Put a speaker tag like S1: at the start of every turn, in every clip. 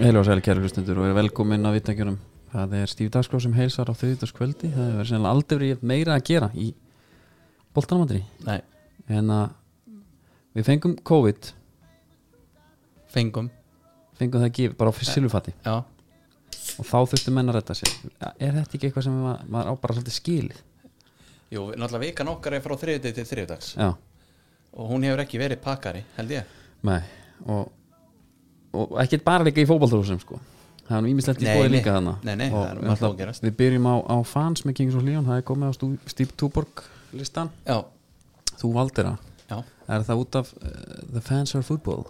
S1: Heil og sæli kæru hlustendur og er velkomin að vittakjunum Það er Stíf Dagskrá sem heilsar á þriðutaskvöldi Það hefur verið sennilega aldrei verið meira að gera í boltanamandri
S2: Nei,
S1: En að við fengum COVID
S2: fengum
S1: Fengum það ekki bara á silfati
S2: Já,
S1: Og þá þurftu menn að redda sér Er þetta ekki eitthvað sem maður, maður á bara svolítið skilið?
S2: jú, náttúrulega vikan okkar er frá þriðudegi til þriðudags
S1: Já,
S2: og hún hefur ekki verið pakkari, held ég
S1: nei Og, og ekki bara líka í fótballtrúsum sko Það er nú ímislegt í
S2: Nei,
S1: bóði
S2: nei.
S1: líka þannig
S2: Nei, nei,
S1: og,
S2: það er um margt
S1: náttúrulega,
S2: ógerast.
S1: Við byrjum á, á fans með Kings og Leon Það er komið á stú, Stíf Túborg listan
S2: Já,
S1: Þú valdir það
S2: já,
S1: Er það út af uh, The Fans Are Football?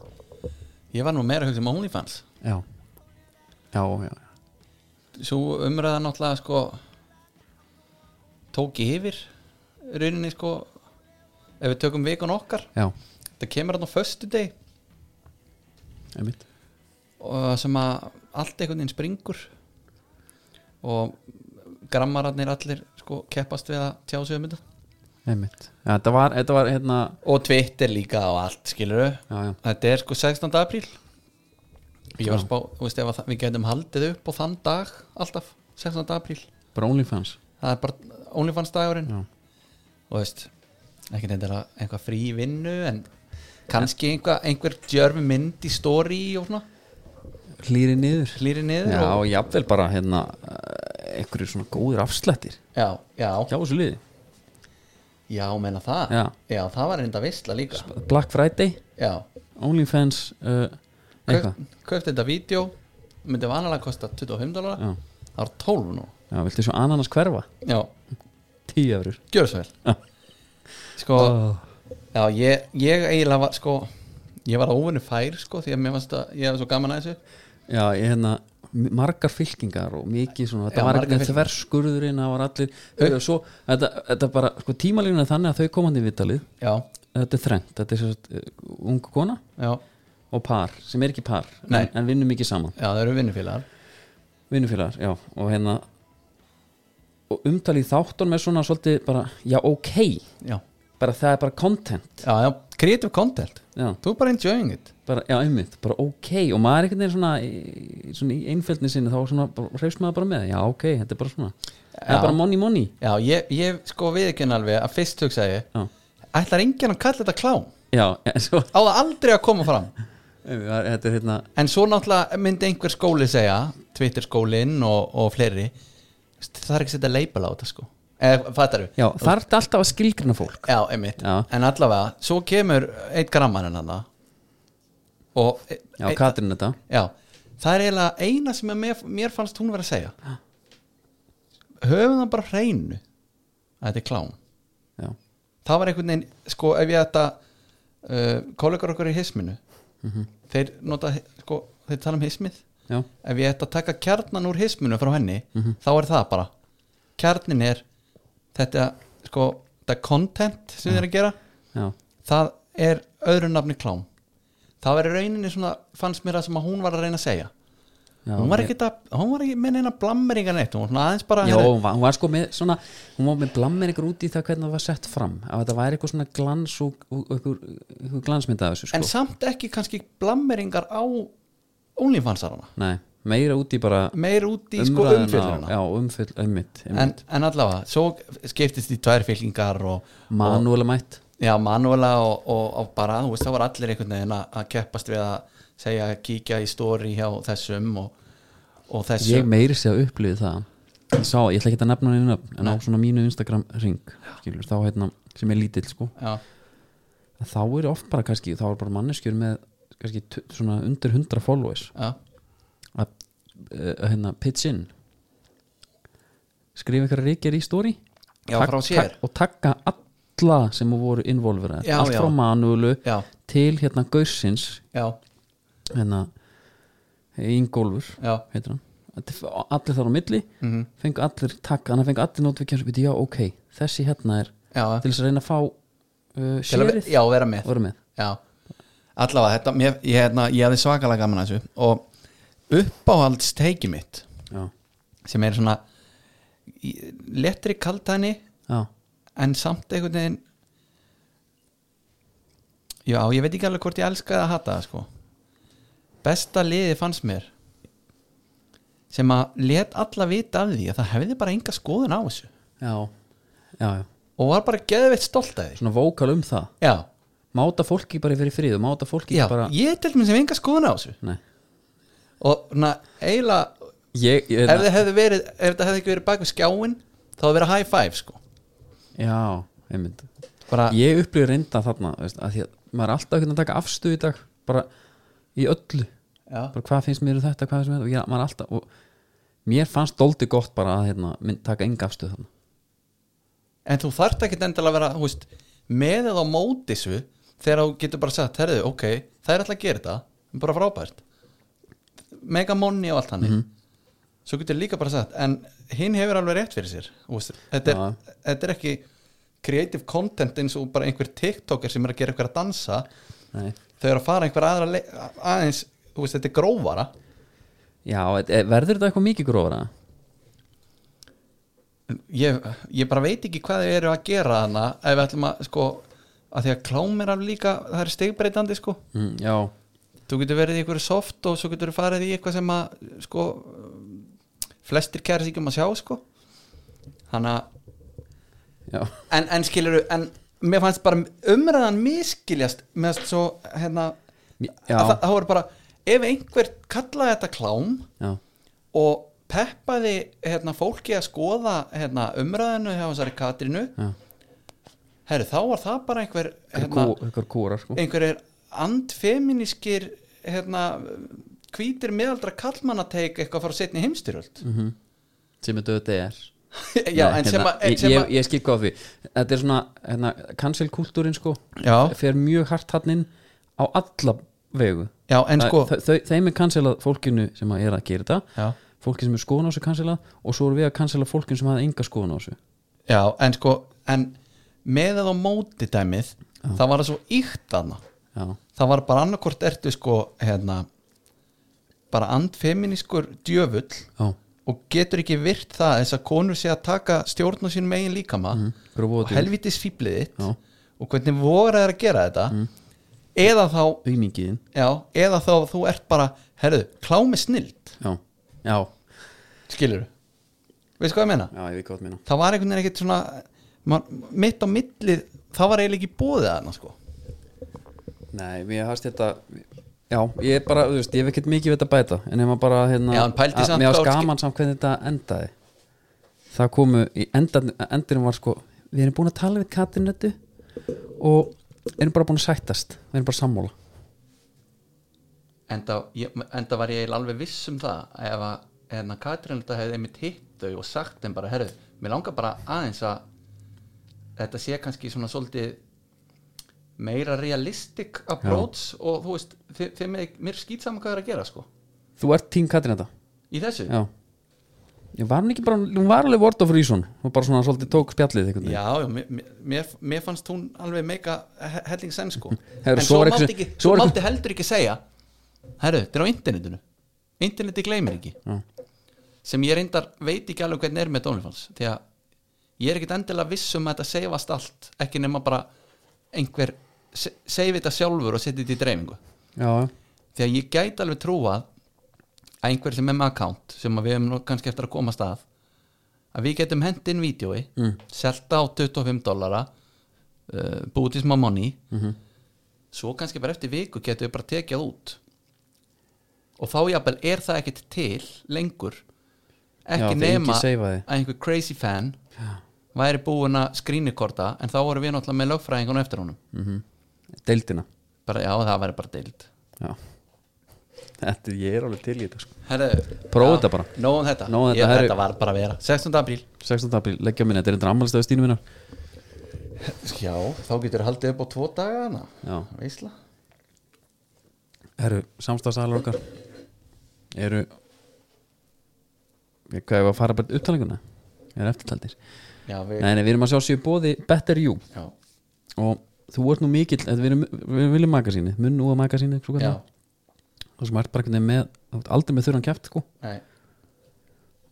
S2: ég var nú meira að hugsa um OnlyFans
S1: Já Já, já,
S2: Svo umræða náttúrulega sko tók í yfir rauninni sko ef við tökum vikan okkar
S1: já
S2: það kemur hann á föstudegi
S1: einmitt
S2: og sem að allt einhvern veginn springur og grammararnir allir sko keppast við að tjá sig um þetta
S1: Einmitt ja, Þetta var, þetta var hérna
S2: og Twitter líka og allt skilur þau
S1: Já, já,
S2: Þetta er sko 16. apríl Ég var að spá, þú veist, ef að það- við getum haldið upp á þann dag alltaf, 16. apríl
S1: bara OnlyFans
S2: Það er bara OnlyFans dagurinn
S1: Já.
S2: og þú veist, ekkert eitthvað, eitthvað frí í vinnu en kannski einhver, einhver djörfi mynd í story og svona,
S1: Hlýri niður
S2: hlýri niður
S1: Já,
S2: og,
S1: og jafnvel bara hérna eh, einhverjir svona góðir afslættir
S2: já, já,
S1: hjá þessu liði
S2: já, meina það
S1: Já.
S2: það var reynda visla líka
S1: Black Friday,
S2: Já,
S1: OnlyFans uh, eitthvað
S2: Kaup- kaupti þetta vídeo myndi vanalega kosta 25 dólar
S1: já.
S2: það var 12 nú
S1: já, viltu svo ananas hverfa?
S2: Já,
S1: Tíu efrur
S2: gjör svo
S1: Já.
S2: vel Sko, Já, ég, ég eiginlega var sko ég var óvinni fær sko því að mér fannst að ég hafði svo gaman að þessu
S1: Já, ég hérna m- margar fylkingar og mikið svona, þetta
S2: Já,
S1: var
S2: margar
S1: ekki
S2: fylkingar.
S1: þverskurðurinn það var allir, og svo þetta, þetta bara, sko tímalínu er þannig að þau komandi í vitalið
S2: Já,
S1: þetta er þrengt, þetta er sérst ung kona
S2: já,
S1: og par, sem er ekki par
S2: Nei.
S1: en, en vinnum mikið saman,
S2: já það eru vinnufélagar
S1: vinnufélagar já, og hérna og umtalið þáttun með svona svolítið bara, já ok,
S2: Já,
S1: bara það er bara content,
S2: já, já, creative content
S1: já,
S2: Þú er bara enjoying it
S1: bara, já einmitt bara ok, og maður er einhvern veginn svona í- svona í einfjöldni sinni, þá svona bara hreifst maður bara með, já ok, þetta er bara svona það
S2: Já.
S1: er bara money money,
S2: Já, ég, ég sko viðkynna alveg að fyrst hugsaði ég
S1: já
S2: Ætlar enginn að kalla þetta klám
S1: já, en svo,
S2: Á það aldrei að koma fram
S1: þetta er hérna
S2: En svo náttúrulega myndi einhver skóli segja Twitter skólinn og, og fleiri Það er ekki að setja leipal á þetta sko Eða, fattar
S1: já, þarf þetta alltaf að skilgrina fólk
S2: Já, einmitt
S1: Já.
S2: En allavega, svo kemur eitt grammarinn hann Og e-
S1: já, Katrin þetta,
S2: Já, það er eiginlega eina sem mér, mér fannst hún vera að segja Höfum það bara á hreinu að þetta er klám
S1: já,
S2: Það var einhvern veginn, sko, ef ég ætta uh, kollegar okkur í hisminu
S1: Mhm.
S2: þeir nota, sko, þeir tala um hismið
S1: já,
S2: ef ég ætta að taka kjarnan úr hisminu frá henni,
S1: Mhm.
S2: þá er það bara kjarnin er þetta, sko, þetta content sem þeir eru að gera
S1: já
S2: það er öðru nafni klám það var í rauninni svona fannst mér það sem að hún var að reyna að segja
S1: Já,
S2: hún var
S1: ég-
S2: ekki, að, hún var ekki með neina blammeringar neitt hún var svona aðeins bara
S1: Já,
S2: heyrðu,
S1: hún var, hún var sko með svona hún var með blammir ykkur út í það hvernig það var sett fram að þetta væri eitthvað svona glans og, og ykkur, ykkur glansmynda af þessu sko
S2: en samt ekki kannski blammeringar á ólinfansarana
S1: Nei, meira út í bara
S2: meir út í sko
S1: umræðuna og-
S2: umfjöldurina
S1: Já, umfyll, ummitt,
S2: en,
S1: ummitt.
S2: en allavega, svo skiptist í tvær fylkingar og
S1: Manúlega mætt
S2: já, manuela og, og, og bara, þú veist, það var allir einhvern veginn að, að keppast við að segja kíkja í stóri hjá þessum og, og
S1: Ég
S2: þessum
S1: meiri sér að upplifi það Ég sá, ég ætla ekki að nefna henni upp en á svona mínu Instagram ring skilur, þá hérna, sem er lítill sko
S2: já,
S1: að þá er oft bara kannski, þá er bara manneskjur með kannski tu- svona undir 100 followers
S2: já,
S1: að uh, hérna, pitch in skrifa einhverja reykjar í story
S2: Já,
S1: Tag-
S2: frá sér.
S1: tag- og taka alla sem voru involverað,
S2: Já,
S1: allt
S2: já.
S1: frá Manúlu
S2: já,
S1: til hérna Gaursins
S2: já,
S1: hérna Ingólfur
S2: já mhm,
S1: heitir hann Þetta- allir þar á milli, fengu allir takk, hann fengu allir notification, veitir já ok þessi hérna er
S2: já,
S1: til þess að reyna að fá uh,
S2: til að,
S1: sérið
S2: já, vera með
S1: voru með,
S2: já. allavega, þetta, mér, ég, hérna, ég hefði svakalega gaman að þessu og uppáhalds teiki mitt
S1: já,
S2: sem er svona í- lettri kaltæni
S1: já,
S2: en samt einhvern veginn já, ég veit ekki alveg hvort ég elska eða hata það sko besta liði fannst mér sem að let alla vita af því að það hefði bara enga skoðun á þessu
S1: já, já, já
S2: og var bara geðveitt stolt af því
S1: svona vókal um það
S2: já,
S1: máta fólki bara fyrir frið og máta fólki
S2: já,
S1: bara
S2: ég til mér sem enga skoðun á þessu
S1: nei
S2: og na, eiginlega
S1: ég, hérna- ég,
S2: ef það hefði verið ef þetta hefði ekki verið bak við skjáin þá hefði verið high five sko
S1: já, einmitt
S2: bara,
S1: ég upplýði reynda þarna veist, að því að maður er alltaf einhvern veginn að taka afstöð í dag bara í öllu
S2: já,
S1: bara hvað finnst mér um þetta, hvað finnst mér um þetta og, já, maður er alltaf, og mér fannst dóldi gott bara að hérna, mynd, taka enga afstöð þarna
S2: en þú þarft ekki endilega að vera þú veist, með eða á móti þessu þegar þú getur bara sagt, herðu, ok það er alltaf að gera þetta, bara frábært mega money og allt hannig
S1: Mhm.
S2: svo getur líka bara sagt en hinn hefur alveg rétt fyrir sér þú veist, þetta, er, þetta er ekki creative content eins og bara einhver tiktoker sem er að gera eitthvað að dansa
S1: Nei.
S2: þau eru að fara einhver aðra le- aðeins, þú veist, þetta er grófara
S1: já, e- verður þetta eitthvað mikið grófara?
S2: ég, ég bara veit ekki hvað þau eru að gera þarna ef við ætlum að sko að því að klám er alveg líka, það er stegbreytandi sko
S1: Mm, já,
S2: þú getur verið í einhverju soft og svo getur þú farið í eitthvað sem að sko flestir kæra sig ekki um að sjá sko þannig að
S1: já,
S2: en, en skilur en mér fannst bara umræðan miskiljast með þess svo hérna
S1: Mér- já.
S2: að það, það voru bara ef einhver kallaði þetta klám
S1: já
S2: og peppaði hérna, fólki að skoða hérna, umræðinu hjá þessari Katrinu
S1: Já.
S2: herru þá var það bara einhver hérna,
S1: einhver kúrar sko
S2: einhverjir andfeminískir hérna hvítir meðaldra kallmannateik eitthvað frá setni heimstyröld
S1: sem þetta auðvitað er
S2: já,
S1: Nei,
S2: en
S1: Mhm.
S2: sem
S1: hérna,
S2: að, en sem
S1: ég,
S2: að
S1: ég, ég skil góð því þetta er svona hérna, cancelkultúrin sko
S2: Já.
S1: fer mjög hart hann inn á alla vegu
S2: já, en sko
S1: Þa- þau- þeim er cancelað fólkinu sem að er að gera þetta
S2: já,
S1: fólki sem er skoðan á þessu cancelað og svo erum við að cancela fólkinu sem hafa enga skoðan á þessu
S2: já, en sko en með eða á móti dæmið það var það svo íkt aðna
S1: já,
S2: það var bara annarkort ertu sko hérna bara andfeminískur djöfull
S1: já,
S2: og getur ekki virt það þess að konur sé að taka stjórn á sínum eigin líkama
S1: hver voru
S2: og
S1: þetta?
S2: helvitis fýbliðitt
S1: Mm. Já.
S2: og hvernig voru það að gera þetta eða þá
S1: aumingiðin
S2: já, eða þá þú ert bara herðu, klámi snild,
S1: já, já,
S2: skilur veist hvað ég meina?
S1: já, ég veit gott minna
S2: það var einhvern veginn ekkert svona man, mitt á millið, það var eiginlega ekki bóðið að hana sko
S1: nei, mér hafst þetta já, ég er bara, þú veist, ég hef ekkert mikið við þetta bæta en ef maður bara, hérna
S2: Já, en pældi
S1: að-
S2: samt
S1: mér hafst
S2: hvað voru-
S1: gaman samt hvernig þetta endaði það komu, í endan, endirinn var sko við erum búin að tala við Katrin þetta og erum bara búin að sættast við erum bara sammála
S2: enda, ég, enda var ég eiginlega alveg viss um það ef að hérna, Katrín þetta hefði einmitt hitt þau og sagt þeim bara, herru, mér langar bara aðeins að þetta sé kannski svona svolítið meira realistic approach og þú veist, þið, þið með, mér skýt saman hvað það er að gera sko,
S1: þú ert tím Katrin þetta
S2: í þessu
S1: já ég var hún ekki bara, hún var alveg word of reason hún bara svona svolítið tók spjallið einhvern veginn
S2: Já, já, mér, mér, mér fannst hún alveg meika he- helling senn sko
S1: Herru,
S2: En
S1: svo
S2: svo
S1: var
S2: mátti,
S1: eitthvað-
S2: ekki,
S1: svo
S2: svo
S1: var eitthvað-
S2: mátti heldur ekki segja Herru, þetta er á internetinu Interneti gleymir ekki
S1: Já.
S2: Sem ég reyndar veit ekki alveg hvernig er með Dónlifans Því að ég er ekkit endilega viss um að þetta seifast allt Ekki nema bara einhver se- Seifi þetta sjálfur og setja þetta í dreifingu
S1: já,
S2: Því að ég gæti alveg trúað Að einhver sem er með account Sem að við hefum nú kannski eftir að komast að Að við getum hent inn vídjói mm. Selta á 25 dollara uh, Búið til smá money
S1: Mhm.
S2: -hmm. Svo kannski bara eftir viku Getum við bara tekið út Og þá jafnvel er það ekkit til Lengur
S1: Já,
S2: Ekki
S1: því
S2: nema
S1: enginn seifaði.
S2: að einhver crazy fan Væri búin að skrýnikorta En þá voru við náttúrulega með lögfræðingun eftir honum
S1: Mm. deildina
S2: bara, Já, það væri bara deild
S1: já þetta, ég er alveg til í þetta sko
S2: Herðu,
S1: Prófa
S2: já,
S1: þetta bara.
S2: Nóðum þetta,
S1: Nóg um þetta,
S2: Ég,
S1: herru.
S2: þetta var bara að vera 16. apríl
S1: 16. apríl, leggja minna, þetta er þetta ammælstafi stínu minna
S2: Já, þá getur haldið upp á tvo daga hana
S1: Já.
S2: Veisla
S1: Herru, samstagsalar okkar eru Ég- hvað er að fara bara upptalinguna er eftirtaldir
S2: Já, við
S1: nei, nei, við erum að sjá sér bóði Better You
S2: Já,
S1: og þú ert nú mikill þetta við erum, við erum viljum magasíni, munn og magasíni
S2: já
S1: og sem ert bara einhvern veginn með þú ert aldrei með þurran kæft sko
S2: Nei.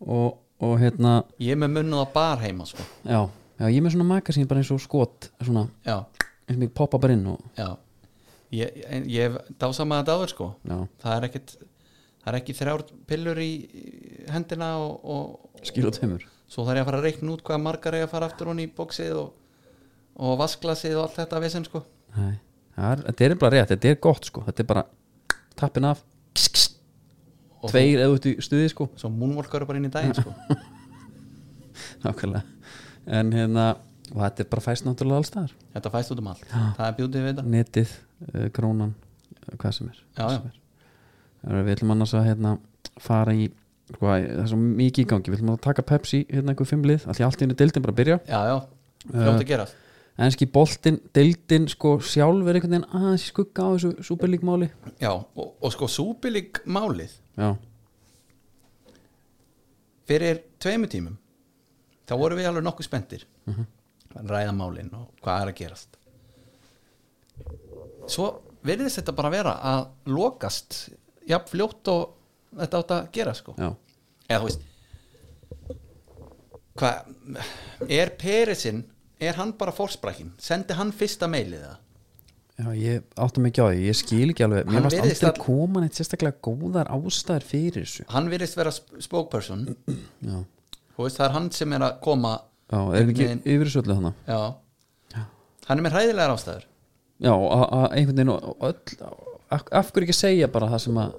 S1: og, og hérna,
S2: Ég er með munnuð á bar heima sko
S1: já, já ég er með svona magasíni bara eins og skot svona,
S2: Já,
S1: eins og mig poppa bara inn og
S2: já Ég, en ég hef dásamaði þetta áður sko
S1: já,
S2: Það er ekkit það er ekki þrjár pillur í í hendina og, og
S1: skil og tveimur
S2: svo þarf ég að fara að reikna út hvað margar ég að fara aftur hún í bóksið og, og vasklasið og allt þetta vesen sko
S1: Nei, það er, þetta er bara rétt, þetta er gott sko þetta er bara tappin af kss, kss,
S2: Og-
S1: tveir eða út í stuði sko
S2: svo múnvolkar bara inn í daginn sko
S1: nákvæmlega en hérna, og þetta er bara fæst náttúrulega alls staðar
S2: þetta fæst út um allt,
S1: Já.
S2: það er bjútið við þetta
S1: netið, eh, krónan eh, hvað sem er,
S2: Já,
S1: hvað
S2: já.
S1: sem er. Eh, við ætlum annars að hérna, fara í hvað, það er svo mikið í gangi við ætlum að taka Pepsi, hérna einhver fimm lið allt í allt einu deildin bara að byrja
S2: já, já, fljótt að gera
S1: enski boltin, deildin sko sjálfur einhvern veginn aðeins í skugga á þessu superlíkmáli
S2: já, og, og sko súbílík málið
S1: já,
S2: fyrir tveimu tímum þá vorum við alveg nokkuð spenntir að ræða málin og hvað er að gerast svo verðist þetta bara vera að lokast jafn fljótt og þetta átt að gera sko
S1: já,
S2: eða þú veist hvað er Perisinn, er hann bara fórsprækin sendi hann fyrsta mailið það
S1: já ég átta mig ekki á því, ég skil ekki alveg
S2: Hann
S1: mér varst
S2: virðist
S1: aldrei
S2: að-
S1: koma neitt sérstaklega góðar ástæður fyrir þessu
S2: hann virðist vera sp- spokesperson
S1: já,
S2: þú veist það er hann sem er að koma
S1: já er ekki
S2: Einhvern
S1: yfir þessu öllu þannig
S2: já,
S1: Já.
S2: hann er með hræðilegar ástæður
S1: já, að að einhvern veginn og- og öll, af, af hverju ekki segja bara það sem að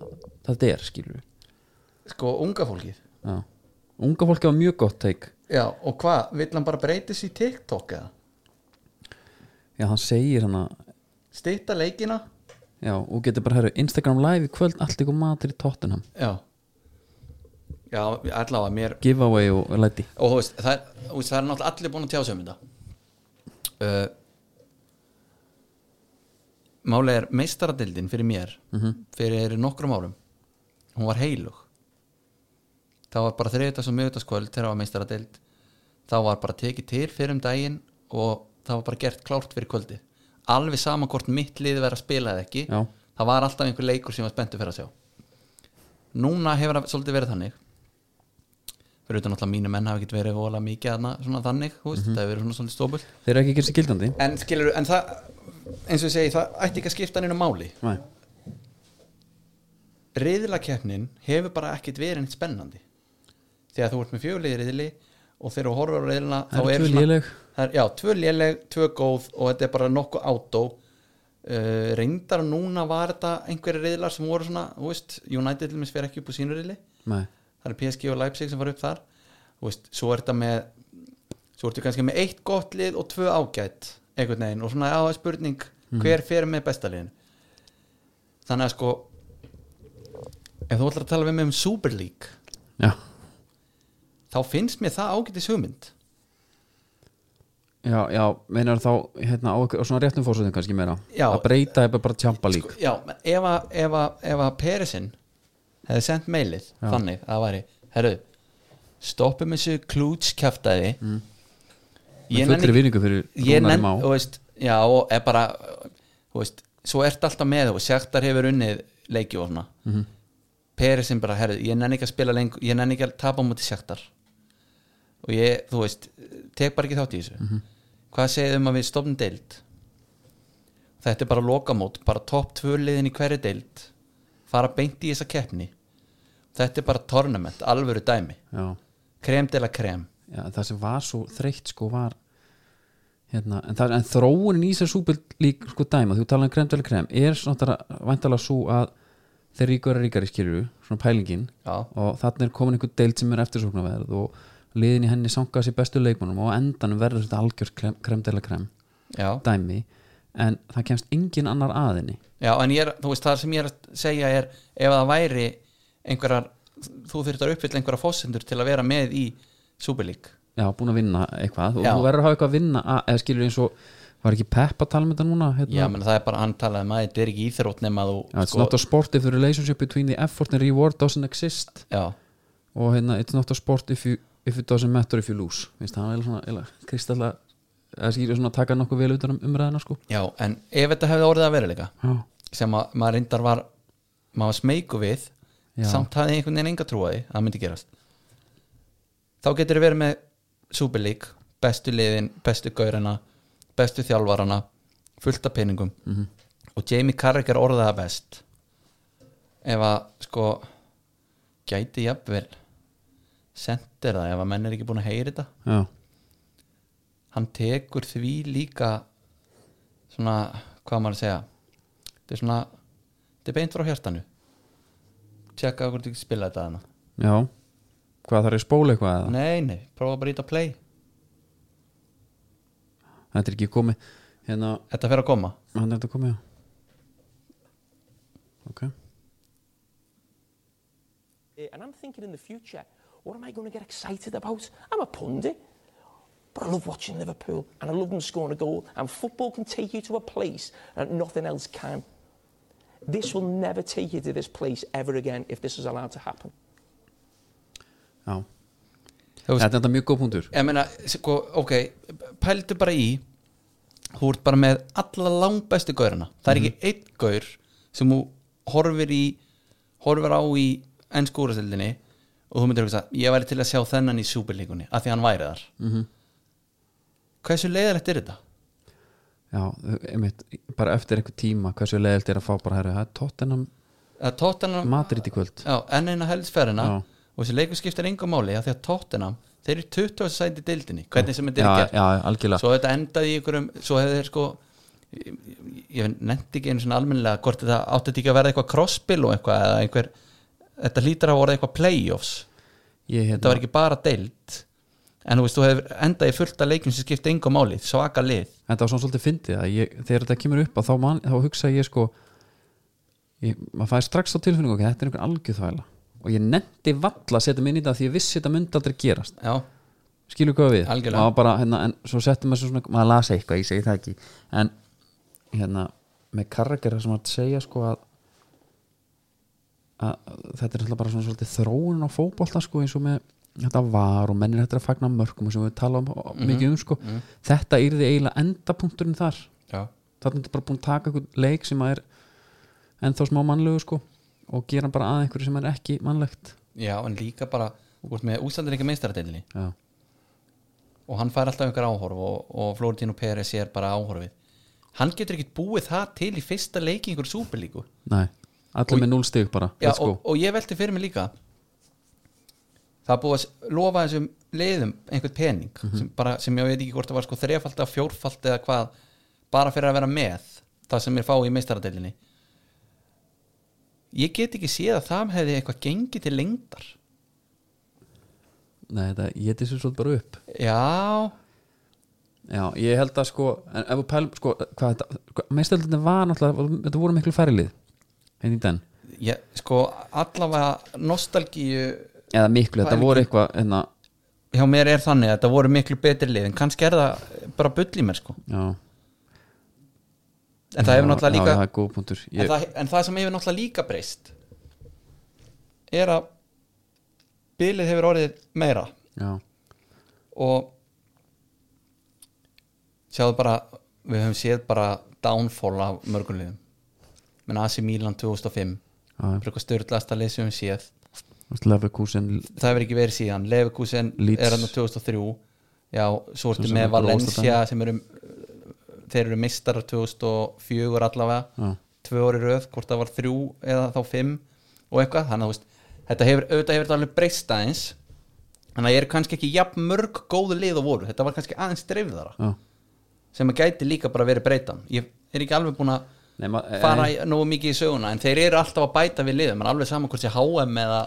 S1: þetta er, skilur við
S2: sko unga fólkið
S1: já, unga fólki var mjög gott teik
S2: já, og hvað, vill hann bara breytis í TikTok eða
S1: já, hann segir hann að
S2: stýtta leikina
S1: já, og getur bara, herru, Instagram live í kvöld allt ykkur matur í Tottenham
S2: já já, allavega mér
S1: giveaway og læti
S2: og þú veist, það er, þú veist, það er náttúrulega allir búin að tjá sig um þetta uh, Málið er meistaradildin fyrir mér fyrir nokkrum árum hún var heilug það var bara þriðutags og miðutaskvöld þegar það var meistaradeild þá var bara tekið til fyrir um daginn og það var bara gert klárt fyrir kvöldi alveg sama hvort mitt liði verið að spila eða ekki
S1: já,
S2: það var alltaf einhver leikur sem ég var spenntu fyrir að sjá núna hefur það svolítið verið þannig fyrir utan alltaf mínu menn hafa ekki verið vola mikið þarna, svona þannig, þú veist, það hefur verið svona svolítið stóbul
S1: þeir eru ekki að gera sér gildandi
S2: en skilur, en það eins og ég segi, það ætti ekki að skipta hann inn á máli
S1: Nei.
S2: riðlakeppnin hefur bara ekkit verið neitt spennandi þegar þú ert með fjögulegi riðli og þegar þú horfur á riðlina þá
S1: það
S2: er
S1: eru tvö
S2: svona-
S1: léleg
S2: það er, já, tvö léleg, tvö góð og þetta er bara nokkuð átó uh, reyndar núna var þetta einhverju riðlar sem voru svona, þú veist United til mér sver ekki upp úr sínu riðli
S1: Nei.
S2: það er PSG og Leipzig sem var upp þar þú veist, svo er þetta með svo ertu kannski með eitt gott lið og tvö ágætt einhvern veginn og svona á það er spurning
S1: Mhm.
S2: hver fer með besta liðin þannig að sko ef þú ætlar að tala við mig um Super League
S1: já,
S2: þá finnst mér það ágætis hugmynd
S1: já, já meinar þá hérna, á, ykkur- á svona réttum fórsöðum kannski meira
S2: Já.
S1: að breyta eða bara tjampa lík
S2: sko, já, menn ef að, ef að, ef að Perisinn hefði sendt mailið
S1: Já.
S2: þannig að það væri, herru stoppum þessu klúts kjaftaði
S1: Mm.
S2: Sko,
S1: með fullri vinningu fyrir
S2: ég
S1: Rúnari
S2: nenn,
S1: Má
S2: þú veist, já, og er bara þú veist, svo ert alltaf með og Sjæktar hefur unnið leiki og svona mm -hmm. Perisinn bara, herru, ég nenni ekki að spila lengur, ég nenni ekki að tapa á móti Sjæktar og ég, þú veist tek bara ekki þátt í þessu hvað segið um að við stopnum deild þetta er bara lokamót bara topp tvö liðin í hverju deild fara beint í þessa keppni þetta er bara tournament, alvöru dæmi
S1: já,
S2: krem til að krem
S1: já, það sem var svo þreytt sko var hérna, en, það, en þróunin í sér súpild lík sko dæma, þú talaði um krem til krem er svona vantala svo að þeir ríkur er ríkari skilur svona pælingin
S2: já,
S1: og þarna er komin einhver deild sem er eftirsóknarverð og liðin í henni sangaði sér bestu leikmannum og á endanum verður þetta algjör krem, krem til krem
S2: já
S1: dæmi en það kemst engin annar aðinni
S2: Já, en ég er, þú veist, það sem ég er að segja er ef það væri einhverjar þú þurft að uppfylla einhverjar fósendur til að vera með í Súbelík
S1: já, búin að vinna eitthvað og
S2: Já.
S1: þú verður að hafa eitthvað að vinna að, eða skilur eins og, var ekki Peppa að tala með þetta núna
S2: Já,
S1: hérna,
S2: menn það er bara, hann talaði um að þetta er ekki íþrótt nema þú sko,
S1: já, it's not a sport if the relationship between the effort and reward doesn't exist
S2: já,
S1: og hérna, it's not a sport if, you, if it doesn't matter if you lose Vist, það er eiginlega svona, eiginlega, kristalla eða skilur svona að taka nokkuð vel utan um umræðina sko.
S2: já, en ef þetta hefði orðið að vera líka
S1: já,
S2: sem að maður reyndar var maður var smeyku við
S1: Já.
S2: samt hafði einhvern veginn enga trúaði að það myndi gerast þá getur þið verið með Súbelík, bestu liðin bestu gaurina, bestu þjálfarana fullt af peningum -hmm. og Jamie Carragher orðaði það best ef að sko gæti jafnvel sendir það ef að menn er ekki búin að heyri þetta
S1: já,
S2: hann tekur því líka svona, hvað á maður að segja þetta er svona þetta er beint frá hjartanu tjekka hvort þú ekki spila þetta hana
S1: já hvað þarf ég að spóla eitthvað eða?
S2: nei, nei, prófa bara að íta play
S1: þetta er ekki komið hérna,
S2: þetta fer að koma
S1: hann er þetta komið já. ok,
S3: Eh, and I'm thinking in the future, what am I going to get excited about? I'm a pundit, but I love watching Liverpool and I love them scoring a goal. And football can take you to a place that nothing else can. This will never take you to this place ever again if this is allowed to happen.
S1: já
S2: Þú veist-
S1: þetta er þetta mjög góð punktur
S2: ég meina, sko, ok pældu bara í þú ert bara með alla langbæstu gaurina það
S1: Mhm.
S2: er ekki einn gaur sem þú horfir í horfir á í ennsku úrastildinni og þú myndir hugsa, ég væri til að sjá þennan í súbillíkunni, af því hann væri þar
S1: Mhm.
S2: -hmm. hversu leiðilegt er þetta?
S1: já, einmitt, bara eftir einhver tíma hversu leiðilt er að fá bara herri, það er tóttenam
S2: að Tottenham,
S1: Madrid í kvöld
S2: já, enn eina heldsferðina
S1: Já.
S2: og þessi leikur skiptir engum máli af því að Tottenham, þeir eru 20. sæti í deildinni, hvernig sem þetta er
S1: já,
S2: gert
S1: já, algjörlega
S2: svo þetta endaði í einhverjum svo hefði þeir sko ég, ég nefndi ekki einu svona almennilega hvort þetta átti þetta ekki að verða eitthvað crossbill og eitthvað eða einhver, þetta hlýtur að voru eitthvað playoffs,
S1: ég, hérna,
S2: þetta var ekki bara deild en þú veist, þú hefur endaði fullt af leikjum sem skipti engum máli, svaka lið
S1: þetta var svona svolítið fyndið að ég, þegar þetta kemur upp að þá, man, þá hugsa ég sko ég, maður fæði strax á tilfinningu ok, þetta er einhver algjöþvæla og ég nefndi valla að setja mig inn í þetta því ég vissi þetta myndi aldrei gerast
S2: já,
S1: skilur hvað við
S2: Algjörlega.
S1: Maður bara, hérna, en svo settum maður svo svona maður lasa eitthvað, ég segi það ekki en hérna, með kargera sem að segja sko að að þetta er alltaf bara svona svolítið þróun á fótbolta sko eins og með þetta var og mennir hættir að fagna mörgum og sem við tala um,
S2: Mhm,
S1: mikið um sko þetta yrði eiginlega endapunkturinn þar
S2: já,
S1: þarna er bara búin að taka einhvern leik sem að er ennþá smá mannlegu sko og gera hann bara að einhverju sem er ekki mannlegt
S2: já en líka bara út með úslandir ekki meistaradeildinni
S1: já,
S2: og hann fær alltaf einhver áhorf og, og Florentino Perez er bara áhorfið hann getur ekki búið það til í fyrsta leiki í einhver súperlíku
S1: nei, allir með núl stig bara
S2: Já,
S1: let's go.
S2: og, og ég velti fyrir mig líka það er búið að s- lofa þessum leiðum einhvern pening
S1: Mhm.
S2: sem, bara, sem ég veit ekki hvort það var sko þrefald eða fjórfald eða hvað bara fyrir að vera með það sem ég fá í meistaradelinni ég get ekki séð að það hefði eitthvað gengið til lengdar
S1: Nei, þetta, ég geti sér svolítið bara upp
S2: já,
S1: Já, ég held að sko en ef við pælum, sko, hvað þetta meðstöldin var náttúrulega, þetta voru miklu færilið henni í den,
S2: ég, sko allavega nostalgíu
S1: eða miklu, þetta
S2: Færilið.
S1: voru eitthvað hérna, enna,
S2: hjá mér er þannig að þetta voru miklu betri lið en kannski er það bara bull í mér sko
S1: já
S2: en það
S1: já,
S2: hefur náttúrulega líka
S1: Já, það er góð punktur
S2: en,
S1: ég,
S2: það, en það sem hefur náttúrulega líka breyst er að bilið hefur orðið meira
S1: Já,
S2: og sjáðu bara við höfum séð bara downfall af mörgum liðum menn AC Milan
S1: Já,
S2: 2005
S1: já.
S2: bara eitthvað störðlasta lið sem við höfum séð
S1: Leverkusen
S2: það hefur ekki verið síðan Leverkusen
S1: Leeds.
S2: er hann á 2003 já,
S1: Sem
S2: svo ertu
S1: sem
S2: með
S1: er bara
S2: Valencia sem eru þeir eru mistar 2004 allavega
S1: Já.
S2: tvö orði röð, hvort það var þrjú eða þá fimm og eitthvað þannig að þú veist, þetta hefur, auðvitað hefur þetta alveg breyst aðeins þannig að ég er kannski ekki jafn mörg góðu lið og voru, þetta var kannski aðeins dreifðara
S1: Já,
S2: sem að gæti líka bara verið breytan ég er ekki alveg búin að
S1: Nei, ma-
S2: fara í, nógu mikið í söguna en þeir eru alltaf að bæta við liðum en alveg saman hvort sé HM eða,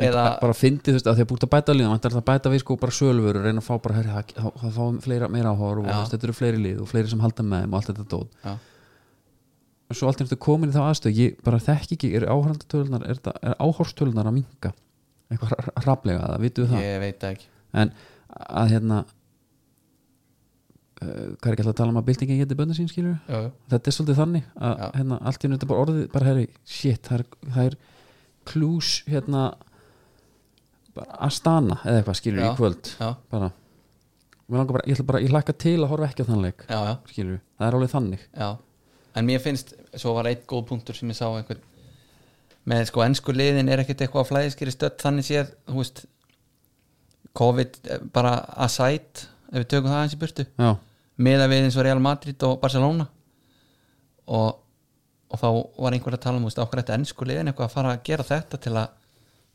S1: en
S2: eða
S1: bara fyndi þú veist að því að búið að bæta liðum ætlar það að bæta við sko bara sölvöru reyna að fá bara herri, það- þá þá fáum við fleira meira áhóru og
S2: Já.
S1: þú veist, þetta eru fleiri lið og fleiri sem halda með þeim og allt þetta dót
S2: já,
S1: En svo allt er þetta komin í þá aðstöð ég bara þekki ekki, er áhorfandatölunar er, þetta- er áhorfstölunar að minka eitthvað hraplega, það vitum við það
S2: ég veit það ekki
S1: en að hérna uh, hvað er ekki alltaf að tala um að byltingin geti bönna sín skilur
S2: já, já.
S1: þetta er svolítið þannig að
S2: Já.
S1: hérna, allt í nöttu bara orðið bara herri, shit, það er, það er klús hérna bara Astana eða eitthvað skilur
S2: Já.
S1: í kvöld
S2: Já.
S1: bara, Mig langar bara, ég ætla bara, ég hlakka til að horfa ekki á þannleik
S2: já, já,
S1: skilur, það er alveg þannig
S2: já en mér finnst, svo var eitt góð punktur sem ég sá einhvern með sko ennsku liðin er ekkert eitthvað flæðiskeri stödd þannig séð, þú veist COVID eh, bara aside ef við tökum það aðeins í burtu
S1: já,
S2: meða við eins og Real Madrid og Barcelona og, og þá var einhver að tala um þú veist, okkur þetta ennsku liðin eitthvað að fara að gera þetta til að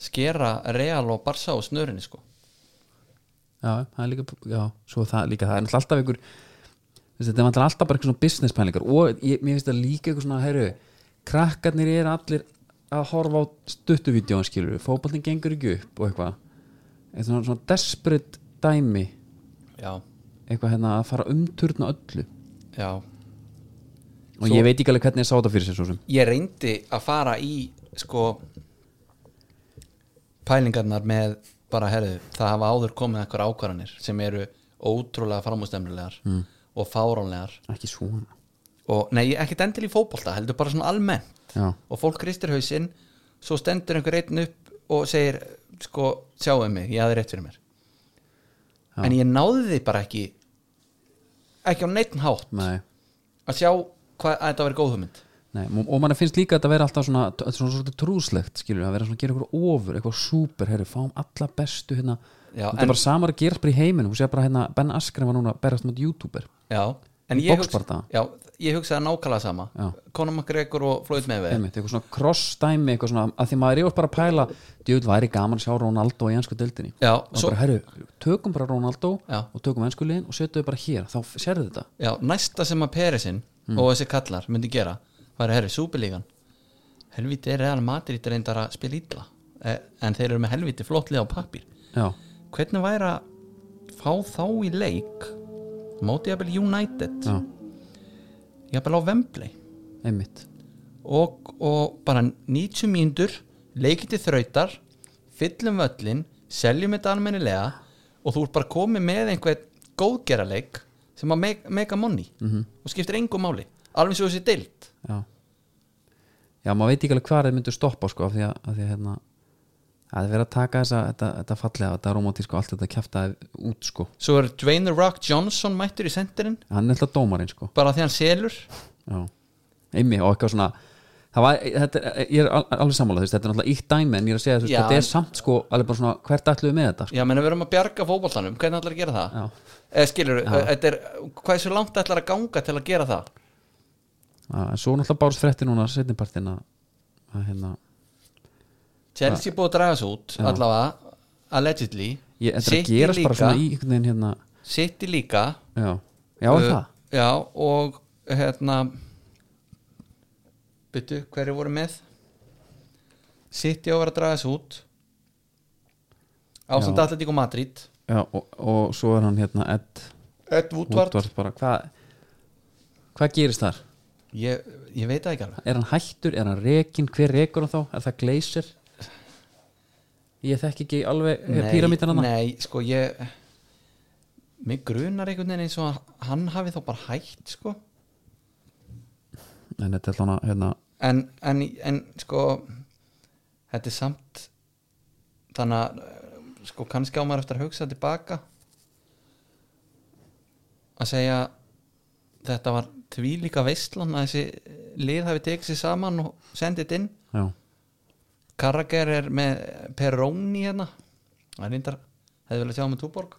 S2: skera Real og Barca á snörinni sko
S1: já, það er líka, já, svo það líka það er náttúrulega alltaf ykkur þú veist, þetta er náttúrulega alltaf bara eitthvað svona business pælingar og ég, mér finnst það líka eitthvað svona, herru krakkarnir eru allir að horfa á stuttuvídeóan skilur, fótboltin gengur ekki upp og eitthvað eitthvað svona, svona desperate dæmi
S2: Já,
S1: eitthvað hérna að fara að umturna öllu
S2: já
S1: og ég veit ekki alveg hvernig ég sá þetta fyrir sér svo sem
S2: Ég reyndi að fara í sko pælingarnar með bara herðu, það hafa áður komið eitthvað ákvarðanir sem eru ótrúlega framústemnilegar mm. og fáránlegar
S1: ekki svona,
S2: og nei, ekkert endil í fótbolta heldur bara svona almennt
S1: já,
S2: og fólk kristir hausinn, svo stendur einhver einn upp og segir, sko sjáum mig, ég hafði rétt fyrir mér
S1: Já.
S2: en ég náði því bara ekki ekki á neittn hátt
S1: nei
S2: að sjá hvað að þetta verið góð hugmynd
S1: Nei, og og mann finnst líka að þetta vera alltaf svona, þetta er svona, svona trúslegt, skilur að vera svona að gera eitthvað ofur, eitthvað súper, herri, fáum alla bestu hérna,
S2: Já,
S1: þetta
S2: en-
S1: er bara samar að gerast bara í heiminum, þú sé bara hérna Ben Askren var núna að berast mot youtuber,
S2: já, en
S1: Í
S2: ég,
S1: boxbardaga?
S2: já, ég hugsaði nákvæmlega sama
S1: Já.
S2: Conor McGregor og Floyd Mayweather
S1: einmitt, eitthvað svona cross-dæmi, eitthvað svona, að því maður er yfir bara að pæla, djöfull væri gaman að sjá Ronaldo í ennsku deildinni,
S2: Já,
S1: og
S2: svo,
S1: bara, herri, tökum bara Ronaldo
S2: Já.
S1: og tökum ennsku liðin og setjum þau bara hér, þá f- sérðu þetta
S2: já, næsta sem að Perisinn
S1: Hmm.
S2: og þessi kallar myndi gera var herri, súpilígan helviti er Real Madrid reyndar að spila ítla en þeir eru með helviti flott lið á pappir
S1: Já,
S2: hvernig væri að fá þá í leik móti jafnvel United
S1: já,
S2: jafnvel á Wembley
S1: einmitt
S2: og, og bara 90 mínútur leikið til þrautar fyllum völlin, seljum þetta almennilega og þú ert bara komið með einhvern góðgeraleik sem að make, make a money -hmm.
S1: Mhm.
S2: og skiptir engu máli, alveg svo þessi deilt
S1: já já, maður veit ekki alveg hvað þeir myndu stoppa sko, af því að, af því að hérna að þeir vera að taka þessa, þetta, þetta fallega þetta romantíska og allt þetta kjafta út sko
S2: svo er Dwayne The Rock Johnson mættur í sendirinn,
S1: hann er alltaf dómarinn sko
S2: bara því hann selur
S1: já, einmi og eitthvað svona það var, þetta, er- ég er al- alveg sammála þú veist, þetta er alltaf ítt dæmi en ég er að segja þú veist,
S2: Já.
S1: þetta er samt sko, alveg bara svona hvert ætluðu við með þetta sko.
S2: já, menn við erum að bjarga fótboltanum, hvernig ætlar að gera það
S1: Já.
S2: eða skilur, þetta er hvað er svo langt ætlar að ganga til að gera það
S1: Já, en svo náttúrulega bárst frétti núna setnipartin að, að hérna,
S2: Chelsea búið að draga þessu út allavega, allegedly
S1: ég, þetta er
S2: City
S1: að gerast
S2: líka,
S1: bara svona í einhvern veginn hérna,
S2: City líka
S1: já, já er
S2: Uh,
S1: það
S2: Já, og hérna Byttu, hverju voru með? City á að vera að draga þessu út Ásamt
S1: Já.
S2: Atletico Madrid
S1: já, og, og svo er hann hérna Ed
S2: Ed
S1: Woodward bara, hvað hvað gerist þar?
S2: Ég, ég veit það ekki alveg
S1: Er hann hættur? Er hann rekin? Hver rekur hann þá? Er það gleysir? Ég þekki ekki alveg eh, píramítan hann
S2: nei, sko ég Mig grunar einhvern veginn eins og að hann hafi þá bara hætt sko
S1: En þetta er svona hérna,
S2: en, en, en sko Þetta er samt Þannig að sko kannski á maður eftir að hugsa tilbaka að segja þetta var tvílíka veistlan að þessi lið hafi tekið sér saman og sendið inn
S1: já,
S2: Karrager er með Peroni hérna hann reyndar, hefði vel að sjá hann með Túborg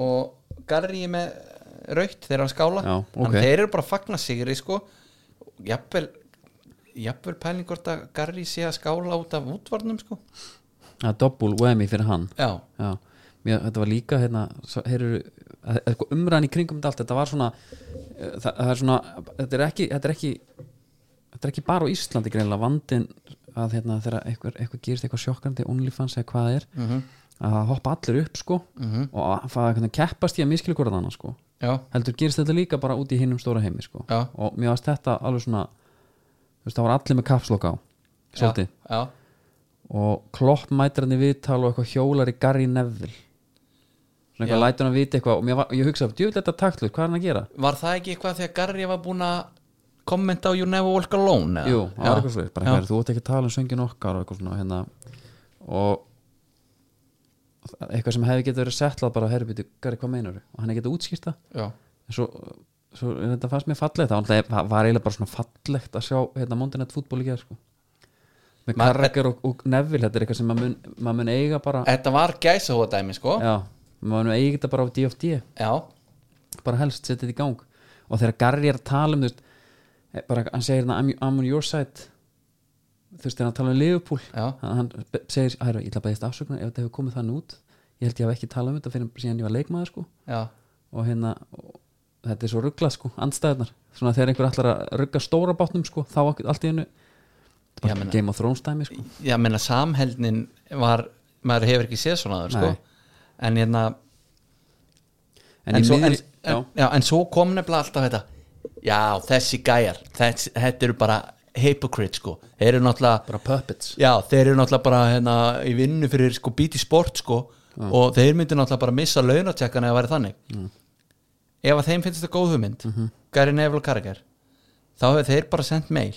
S2: og Garri er með Raut, þeir eru að skála
S1: Já, ok.
S2: Þannig að þeir eru bara að fagna sigri sko jafnvel jafnvel pæling hvort að Garri sé að skála út af útvarnum sko
S1: að doppul whammy fyrir hann
S2: já,
S1: Já, mér, þetta var líka hérna, svo- heyrðu, að- eitthvað umræðan í kringum þetta allt, þetta var svona eh, það, það er svona, þetta er ekki þetta er ekki, þetta er ekki bara á Íslandi greinlega vandin að hérna, þegar eitthvað, eitthvað gerist eitthvað sjokkandi OnlyFans eða hvað það er að það hoppa allir upp sko og að fara eitthvað að keppast í að miskilu hvort annað sko
S2: já,
S1: heldur gerist þetta líka bara út í hinnum stóra heimi sko
S2: Já.
S1: og mér varst þetta alveg svona þú veist, það var allir með kapslokk á svolítið
S2: já, já.
S1: og klopp mætir hann í viðtal og eitthvað hjólar í Gary Neville svona eitthvað
S2: Já.
S1: lætur hann vita eitthvað og mér var, ég hugsaði, djúvill þetta taktlut, hvað er hann að gera?
S2: var það ekki eitthvað þegar Garri var búin að kommenta á You Never Walk Alone eða?
S1: Jú, það var eitthvað
S2: já,
S1: slið, bara
S2: Já.
S1: eitthvað, þú ert ekki að tala um söngin okkar og eitthvað svona hérna og eitthvað sem hefði getið verið settlað bara, herri byrju, Gary, hvað meinar og hann er getið útskýrta
S2: já,
S1: en svo, svo er þetta fannst mér fallegt það var náttúrulega- það var eiginlega bara svona fallegt að sjá hérna Mondanet fútból í gerð sko. með
S2: Ma-
S1: Karrager og, og Neville þetta er eitthvað sem maður mun, mað mun eiga bara
S2: þetta var gæsa hóðdæmi sko já,
S1: já, maður nú eigi þetta bara á DFD bara helst setja þetta í gang og þegar Garri er að tala um þú veist, eh, bara, hann segir hérna I'm, I'm on your side þú veist, þegar hann tala um Liverpool
S2: Já.
S1: hann, hann be- segir, hæra, ég ætla að beðast afsökunar ef þetta hefur komið þann út ég held ég hafa ekki talað um þetta fyrir síðan ég var leikmaður sko
S2: já,
S1: og hérna, og, þetta er svo ruggla sko andstæðnar, svona þegar einhver ætlar að rugga stóra bátnum sko, þá akkur- allt í hennu þetta
S2: Já,
S1: er
S2: meina-
S1: bara Game of Thrones dæmi sko
S2: já, menna samheldnin var, maður hefur ekki séð svona aður,
S1: Nei.
S2: sko, en hérna
S1: en,
S2: en,
S1: í
S2: svo, en,
S1: miðri, já,
S2: en, já, en svo kom nefnilega alltaf þetta já, þessi gæjar, þess, þetta eru bara hypocrite, sko, þeir eru náttúrulega
S1: bara puppets
S2: Já, þeir eru náttúrulega bara hérna, í vinnu fyrir sko bíti sport sko og þeir myndu náttúrulega bara missa launatjekkan eða væri þannig ef að þeim finnst þetta góð hugmynd mm
S1: Mhm.
S2: -hmm. Gary Neville og Carragher þá hefur þeir bara sendt mail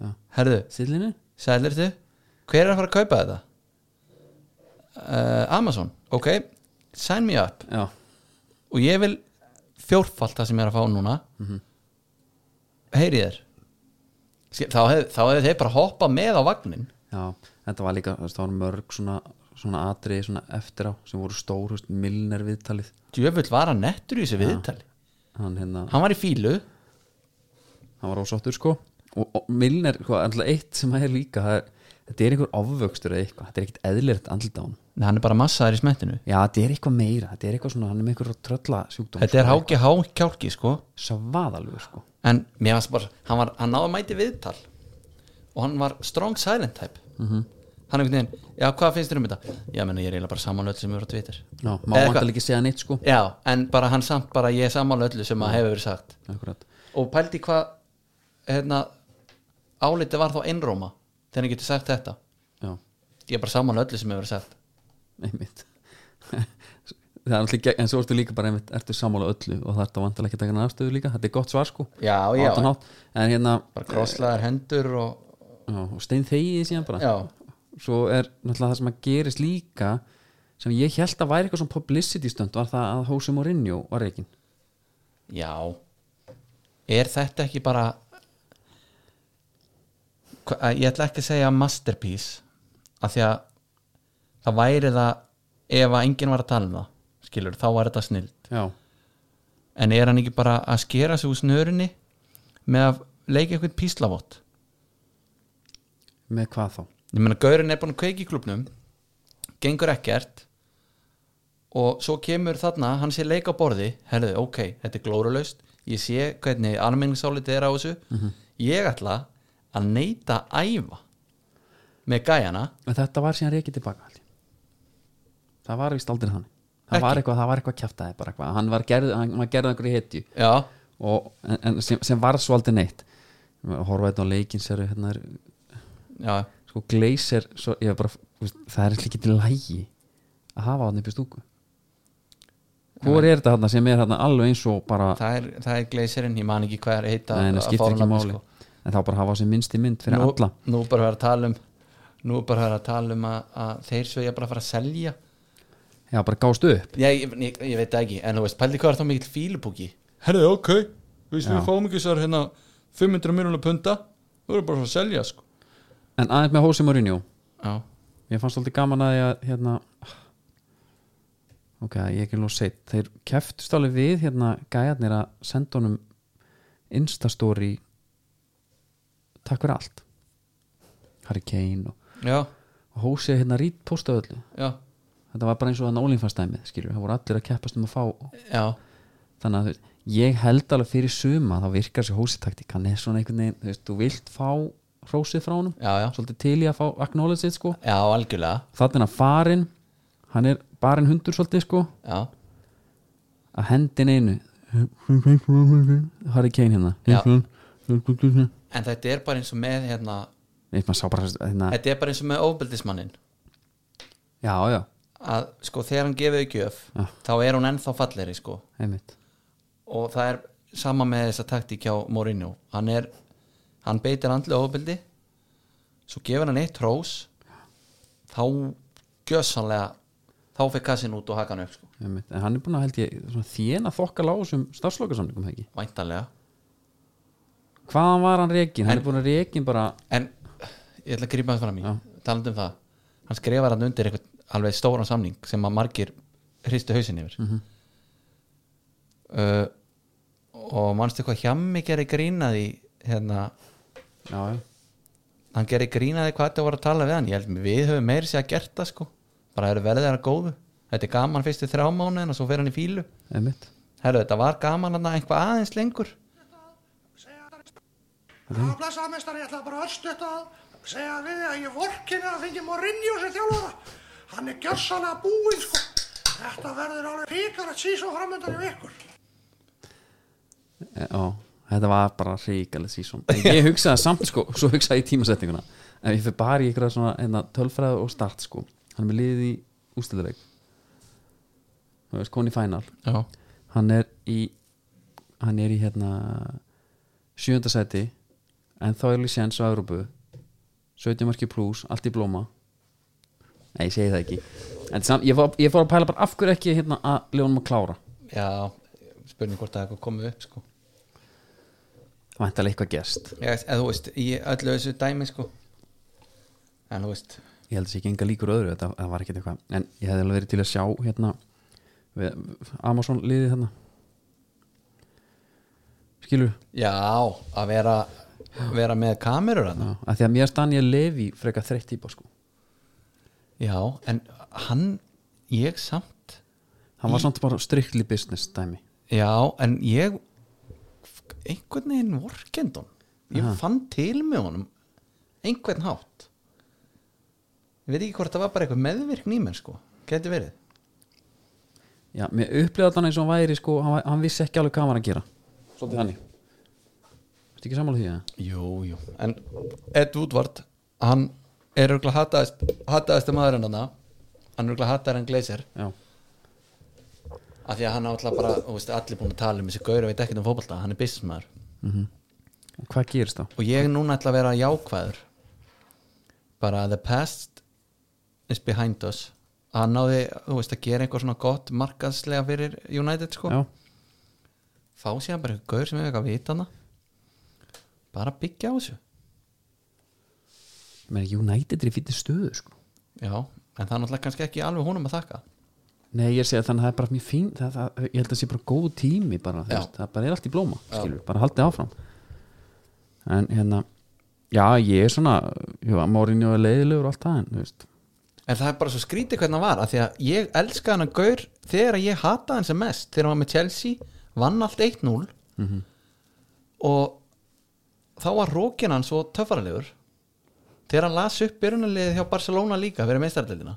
S1: Já.
S2: Herðu,
S1: sillinu,
S2: sælir þið hver er að fara að kaupa þetta? Uh, Amazon, ok sign me up
S1: já,
S2: og ég vil fjórfalt það sem ég er að fá núna mm -hmm. heyri þér Ske- þá hefur hef þeir bara hoppað með á vagnin
S1: já, þetta var líka þú veist, það var mörg svona, svona atriði svona eftir á sem voru stór, þú veist, Milner viðtalið
S2: djöfull var hann nettur í þessu viðtali
S1: hann hérna,
S2: hann var í fílu
S1: hann var ósáttur sko og, og Milner, sko, alltaf eitt sem að er líka það er, þetta er einhver ofvöxtur eða eitthvað þetta er ekkit eðlilegt andlit á hann
S2: Nei, hann er bara massaður í smettinu
S1: já, þetta er eitthvað meira, þetta er eitthvað svona hann er með einhver trölla sjúkdóm
S2: þetta er háki hákjálki sko
S1: svaðalegu sko
S2: en mér varst bara, hann, var, hann náði mæti viðtal og hann var strong silent type -hmm. hann einhvern veginn, já hvað finnst þér um þetta já menna ég er eiginlega bara samanlöld sem eru á Twitter
S1: já, má
S2: Eða
S1: vantar
S2: hvað?
S1: líka segja neitt sko
S2: já, en bara hann samt bara ég er samanlöldu sem að hefur verið sagt
S1: Akkurat.
S2: og pældi hvað hérna, áliti var þá einróma þegar hann getur sagt þetta
S1: já,
S2: ég er bara samanlöldu sem hefur verið sagt
S1: einmitt það er alltaf gegn, en svo ertu líka bara einmitt ertu sammála öllu og það ertu vantar ekki að taka hann afstöðu líka þetta er gott svar sko
S2: Já,
S1: Á
S2: já.
S1: allan hátt. en hérna,
S2: bara krosslaðar hendur og
S1: já, og stein þegið síðan bara
S2: Já.
S1: svo er náttúrulega það sem að gerist líka sem ég held að væri eitthvað svona publicity stönd var það að Hosea Mourinho var reikin
S2: Já Er þetta ekki bara Hva- að- Ég ætla ekki að segja masterpiece af því að það væri það ef að enginn var að tala um það skilur, þá var þetta snild
S1: já,
S2: en er hann ekki bara að skera sig úr snörinni með að leika eitthvað píslavott
S1: með hvað þá
S2: ég meina, Gaurin er búin að kveiki í klubnum gengur ekkert og svo kemur þarna hann sé leik á borði, herðu, ok þetta er glórulaust, ég sé hvernig almenningsálitið er á þessu
S1: Mhm.
S2: ég ætla að neyta að æfa með gæjana
S1: en þetta var síðan reikið tilbaka held ég. það var vist aldrei þannig það
S2: Ekki?
S1: var eitthvað, það var eitthvað kjaftaði bara eitthvað hann var gerð, hann var gerð einhverju hetju
S2: já,
S1: og, en, en sem, sem var svo aldrei neitt horfa þetta á leikins er, hérna, er,
S2: já,
S1: sko gleisir svo, ég er bara, þú veist, það er ekki til lægi að hafa hann upp í stúku hvor er þetta hann sem er hann alveg eins og bara
S2: það er, það er gleisirinn ég man ekki hvað er að heita
S1: Nei, það
S2: að
S1: skiptir ekki
S2: fáránafni,
S1: máli
S2: sko.
S1: En þá bara hafa sem minnsti mynd fyrir
S2: nú,
S1: alla
S2: nú bara verður að tala um nú er bara verður að tala um að, að þeir svo ég bara að fara að selja
S1: Já, bara gást upp
S2: Já, ég, ég, ég veit það ekki, en þú veist, pældi hvað er þá mikill fílupúki? Herðu, ok, við
S1: Já.
S2: fáum ekki þessar hérna 500 miljonar punta, þú eru bara að selja, sko.
S1: En aðeins með Hósi Mourinho
S2: Já,
S1: Ég fannst alltaf gaman að ég hérna Ok, ég er ekki lóð seitt Þeir keftust alveg við hérna gæjarnir að senda honum Instastory Takk fyrir allt Harry Kane og,
S2: já,
S1: og Hósi hérna rít postaði öllu
S2: já,
S1: Þetta var bara eins og þannig ólinfastæmið skilur Það voru allir að keppast um að fá
S2: já,
S1: þannig að þú veist, ég held alveg fyrir suma þá virkar þessi hósitaktík hann er svona einhvern veginn, þú veist, þú vilt fá hrósið frá honum,
S2: já, já,
S1: svolítið til í að fá acknowledge it sko,
S2: já, algjörlega,
S1: þannig að farin hann er barinn hundur svolítið sko
S2: já,
S1: að hendin einu Harry Kane hérna
S2: Já.
S1: neitt
S2: en þetta er bara eins og með, hérna,
S1: maður sá bara hérna,
S2: þetta er bara eins og með ofbeldismannin,
S1: já já,
S2: að, sko, þegar hann gefið gjöf,
S1: Já.
S2: þá er hún ennþá falleri, sko,
S1: einmitt
S2: og það er sama með þessa taktík hjá Mourinho hann er, hann beitir andlu ofbildi svo gefur hann eitt hrós þá gjössanlega þá fekk kassin út og hakan upp sko,
S1: einmitt, en hann er búin að held ég svona þjena þokka lágum starfslokasamlingum hegi,
S2: væntanlega
S1: hvaðan var hann rekin hann er búin að rekin bara
S2: en ég ætla að grípa hans fram í
S1: Já.
S2: talandi um það, hann skrifar hann undir eitthvað alveg stóran samning sem að margir hristu hausinn yfir uh, og manstu hvað hjá mig gerir grínaði hérna
S1: já, já,
S2: hann gerði grínaði hvað þetta voru að tala við hann ég held við höfum meiri sér að gert það sko bara eru verðið að góðu þetta er gaman fyrstu þrjá mánuðin og svo fer hann í fílu
S1: einmitt
S2: herru þetta var gaman hann einhvað aðeins lengur
S4: Já, blessaðmestari, ég ætla bara öllstutt að segja við þig að ég vorkinni að fengi Mourinho sem þjálfara. Hann er gjörsanlega búinn, sko. Þetta verður alveg ríkar að sísa framöndan í vikur.
S1: e, á, þetta var bara ríkalega sísón ég hugsaði samt sko, svo hugsaði ég tímasetninguna en ég fyrir bara í ykkur svona einna, tölfræðu og start sko hann er með liðið í ústildarleik þú veist, koni fænal
S2: já,
S1: hann er í hann er í hérna sjönda seti en þá er alveg séns á Európu 17 marki pluss, allt í blóma nei, ég segi það ekki en samt, ég, fór, ég fór að pæla bara af hverju ekki hérna að ljónum að klára
S2: já spurning hvort það er eitthvað komið upp sko
S1: það vænti alveg eitthvað gerst
S2: já, eða þú veist í öllu þessu dæmi sko en þú veist
S1: ég held að sé ekki enga líkur öðru þetta það var ekkert eitthvað en ég hefði alveg verið til að sjá hérna við, Amazon liðið hérna skilur
S2: já að vera vera með kamerur hann
S1: Já, að því að mér stann ég lefi frekar þreytt típa sko
S2: já en hann ég samt
S1: hann var samt bara strikli business dæmi
S2: Já, en ég einhvern veginn vorkend hún ég fann til með honum einhvern hátt ég veit ekki hvort það var bara eitthvað meðvirkn í mér sko, geti verið
S1: Já, mér upplýða þannig eins og hann væri sko, hann, væ- hann vissi ekki alveg hvað hann var að gera Svolítið þannig Þetta ekki sammála því að
S2: Jú, jú, en Ed Woodward hann er örgulega hataðist hataðist maðurinn hann hann er örgulega hataðar en Glazer
S1: Já,
S2: af því að hann er alltaf bara, þú veist, allir búin að tala um þessi gaur og veit ekkert um fótbolta, hann er businessmaður
S1: og hvað gerist þá?
S2: og ég núna ætla að vera jákvæður bara the past is behind us hann náði, þú veist, að gera eitthvað svona gott markaðslega fyrir United sko
S1: Já,
S2: fá síðan bara eitthvað gaur sem hefur eitthvað vitana bara byggja á þessu
S1: menn United er í fýtti stöðu sko
S2: já, en það er náttúrulega kannski ekki alveg honum að þakka
S1: Nei, ég segi að þannig að það er bara mjög fín það, það, Ég held að það sé bara góð tími bara, þú
S2: Já.
S1: veist, Það bara er allt í blóma, skilur, bara haldið áfram En hérna Já, ég er svona, jú, að Mourinho er leiðilegur og allt það, en þú veist
S2: en það er bara svo skrítið hvernig hann var af því að ég elska hann að gaur þegar að ég hata hann sem mest þegar hann var með Chelsea, vann allt 1-0 og þá var rókin hann svo töffaralegur þegar hann las upp byrjunarliðið hjá Barcelona líka fyrir meistardeldina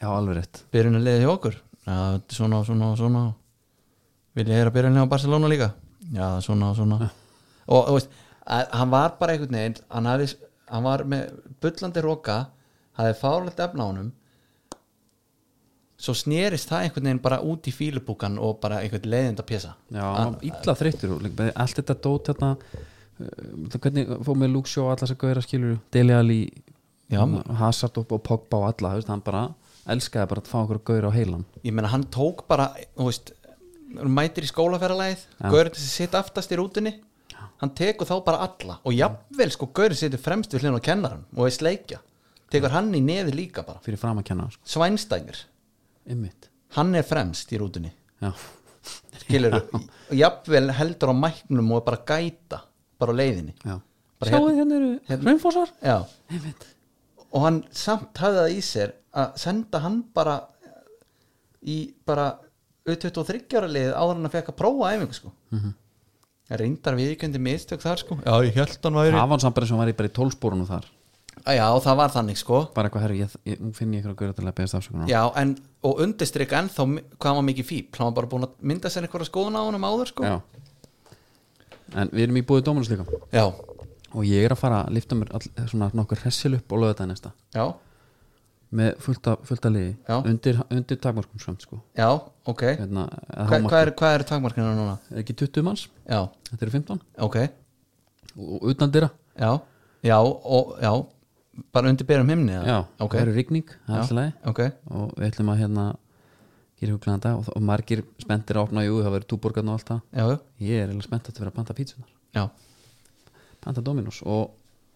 S1: Já, alveg rétt
S2: byrjunarliðið hjá okkur já, þetta er svona, svona, svona vil ég heyra byrjunarliðið hjá Barcelona líka já, svona, svona og þú veist, að, hann var bara einhvern veginn hann, hafði, hann var með bullandi róka hafði fárlegt efna á honum svo snerist það einhvern veginn bara út í fílubúkan og bara einhvern leiðind að pjesa
S1: Já, hann var illa þreyttur og líka bara allt þetta dót hérna uh, hvernig fór með Luke Shaw allar sem gauðir að skilur Deli Ali,
S2: Já,
S1: hann, Hazard og, og Pogba og alla, þú veist, hann bara elskaði bara að fá okkur gauður á heilan
S2: ég meina hann tók bara þú veist, hann mætir í skólaferralæð gaurinn sem sitt aftast í rútunni hann tekur þá bara alla og jafnvel sko gaurinn situr fremst við hlun og kennar hann og er sleikja, tekur hann í nefi líka bara
S1: fyrir fram að kenna, sko,
S2: svænstængir,
S1: ymmit
S2: hann er fremst í rútunni
S1: Já,
S2: skilur, jafnvel heldur á mæknum og er bara að gæta bara á leiðinni
S1: já
S2: Bara
S1: Sjáuð
S2: hérna-
S1: hérna eru
S2: hérna-
S1: raunfósar
S2: Já.
S1: Ymmit
S2: og hann samt hafði það í sér að senda hann bara í bara U23 ára liðið áður en hann fekk að prófa æfingu sko mm -hmm. reyndar viðkjöndi mistök þar sko já, ég held hann
S1: Það var hann samt bara sem var í bara í tólsporunum þar
S2: já, það var þannig sko
S1: bara eitthvað herri, ég, ég, nú finn ég eitthvað gauður til að beðast afsökunar á.
S2: já, en, og undirstrykka ennþá mi- hvað hann var mikið fíp, hann var bara búin að mynda sér einhverja skoðun á honum áður sko
S1: já En við erum í búið dómunus líka
S2: já,
S1: og ég er að fara að lifta mér all, svona nokkur hressil upp og löða þetta næsta
S2: já,
S1: með fullt af, fullt af liði
S2: Já.
S1: undir, undir takmörkum samt sko
S2: já, ok
S1: hérna, að
S2: Hva,
S1: hámarki-
S2: hvað eru er takmarkinu núna?
S1: er ekki 20 manns,
S2: já,
S1: þetta eru 15
S2: ok,
S1: og, og utan dyra,
S2: já, já, og, já bara undir berum himni eða?
S1: já,
S2: ok,
S1: það eru rigning það er
S2: Já,
S1: alltaf lagi
S2: ok,
S1: og við ætlum að hérna gera huglaðan dag og, og margir spenntir að opna jú, það verður túborgarn og allt það
S2: já, já
S1: ég er eða spennt að þetta vera að panta pítsunar
S2: Já,
S1: panta Dominos og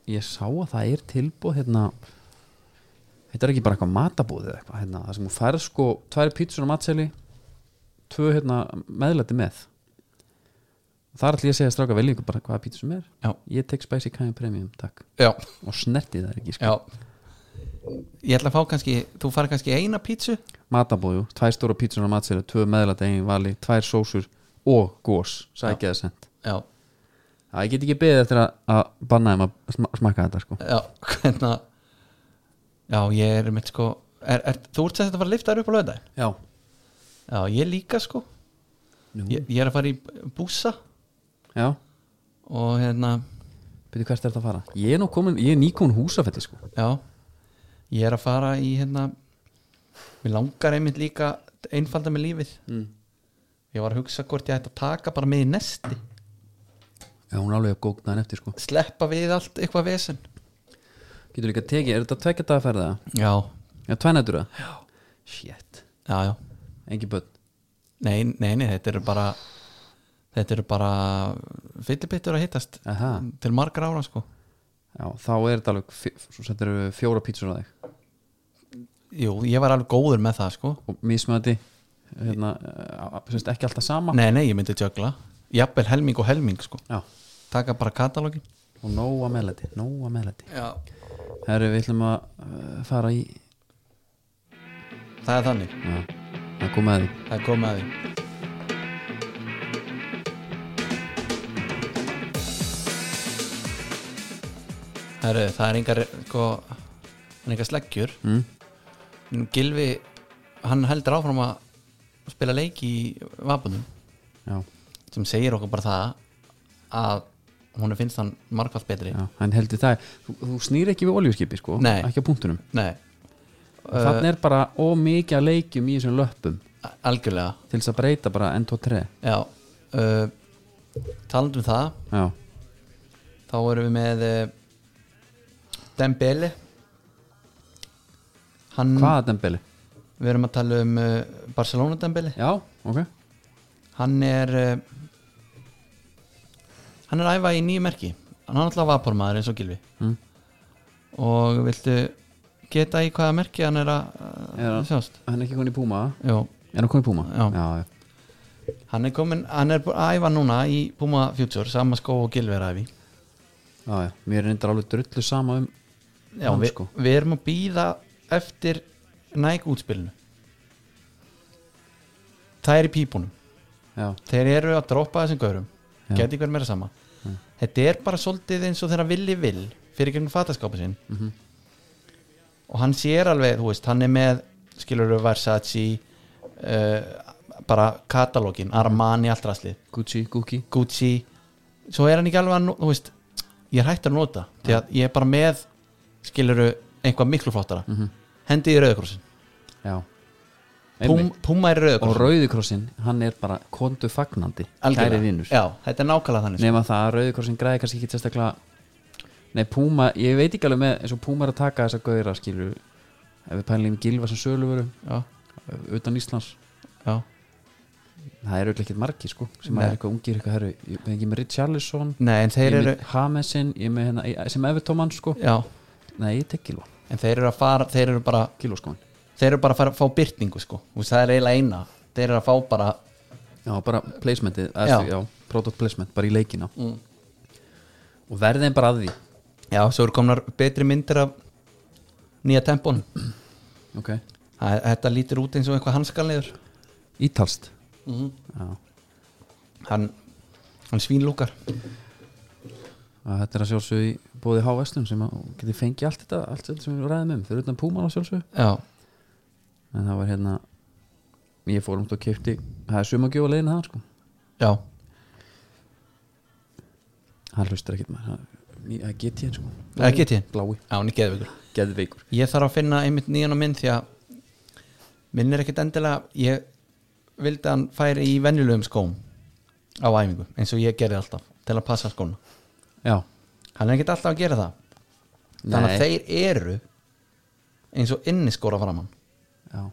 S1: ég sá að það er tilbúð hérna þetta er ekki bara eitthvað matabúð eða eitthvað hérna, það sem hún færð sko tvær pítsur á matseli tvö hérna meðlæti með þar ætlum ég að segja stráka vel ykkur bara hvaða pítsu sem er
S2: Já.
S1: ég tek Spicy Cayenne Premium, takk
S2: já,
S1: og snerti það ekki, sko.
S2: já ég ætla að fá kannski, þú fari kannski eina pítsu
S1: matabóðu, tvær stóra pítsunar matseli tvö meðlæta eigin vali, tvær sósur og gós, sækja það sent
S2: já,
S1: Já, ég get ekki beðið eftir að, að banna þeim að sma- smakka þetta sko.
S2: já, hvernig já, ég er mitt sko er, er, þú ert sem þetta að fara að lifta þér upp á lögðaðin
S1: Já,
S2: já, ég líka sko ég, ég er að fara í búsa
S1: já,
S2: og hérna,
S1: byrju hvert er þetta að fara Ég er nú komin, ég er nýkomin húsafelli sko.
S2: já ég er að fara í hérna mér langar einmitt líka einfalda með lífið mm. ég var að hugsa hvort ég ætti að taka bara með í nesti
S1: Já, hún er alveg að gókna hann eftir sko.
S2: sleppa við allt eitthvað vesen
S1: Getur líka tekið, er þetta tvekja daga ferða?
S2: já,
S1: Já, tvænætur það? Já Shit,
S2: já, já
S1: engi börn
S2: nei, nei, nei, þetta eru bara þetta eru bara fyllibittur að hittast
S1: Aha.
S2: til margar ára sko
S1: Já, þá er þetta alveg, fjó- svo settir við fjóra pítsur á þig
S2: jú, ég var alveg góður með það sko
S1: og mismöndi hérna, eh, á- semst ekki alltaf sama
S2: nei, nei, ég myndi tjögla jafnvel helming og helming sko
S1: Já,
S2: taka bara katalógin
S1: og nóa meðlæti, nóa meðlæti
S2: já.
S1: Herru, við ætlum að uh, fara í
S2: það er þannig,
S1: Já, það er komið að því
S2: það er komið að því Heru, það er engar sko, það er engar sleggjur mm. Gilvi hann heldur áfram að spila leiki í vapunum
S1: Já,
S2: sem segir okkur bara það að hún finnst hann markvælt betri
S1: já, hann heldur það Þú, þú snýr ekki við oljuskipi sko,
S2: Nei. Eh,
S1: ekki á punktunum
S2: Nei,
S1: uh, Þannig er bara ómikið að leikjum í þessum löppum
S2: a- algjörlega
S1: til þess að breyta bara N23
S2: Já uh, Talandum um það
S1: Já,
S2: þá erum við með uh, Dembele Hann,
S1: hvaða dembeli?
S2: við erum að tala um uh, Barcelona Dembele
S1: Já, ok
S2: Hann er uh, hann er að æfa í nýju merki hann er alltaf vapormaður eins og gilvi
S1: Mm.
S2: og viltu geta í hvaða merki hann er að
S1: Er
S2: að
S1: hann-
S2: sjást
S1: Hann er ekki komin í Puma
S2: Jó,
S1: Er hann komin í Puma?
S2: Já.
S1: já,
S2: hann er komin, hann er bú- að æfa núna í Puma Future, sama skó og gilvi er að æfi
S1: já, já. Mér er reyndar alveg drullu sama um
S2: Já,
S1: Hann
S2: við,
S1: sko.
S2: við erum að býða eftir næg útspilinu Það er í pípunum
S1: Já,
S2: Þeir eru að droppa þessum gaurum
S1: Já.
S2: Gæti hver meira sama Þetta er bara svolítið eins og þeirra villi vill fyrir gegnum fataskápa sinn
S1: Mhm.
S2: -hmm. og hann sér alveg þú veist, hann er með skilur Versace uh, bara katalógin, Armani allt rastlið
S1: Gucci, Gucci
S2: Gucci svo er hann ekki alveg að, nó- þú veist ég er hættur að nota, því að ég er bara með skiluru einhvað miklu flottara
S1: Mhm.
S2: hendi í rauðkrossin
S1: Já
S2: Pum,
S1: Einmitt.
S2: Puma er
S1: Og
S2: rauðkrossin
S1: Rauðikrossin, hann er bara kontu fagnandi Kæri vinnur
S2: já, þetta er nákvæmlega þannig sko.
S1: nema það að Rauðikrossin græði kannski ekki sérstaklega Nei, Púma, ég veit ekki alveg með eins og Púma er að taka þessa gauðra skilur ef við pælum gilva sem söluvöru
S2: já,
S1: utan Íslands
S2: já,
S1: það eru ekki margir sko sem
S2: Nei.
S1: er eitthvað ungir eitthvað herru ég ég er með Richarlison
S2: nei en
S1: ég
S2: þeir
S1: er
S2: eru
S1: með Hamesin ég er með hérna ég- sem Everton mann sko
S2: já,
S1: nei ég tek Gilva
S2: en þeir eru að fara þeir eru bara,
S1: Gilva sko hann
S2: þeir eru bara að fara, fá byrtingu sko, Þú veist, það er eiginlega eina þeir eru að fá bara,
S1: já bara placementið eða
S2: Já. Mm.
S1: stu- já product placement bara í leikina og verðin bara að því
S2: já, svo eru komnar betri myndir af nýja tempón
S1: ok
S2: þetta lítur út eins og eitthvað hanskalniður
S1: ítalst
S2: Mhm. hann, hann svínlúkar
S1: að þetta er að sjálfsögðu í bóði H-Vestlun sem að geti fengið allt þetta allt þetta sem við ræðum um fyrir utan Púman að sjálfsögðu
S2: já,
S1: en það var hérna ég fór um þetta og kefti það er sumagjóð að leiðin það sko
S2: já,
S1: hann hlustar ekkert maður það- ný- það er GT sko
S2: Það er GT?
S1: blái
S2: já, hún er geðveikur
S1: geðveikur
S2: ég þarf að finna einmitt nýjan á minn því að minn er ekkit endilega ég vildi að hann færi í venjulegum skóm á æfingu, eins og ég gerði alltaf til að passa skóna,
S1: já
S2: hann er ekkit alltaf að gera það þannig
S1: Nei.
S2: að þeir eru eins og inniskóra framann
S1: já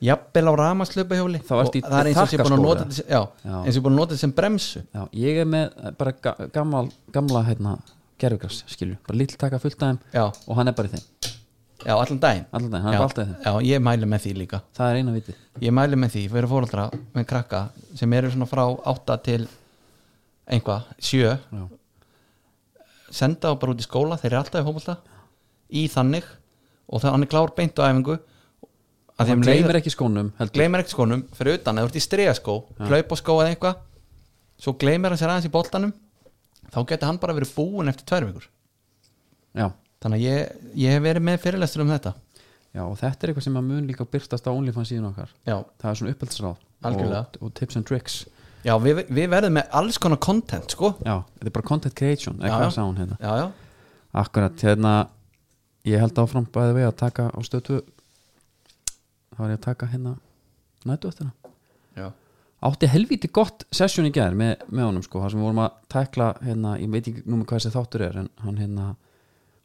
S2: jafnvel á ramaslöpahjóli
S1: Þá ertu í
S2: það er eins og ég sé búin að
S1: takkaskóra.
S2: nota þetta sem- já,
S1: Já.
S2: eins og ég búin að nota þetta sem bremsu
S1: Já, ég er með eh, bara ga gamla, gamla hérna, gerfugras, skilju, bara lill taka fullt af þeim
S2: já,
S1: og hann er bara í þeim,
S2: já allan daginn
S1: allan daginn, hann
S2: já,
S1: er bara alltaf í þeim
S2: já, ég mæli með því líka
S1: það er eina vitið,
S2: ég mæli með því fyrir fóröldra með krakka sem eru svona frá 8 til einhvað, sjö
S1: Já.
S2: senda og bara út í skóla, þeir eru alltaf í fótbolta í þannig og það hann er klár beint á æfingu að
S1: hann
S2: þeim
S1: gleymir
S2: leiðir,
S1: ekki skónum heldur.
S2: gleymir ekki skónum fyrir utan, eða þú ert í stregaskó, hlaup og skó eða eitthvað, svo gleymir hann sér aðeins í boltanum, þá getur hann bara verið búin eftir tvær vikur
S1: já.
S2: þannig að ég, ég hef verið með fyrirlestur um þetta
S1: já, og þetta er eitthvað sem að mun líka byrtast á OnlyFans síðan okkar
S2: já,
S1: það er svona upphaldsráð
S2: Algjörlega.
S1: og, og tips and tricks
S2: já við, við verðum með alls konar content sko
S1: já, þetta er bara content creation
S2: Já,
S1: eitthvað
S2: já.
S1: sá hún hérna
S2: já, já,
S1: akkurat, hérna ég held áfram bæði við að taka á stötu þá var ég að taka hérna nættu eftir
S2: já.
S1: átti helvíti gott sesjón í gær með, með honum sko, þar sem við vorum að tækla hérna, ég veit ekki númer hvað þessi þáttur er en hann hérna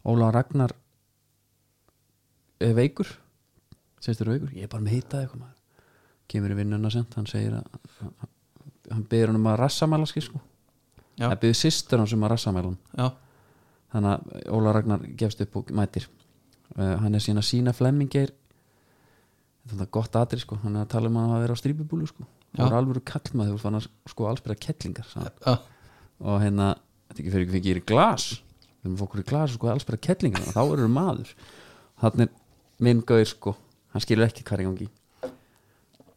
S1: Óla Ragnar er veikur sérst er veikur, ég er bara með hitað eitthvað maður kemur í vinnuna sent, hann segir að að- hann byrður hann um að rassamæla skil sko,
S2: Já.
S1: hann byrður sýstur hans um að rassamæla hann
S2: já.
S1: þannig að Óla Ragnar gefst upp og mætir uh, hann er sína sína Flemmingeir þetta er þetta gott atri sko hann er að tala um að hann að vera á strípibúlu sko
S2: Já.
S1: hann er alveg kallmaður þú fann að sko allsbyrða kettlingar sagði hann.
S2: já.
S1: og hérna, þetta ekki fyrir ekki fengið í glas við erum fokkur í glas og sko allsbyrða kettlingar og þá eru maður þannig er minn gauð sko hann skilur ekki hvað er í gangi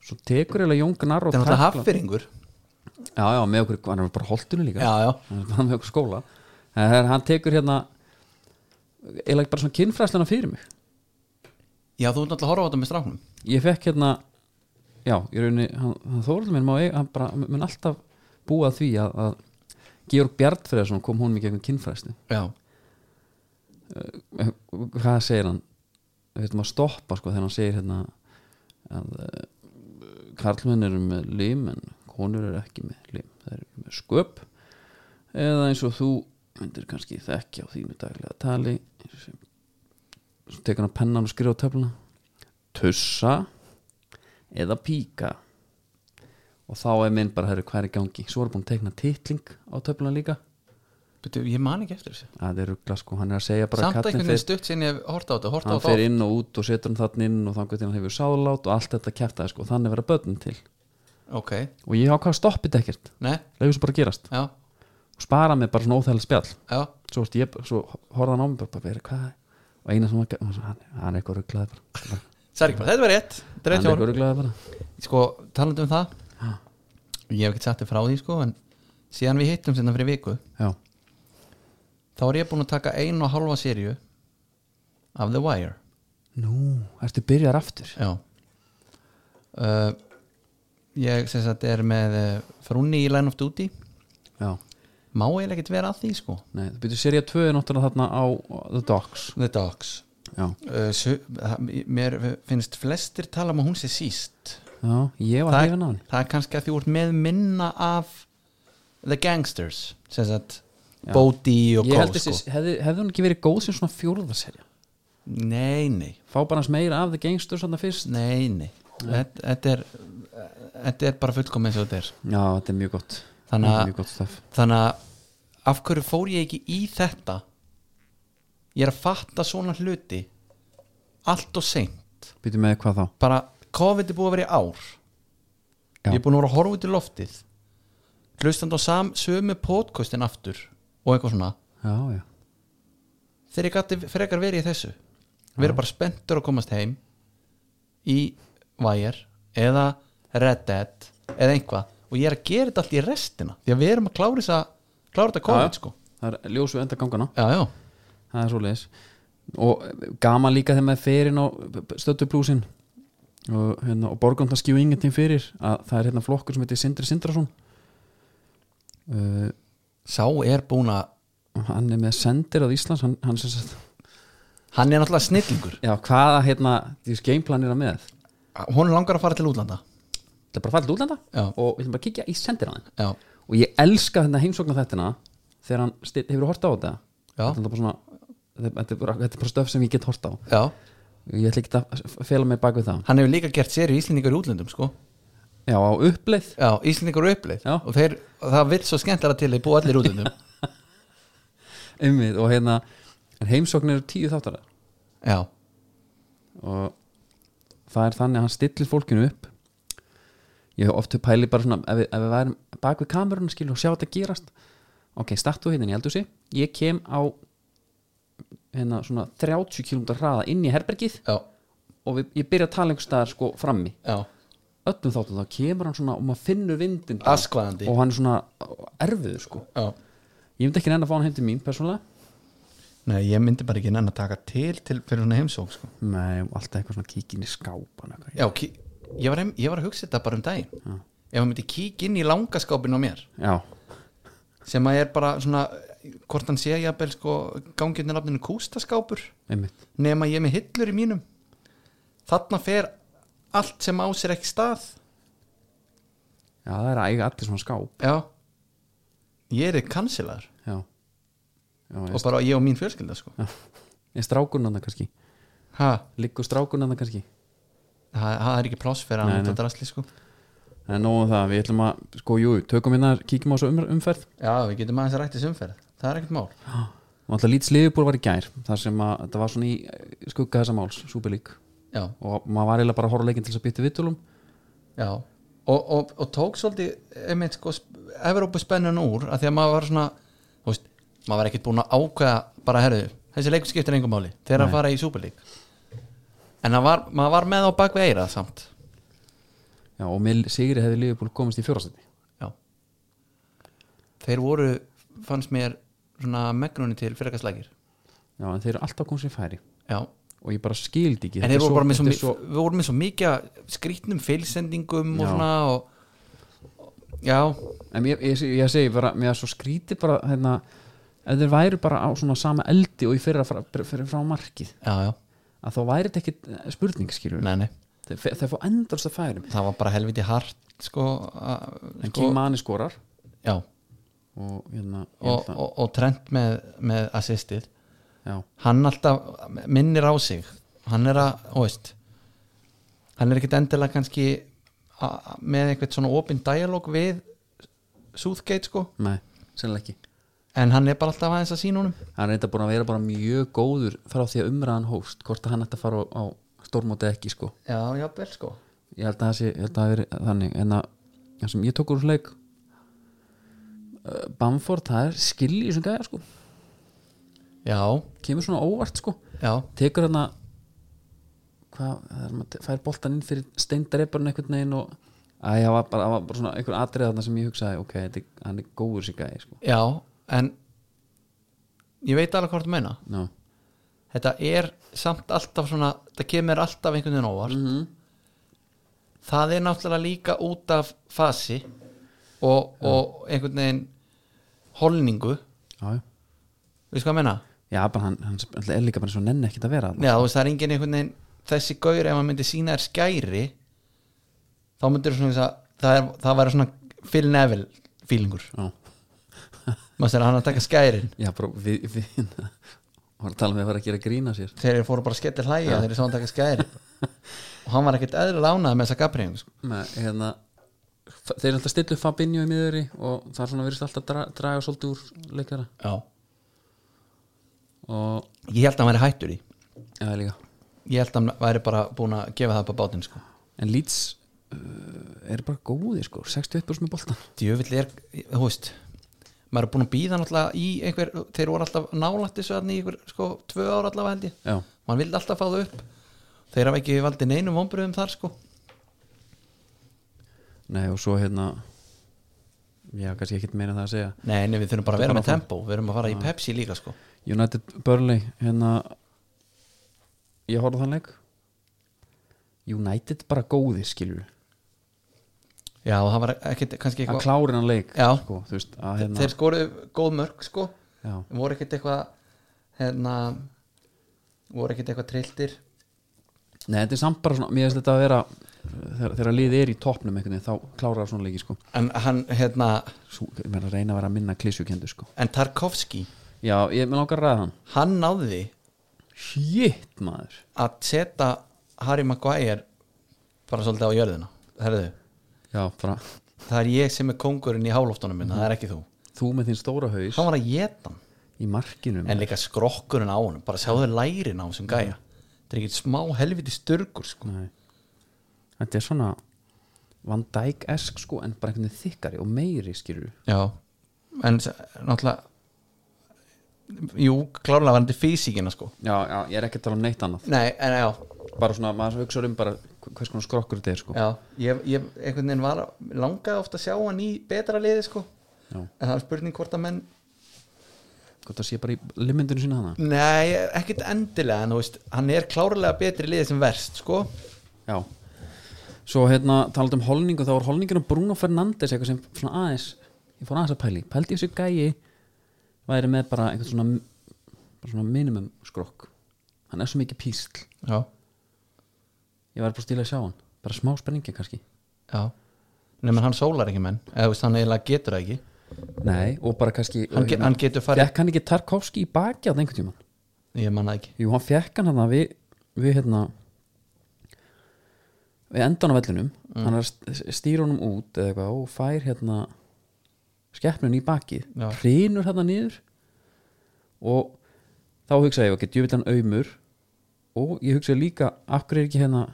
S1: svo tekur eiginlega Jón Gnar og
S2: Þetta er náttúrulega
S1: tækla-
S2: haffyringur
S1: já já með okkur, hann er bara holdinu líka
S2: Já, já,
S1: hann er bara með okkur skóla en þegar hann tekur hérna eða bara svona kynfræslana fyrir mig
S2: já þú ert náttúrulega að horfa á þetta með stráknum
S1: ég fekk hérna já, ég rauninni, hann, hann þóruldur minn má eiga, hann bara, mun alltaf búa að því að, að Georg Bjartfriðarsson kom honum í gegnum kynfræslu
S2: Já,
S1: hvað segir hann við veitum að stoppa sko þegar hann segir hérna að uh, karlmenn eru með lim en konur eru ekki með lim það eru með sköp eða eins og þú myndir kannski þekkja á þínu daglega tali sem, svo tekur hann pennan og skrifa á töfluna tussa eða píka og þá er minn bara herru hvað er í gangi svo er búin að tekna titling á töfluna líka
S2: Betu, ég man ekki eftir þessu
S1: að það eru glasko hann er að segja bara
S2: Samt
S1: kallinn
S2: einhvern
S1: fer-
S2: veginn stutt sín ég hef horta á þetta Horta á
S1: hann
S2: þetta
S1: fer inn og út og setur hann þann inn og þannig til hann hefur sálát og allt þetta kæftaði sko, þannig verða börnin til
S2: Ok,
S1: og ég ákvað að stoppa þetta ekkert,
S2: nei,
S1: leiðu þessu bara að gerast
S2: já,
S1: og spara mig bara svona óþægilega spjall
S2: já
S1: svo, veist, ég, svo horfði hann á mig bara, bara "Beri, hvað er?" og eina sem hann, hann, hann, hann er eitthvað rugglaði bara
S2: Særi ekki bara, þetta var rétt Þetta
S1: hann er
S2: er rétt hjá
S1: eitthvað
S2: honum.
S1: rugglaði bara
S2: Sko, talandi um það Ég hef ekki sagt þér frá því sko En síðan við hittum sinna fyrir viku
S1: já,
S2: Þá er ég búin að taka einu og halva sériu Af The Wire
S1: nú, ertu byrjar aftur
S2: Já uh, Ég sem sagt er með uh, Frúnni í Line of Duty
S1: já,
S2: Má eiginlega ekkert vera að því sko
S1: nei, þú byrjuð serið 2 er náttúrulega þarna á á The Dogs
S2: The Dogs
S1: já,
S2: Uh, su- það- mér finnst flestir tala um að hún sé síst
S1: já, ég var
S2: það,
S1: hefðin á hann
S2: það er kannski að því úr með minna af The Gangsters sem sagt
S1: Já.
S2: Bodhi og
S1: ég held
S2: Gó
S1: þessi,
S2: sko.
S1: hefði, hefði hún ekki verið góð sem svona fjórðarserja
S2: nei, nei,
S1: fá bara hans meira af The Gangsters svona fyrst
S2: nei, nei. Þetta, þetta, er, þetta er bara fullkomið eins og þetta er
S1: Já, þetta er mjög gott
S2: Þannig að-
S1: Þetta er mjög gott stöf
S2: þannig að af hverju fór ég ekki í þetta ég er að fatta svona hluti allt og seint
S1: Býtu með hvað þá
S2: bara COVID er búið að vera í ár
S1: Já.
S2: ég er búin að vera að horfa út í loftið hlustandi á sam, sömu podcastin aftur og eitthvað svona
S1: Já, já,
S2: þegar ég gæti frekar verið í þessu vera bara spenntur að komast heim í Wire eða Red Dead eða einhvað og ég er að gera þetta allt í restina því að við erum að klára þess að klára þetta
S1: Já,
S2: COVID
S1: já.
S2: sko
S1: það er ljós við enda gangana
S2: já, já,
S1: Það er svo Og eh, gaman líka þegar maður fer inn á stöttu blúsin og, hérna, og borgum það skjú ingenting fyrir að það er hérna flokkur sem heitir Sindri Sindrason uh,
S2: sá er búin að
S1: Hann er með sendir á Íslands Hann, hann sem sagt
S2: hann er náttúrulega snillingur
S1: Já, hvaða hérna, því skeimplan er að með Það
S2: hún langar að fara til útlanda
S1: er bara fallið útlanda
S2: Já.
S1: og við ætlum bara að kíkja í sendir á þeim
S2: já,
S1: og ég elska þetta heimsókna þettina þegar hann styr, hefur hort á þetta
S2: Já.
S1: þetta er bara svona þetta þetta er bara, þetta er bara stöf sem ég get hort á
S2: já
S1: ég ætla ekki að f- fela mig bak við það
S2: hann hefur líka gert séri íslendingur í útlöndum sko
S1: já, á uppleið
S2: já, íslendingur eru uppleið
S1: Já.
S2: og þeir, það vill svo skemmtara til þeir búa allir í útlöndum
S1: ummið og hérna en heimsóknir eru tíu þáttara
S2: já,
S1: og það er þannig að hann stillir fólkinu upp ég hef oftu pæli bara svona ef við, ef við værum bak við kamerun skilur og sjá þetta gerast ok, startu hérna í eldhúsi ég kem á hérna svona 30 km hraða inn í herbergið
S2: já,
S1: og við, ég byrja að tala einhvers staðar sko frammi
S2: já,
S1: öllum þáttum þá kemur hann svona og maður finnur vindin
S2: Askvaðandi.
S1: og hann er svona erfiður sko
S2: já
S1: ég myndi ekki nefn að fá hann heim til mín persónulega
S2: Nei, ég myndi bara ekki nenn að taka til, til fyrir svona heimsók sko.
S1: Nei, og alltaf eitthvað svona kíkin í skápan eitthvað.
S2: Já, kí, ég, var heim, ég var að hugsa þetta bara um daginn Ef hann myndi kík inn í langaskápin á mér
S1: Já,
S2: sem að er bara svona hvort hann sé jafnvel sko gangjöndir nafninu kústaskápur
S1: einmitt
S2: nema ég er með hillur í mínum þarna fer allt sem á sér ekki stað
S1: Já, það er að eiga allir svona skáp
S2: já ég er kansilaður
S1: Já, já
S2: og
S1: ég,
S2: bara ég og mín fjölskylda sko
S1: já. ég strákunna það kannski
S2: ha,
S1: Liggur strákunna það kannski
S2: það það er ekki pláss fyrir
S1: Nei,
S2: hann
S1: nei.
S2: þetta drasli sko
S1: Það er nóg um það, við ætlum að, sko, jú, tökum hérna, kíkjum á þessu um, umferð
S2: já við getum aðeins að rættis umferð það er ekkert mál
S1: Og alltaf lítið slíðubúr var í gær þar sem að, þetta var svona í eh, skugga þessa máls, súpilík
S2: já,
S1: Og maður var eiginlega bara að horfa á leikinn til þess að býta vittulum
S2: já og, og, og tók svolítið einmitt sko Evrópu spennun úr að því að maður var svona þú veist, maður var ekkert búin að ákveða bara herðu, þessi leikur skiptir engum máli þegar að fara í súperlík en það var, maður var með á bakveg eirað samt
S1: Já, og með Sigri hefði líðubúr komist í fjórastætti
S2: Já Þeir voru, fannst mér svona megnunni til fyrirkastlækir
S1: Já, en þeir eru alltaf komst í færi
S2: Já
S1: Og ég bara skildi ekki þetta
S2: En
S1: er
S2: þeir voru bara með svo,
S1: þetta
S2: svo... Við vorum með svo mikið af skrýtnum feilsendingum og
S1: Já.
S2: svona og, Já,
S1: en ég, ég, ég, ég segi bara, mér er svo skrítið bara hérna, ef þeir væru bara á svona sama eldi og í fyrra frá, fyrir frá markið
S2: já, já,
S1: að þá væri þetta ekkit eh, spurning skilur
S2: nei, nei
S1: þeir, fe- þeir fá endalst að færum
S2: Það var bara helviti hart sko, a,
S1: en
S2: sko
S1: Kimani skorar
S2: Já,
S1: og hérna ég
S2: og,
S1: held að-
S2: og, og trend með, með assistið
S1: já,
S2: hann alltaf minnir á sig hann er að, þú veist hann er ekkit endilega kannski a- a- með eitthvað svona opinn dialog við Southgate sko
S1: nei, sennilega ekki
S2: en hann er bara alltaf aðeins að sína honum
S1: hann er þetta búin að vera bara mjög góður frá því að umræðan hófst, hvort að hann ætti að fara á, á stormóti ekki sko
S2: já, já, vel sko
S1: ég held að það sé, ég held að það veri þannig en að, það sem ég tók úr þessu leik eh, Bamford, það er skilji í þessum gæja sko
S2: já,
S1: kemur svona óvart sko
S2: já,
S1: tekur hann að hvað, það er maður fær boltan inn fyrir steindreiparinn einhvern veginn og að það var bara, það var bara svona einhver atrið þarna sem ég hugsaði, ok, þetta, er- hann er góður sér gæði sko.
S2: já en ég veit alveg hvort þú meina
S1: no.
S2: þetta er samt alltaf svona það kemur alltaf einhvern veginn óvart það er náttúrulega líka út af fasi og, og einhvern veginn holningu,
S1: já, já.
S2: veist hvað ég menna?
S1: já, bara hann, hann náttúrulega er líka bara svo nenni ekkert að vera þarna.
S2: Já, þú veist, það er enginn einhvern veginn þessi gaur ef maður myndi sína þér skæri þá myndir þú svona þess að það, er, það væri svona Phil Neville feelingur,
S1: já,
S2: maður sér að hann að taka skærin
S1: já, bara við, við var að tala með að vera að gera grína sér
S2: þegar þeir fóru bara að skella hlæja þegar þeir svo hann taka skærin og hann var ekkert eðlilega ánað með þessa gabriðing sko.
S1: með, hérna, f- þeir eru alltaf stillu Fabinho í miðurri og það er svona verið alltaf að dra, draga svolítið úr leikara
S2: Já,
S1: og,
S2: ég held að hann væri hættur í
S1: já, líka
S2: ég held að hann væri bara búin að gefa það upp á bátinn sko.
S1: en Leeds uh, er bara góði sko, 61% með boltan
S2: djöfull er, þú veist maður er búin að býða náttúrulega í einhver þeir voru alltaf nálætt þessu þarna í einhver sko, tvö ára allavega held ég
S1: Já.
S2: maður vildi alltaf fá það upp þeir hafa ekki valdið neinum vombriðum þar sko
S1: Nei og svo hérna Já, kannski ekkert meira en það að segja
S2: nei, nei, við þurfum bara að vera
S1: Bara
S2: með
S1: áfram.
S2: tempo við erum að fara í Pepsi líka sko
S1: United Burnley hérna Ég horfði á þann leik United bara góði skilur
S2: já, og það var ekkit,
S1: að
S2: kannski eitthvað
S1: klári hann leik
S2: Já.
S1: sko, þú veist, að hérna
S2: þeir skoruðu góð mörg sko
S1: Já.
S2: voru ekkit eitthvað hérna voru ekkit eitthvað trilltir
S1: Nei, þetta er samt bara svona, mér finnst þetta að vera þegar, þegar liðið er í toppnum einhvern veginn þá klárar það svona leiki sko
S2: en hann, hérna,
S1: Svo, ég meina reyna að vera að minna klísjukendu sko
S2: en Tarkovski
S1: Já, ég með langar að ræða hann
S2: hann náði
S1: Shit maður
S2: að setja Harry Maguire bara svolítið á jörðina Herðu,
S1: Já, bara,
S2: það er ég sem er kongurinn í hálóftunum minna, það er ekki þú
S1: þú með þín stóra haus
S2: hann var að geta hann,
S1: í markinu
S2: en
S1: maður.
S2: líka skrokkurinn á honum bara sjáðu lærin á þessum gæja það er ekki smá helviti sturgur sko.
S1: Nei. Þetta er svona Van Dijk-esk sko en bara einhvern veginn þykkari og meiri skilur
S2: Já, en s- náttúrulega Jú, klárlega var þetta físíkina sko
S1: Já, já, ég er ekki að tala um neitt annað
S2: Nei, en já,
S1: bara svona, maður hugsa um bara hvers konar skrokkur þetta er sko
S2: já Ég, ég einhvern veginn var, langaði ofta að sjá hann í betra liði sko
S1: Já.
S2: En það er spurning hvort að menn
S1: Hvort það sé bara í limmyndinu sína hana
S2: Nei, ekkert endilega en þú veist, hann er klárlega betri í liði sem verst sko
S1: Já Svo hérna talat um holningu þá var holningin á Bruno Fernandes eitthvað sem svona aðeins ég fór aðeins að pæli, pældi þessi gæi væri með bara einhvern svona bara svona minimum skrokk hann er svo mikið písl
S2: Já,
S1: ég væri bara stíla að sjá hann, bara smá spenningi kannski
S2: já Nei, menn hann sólar ekki menn eða þú veist, hann eiginlega getur það ekki
S1: Nei, og bara kannski
S2: Hann
S1: og
S2: ge-
S1: hérna,
S2: hann getur farið-
S1: Fékk hann ekki Tarkovski í baki á það einhvern tímann
S2: Ég manna ekki
S1: Jú, hann fekk hann hann að við, við hérna við endan á vellinum
S2: Mm.
S1: hann er að st- stýra honum út eða eitthvað og fær hérna skeppnun í bakið,
S2: Já.
S1: hrinur hérna niður og þá hugsaði ég, ok, djöfitt hann aumur og ég hugsaði líka akkur er ekki hérna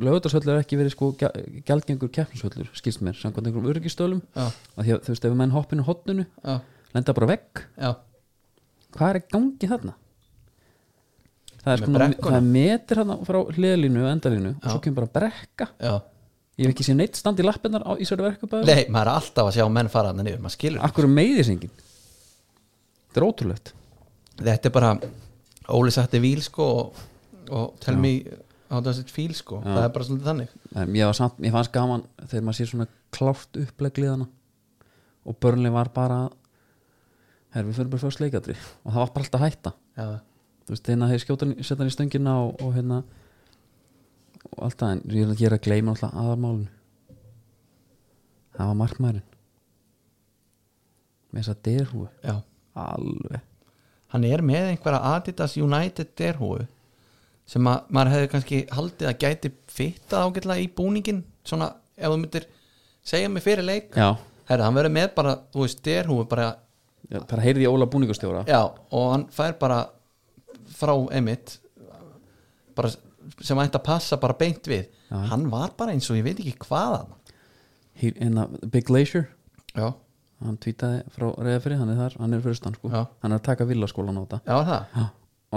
S1: lögutarsvöllur er ekki verið sko gja- gjaldgengur keppnisvöllur, skilst mér, samkvæmt einhverjum öryggistölum
S2: Já,
S1: að því að þú veist, ef menn hoppinu hotninu
S2: já,
S1: lenda bara vekk,
S2: já,
S1: hvað er í gangi þarna það er,
S2: Með
S1: sko, nú-
S2: brekkuna.
S1: það er metir þarna frá hliðlínu og endalínu og svo
S2: Já.
S1: kemur bara brekka
S2: já
S1: ég hef ekki séð neitt standi lappinnar á Ísverðu verkefæðu
S2: Nei, maður er alltaf að sjá menn fara hann niður, maður skilur
S1: akkur meiðis engin þetta er ótrúlegt
S2: þetta er bara Óli sætti víl sko og, og tell me how does it feel sko það er bara svolítið þannig
S1: um, ég, var samt, ég fannst gaman þegar maður sér svona klárt upplegliðana og börnli var bara herr við fyrir bara fyrst leikatri og það var bara alltaf hætta
S2: já,
S1: þú veist þegar þeir skjóta hann, í- setja hann í stöngina og, og hérna og allt það en ég er að- ég er að gleyma alltaf aðarmálinu það var markmærin með þess að derhúi
S2: já.
S1: alveg
S2: hann er með einhverja Adidas United derhúu sem að, maður hefði kannski haldið að gæti fitta ágætlega í búningin svona ef þú myndir segja mig fyrir leik
S1: já,
S2: herra, hann verður með bara, þú veist, derhúu bara,
S1: já bara heyrði ég Óla búningustjóra
S2: já, og hann fær bara frá Emmitt bara sem ætti að passa bara beint við hann var bara eins og ég veit ekki hvaðan
S1: Hí- hérna Big Glacier
S2: já,
S1: hann tvítaði frá reyðafri, hann er þar, hann er fyrstan sko
S2: Já.
S1: hann er að taka villaskólan á þetta
S2: já var það
S1: Já.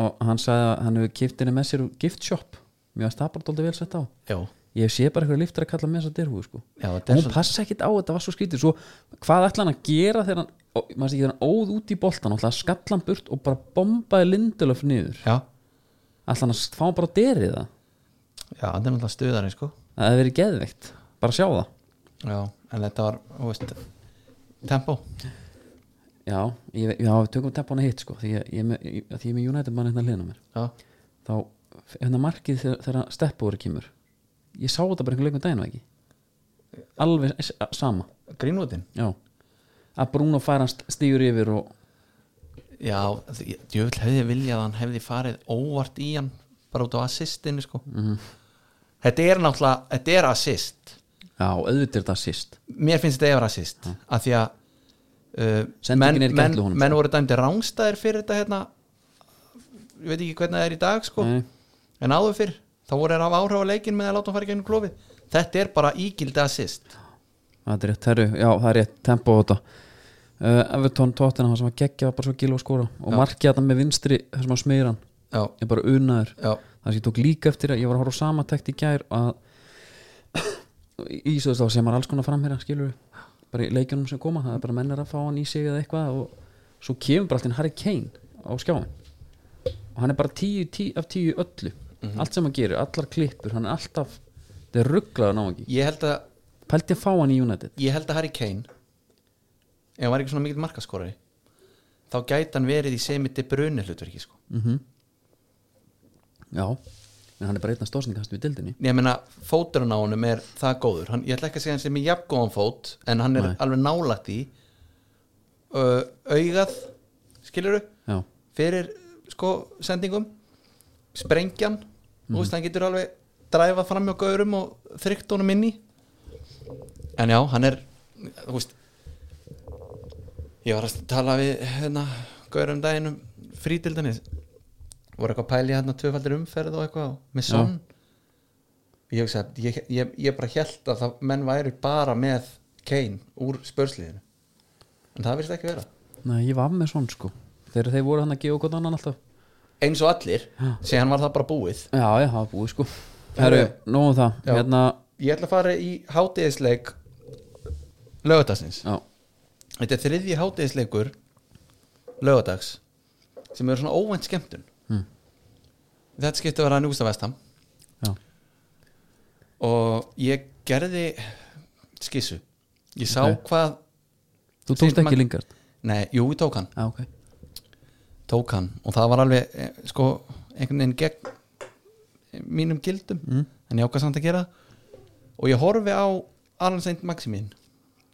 S1: og hann sagði að hann hefur kipt henni með sér úr gift shop, mér varst það bara dóldi vel sett á
S2: já,
S1: ég sé bara eitthvað liftur að kalla með þess að derhúi sko.
S2: Já,
S1: hún
S2: þetta er svo-
S1: passa ekkit á, þetta var svo skrítið svo, hvað ætla hann að gera þegar hann ó, maður sé ekki þegar hann óð út í boltan ætla að skalla hann burt og bara bombaði Lindelöf niður,
S2: já,
S1: ætla hann að s- fá hann bara derið það,
S2: já, það er náttúrulega stuðarinn sko
S1: það hefði verið geðveikt bara sjá það,
S2: já, en þetta var, þú veist tempo,
S1: já, ég, já við tökum tempona hitt sko, því ég, ég, með- ég, að því ég er með United mann hérna hlýðna mér
S2: já,
S1: þá, hérna markið þegar, þegar steppaður kemur, ég sá þetta bara einhver leikum daginn og ekki alveg s- sama,
S2: grínvútin
S1: já að Bruno fær hann stígur yfir og
S2: já, því- djöfull hefði ég viljað að hann hefði farið óvart í hann bara út á assistinu sko
S1: Mhm.
S2: þetta er náttúrulega, þetta er assist
S1: já, auðvitað er þetta sýst
S2: mér finnst þetta eða assist af því að uh,
S1: Sendingin
S2: menn,
S1: er í
S2: menn,
S1: gætlu honum,
S2: menn
S1: sko.
S2: voru dæmdi rángstæðir fyrir þetta hérna ég veit ekki hvernig það er í dag sko
S1: Nei.
S2: en áður fyrr, þá voru þeir að áhráfa leikin með að láta hann fara í gennum klófið þetta er bara ígildi assist
S1: Það er rétt, herru, já, það er rétt tempo á þetta uh, Everton tóttina, hann sem var geggja var bara svo gílu að skora og markið þetta með vinstri þar sem hann smýr hann,
S2: já,
S1: ég er bara unnaður
S2: já,
S1: það sem ég tók líka eftir að ég var að horfa á sama takt í gær að í svo þá sem maður alls konar framherra skilur við, bara í leikjunum sem koma það er bara mennir að fá hann í sig eða eitthvað og svo kemur bara alltaf Harry Kane á skjáin og hann er bara tíu, tíu af tíu í öllu allt sem hann gerir, allar klippur, hann er alltaf þetta er rugglaður náðan ekki
S2: ég held að
S1: pælti að fá hann í United
S2: ég held að Harry Kane ef hann var ekki svona mikill markaskorari þá gæti hann verið í semiti brunni hlutverki sko.
S1: Mhm. Já, en hann er bara einna stórsningast við dildinni
S2: ég meina fóturinn á honum er það góður hann, ég ætla ekki að segja hann sem er jafngóðan fót en hann er
S1: Nei.
S2: alveg nálægt í uh, augað skiluru
S1: Já,
S2: fyrir sko sendingum sprengjan mm. veist, hann getur alveg dræfað fram hjá gaurum og þrygt honum inn í en já, hann er þú veist ég var að tala við hérna, gaurum daginn um frítildanis voru eitthvað pæli hérna tvöfaldir umferð og eitthvað með son ég, hugsa, ég, ég, ég bara held að það, menn væri bara með Kane úr spörsliðinu en það virðist ekki vera
S1: Nei, ég var með svona sko Þegar þeir voru hann að gefa gott annan alltaf
S2: eins og allir, síðan var það bara búið
S1: Já, ég hafa búið sko Herru, nóg um það
S2: Já.
S1: Hérna,
S2: ég ætla að fara í hátíðisleik lögadagsins
S1: já,
S2: þetta er þriðji hátíðisleikur lögadags sem eru svona óvænt skemmtun
S1: Mm.
S2: þetta skipti að vera Nústa Vestam
S1: já
S2: og ég gerði skissu ég sá
S1: Ok.
S2: hvað
S1: Þú tókst
S2: Sýnt
S1: ekki
S2: mann-
S1: lingart
S2: nei, jú, ég tók hann
S1: Já, ok
S2: tók hann og það var alveg eh, sko einhvern veginn gegn eh, mínum gildum en ég ákvað samt að gera það. og ég horfi á Alan Saint Maximin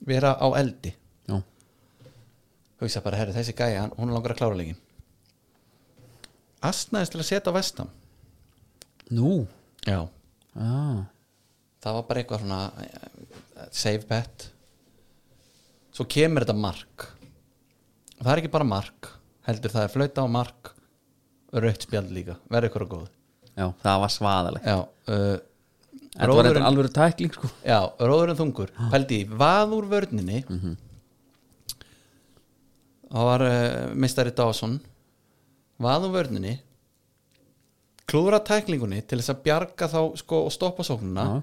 S2: vera á eldi
S1: Já,
S2: hugsa bara herri þessi gæja hann- hún langar að klára leikin Asnaðist til að setja á vestam
S1: nú
S2: já
S1: Já,
S2: það var bara eitthvað svona eh, save bet svo kemur þetta mark og það er ekki bara mark heldur það er flauta á mark rautt spjald líka, verði ykkur að góð
S1: já það var svaðaleg
S2: já, uh,
S1: Þetta var
S2: róðurinn-
S1: eitthvað alveg tækling sko
S2: já, róðurinn þungur
S1: Ah.
S2: pældi í vað úr vörninni
S1: Mhm.
S2: það var uh, mistari Dawson vað úr vörninni klúðra tæklingunni til þess að bjarga þá sko og stoppa sóknuna
S1: Já,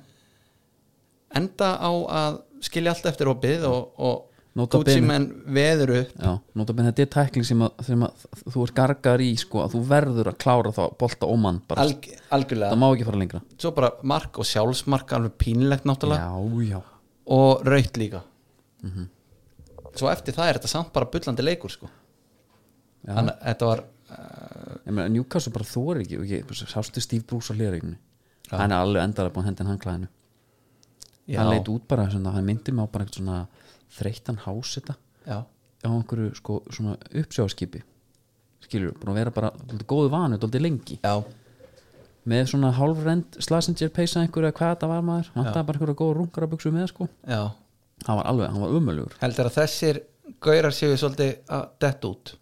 S2: enda á að skilja allt eftir opið og, og
S1: Nota bene.
S2: menn veður upp
S1: já Nóta benn þetta er tækling sem að, sem að þú er gargar í sko að þú verður að klára þá bolta ómann bara sko.
S2: alg, algjörlega
S1: Það má ekki fara lengra
S2: svo bara mark og sjálfsmark alveg pínlegt náttúrulega
S1: Já, já
S2: og raut líka svo eftir það er þetta samt bara bullandi leikur sko
S1: Já.
S2: þannig að þetta var uh,
S1: Ég meina, Newcastle bara þóri ekki og ég, sástu Steve Bruce á hlýðareikinu hann er alveg endara búin hendin handklæðinu
S2: já,
S1: hann leit út bara, svona, hann myndi mig á bara eitthvað svona þreyttan háseta
S2: já,
S1: á einhverju sko, svona uppsjáskipi skilur, búin að vera bara dálítið góðu vanu, dálítið lengi
S2: já,
S1: með svona hálfrend slasinger peysa einhverju eða hvað þetta var maður, hann það bara einhverju góða rungar að buksu með sko,
S2: já
S1: hann var alveg, hann var umölugur
S2: heldur að þessir gaurar séu svolítið að dett út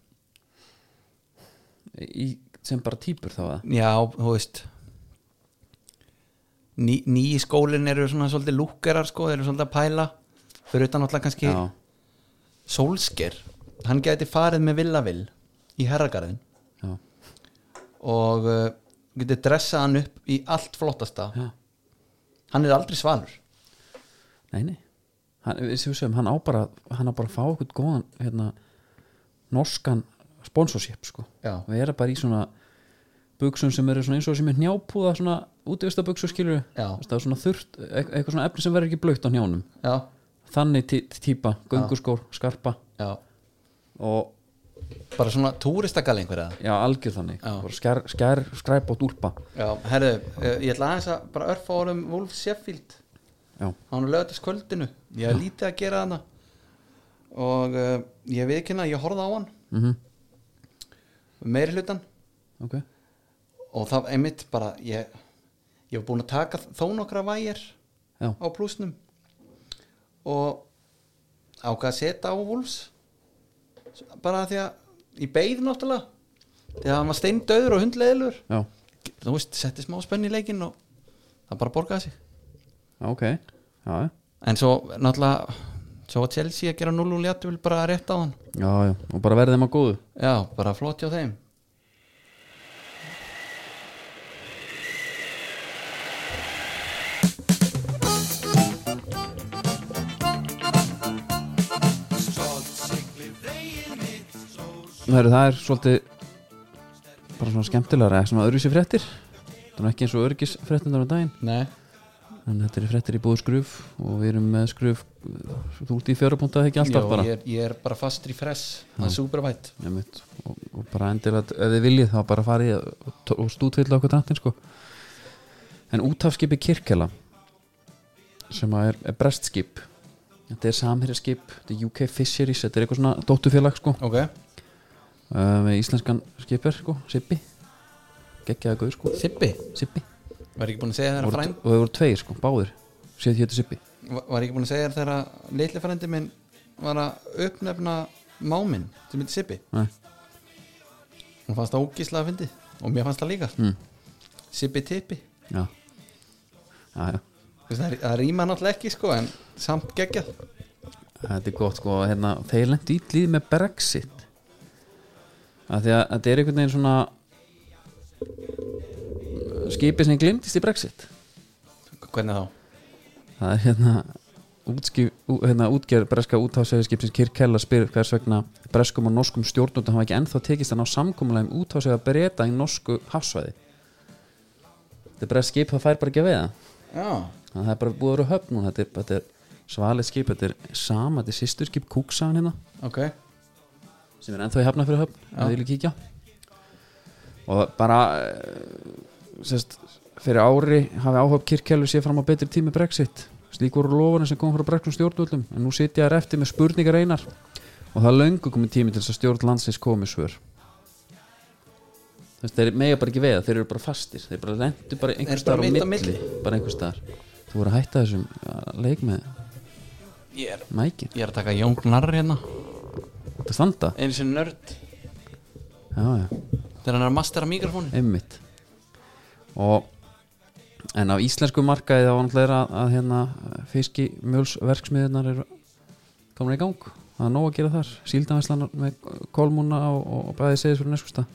S1: í, sem bara týpur þá að
S2: já, þú veist ný, nýi skólin eru svona svolítið lúkerar sko, þeir eru svolítið að pæla fyrir utan alltaf kannski
S1: já,
S2: Solskjær, hann gæti farið með Villavil í herragarðin
S1: já,
S2: og uh, getið dressað hann upp í allt flottasta
S1: já,
S2: hann er aldrei svalur
S1: nei, nei hann, við séum sem, hann á bara hann á bara að fá eitthvað góðan hérna, norskan sponsorship sko,
S2: Já.
S1: vera bara í svona buksum sem eru svona eins og sem er hnjápúða svona útivistarbuksu skilur
S2: Já.
S1: það er svona þurft, eit- eitthvað svona efni sem verður ekki blöitt á hnjánum
S2: já,
S1: þannig tí- típa, gönguskór, skarpa
S2: já,
S1: og
S2: bara svona túristagal einhverja
S1: já, algjör þannig
S2: Já.
S1: Bara skær, skær, skræp og dúlpa
S2: já, herðu, uh, ég ætla aðeins að bara örfa orðum Wolf Sheffield
S1: já,
S2: hann lögðast kvöldinu ég er lítið að gera hana og uh, ég viðkynna, ég horfði á hann
S1: mhm,
S2: meiri hlutan
S1: ok
S2: og það einmitt bara ég, ég var búin að taka þó nokkra vægir
S1: Já.
S2: á plúsnum og ákvað að setja á Wolves bara af því að í beigð náttúrulega þegar hann var steindauður og hundleðilur
S1: já,
S2: þú veist, setti smá spenn í leikinn og það bara borgaði sig
S1: já, ok já, já,
S2: en svo náttúrulega svo var Chelsea að gera 0 og léttu bara rétt á hann
S1: já, já, og bara verði þeim að góðu
S2: Já, bara flott hjá þeim
S1: Heru, það er svolítið bara svona skemmtilegra eða svona öðruvísi fréttir það er nú ekki eins og örgis fréttindur á daginn
S2: Nei
S1: en þetta er fréttir í búið skruf og við erum með skruf þú ert í fjörupunta ekki alltaf bara
S2: ég, er, ég er bara fastur í fress Það er supervætt
S1: Einmitt, og, og bara endilega ef þið viljið þá bara farið og t- og stútvilla okkur dráttin sko. en útafskipi Kirkjala sem að er, er brestskip þetta er samherjaskip þetta er UK Fisheries, þetta er eitthvað svona dóttufélag sko,
S2: Ok
S1: uh, með íslenskan skipir sko, Sippi geggjaða guður sko,
S2: Sippi
S1: Sippi
S2: Var ekki búin að segja þér að
S1: voru,
S2: frænd
S1: og þau voru tveir sko, báðir séð hétu Sippi
S2: Var var ekki búin að segja þér þegar að litli frændi minn var að uppnefna máminn sem heitir Sippi
S1: Nei.
S2: Hún fannst Hmm. það ógíslega að fyndi og mér fannst það líka
S1: Mm.
S2: Sippi tippi
S1: já já, já.
S2: Þú veist, það, það rýma náttúrulega ekki sko en samt geggjað
S1: þetta er gott sko hérna, þeir lendu ítlið með Brexit að því að þetta er einhvern veginn svona skipið sem glimtist í Brexit
S2: hvernig þá?
S1: það er hérna útskif, ú- hérna, útgerð breska útásæðiskipsins Kirkella spyr hvers vegna breskum og norskum stjórnundum hafa ekki ennþá tekist að ná samkommulega um útásæða breyta í norsku hafsvæði þetta er bresk skip það fær bara ekki að veiða
S2: Já,
S1: Þannig að það er bara búið að vera höfn núna þetta er, þetta er svalið skip, þetta er sama þetta er sýsturskip Kúksagan hérna
S2: ok
S1: sem er ennþá í hafna fyrir höfn að því vil kíkja og bara eh, sérst, fyrir ári hafi áhöfn kirkjælu séð fram á betri tími Brexit slík voru lofarnir sem kom frá brekkum stjórnvöldum en nú sitja þær eftir með spurningar einar og það er löngu komið tími til þess að stjórn landsins komi svör Þess, þeir mega bara ekki veiða, þeir eru bara fastir þeir bara lendu bara
S2: bara
S1: einhvers staðar á
S2: mitt
S1: milli,
S2: á
S1: bara einhvers staðar þú voru að hætta þessum að leik með
S2: Ég er,
S1: mækin,
S2: ég er að taka Jón Gnarr hérna
S1: þetta standa
S2: einu sinni nörd
S1: já, já.
S2: þegar hann er að mastera mikrofónin
S1: einmitt og en á íslensku markaði þá náttúrulega er að, að hérna fiski mjölsverksmiðunar eru komin í gang það er nóg að gera þar síldanvæslanar með kolmúna og, og, og bæði segis fyrir neskusta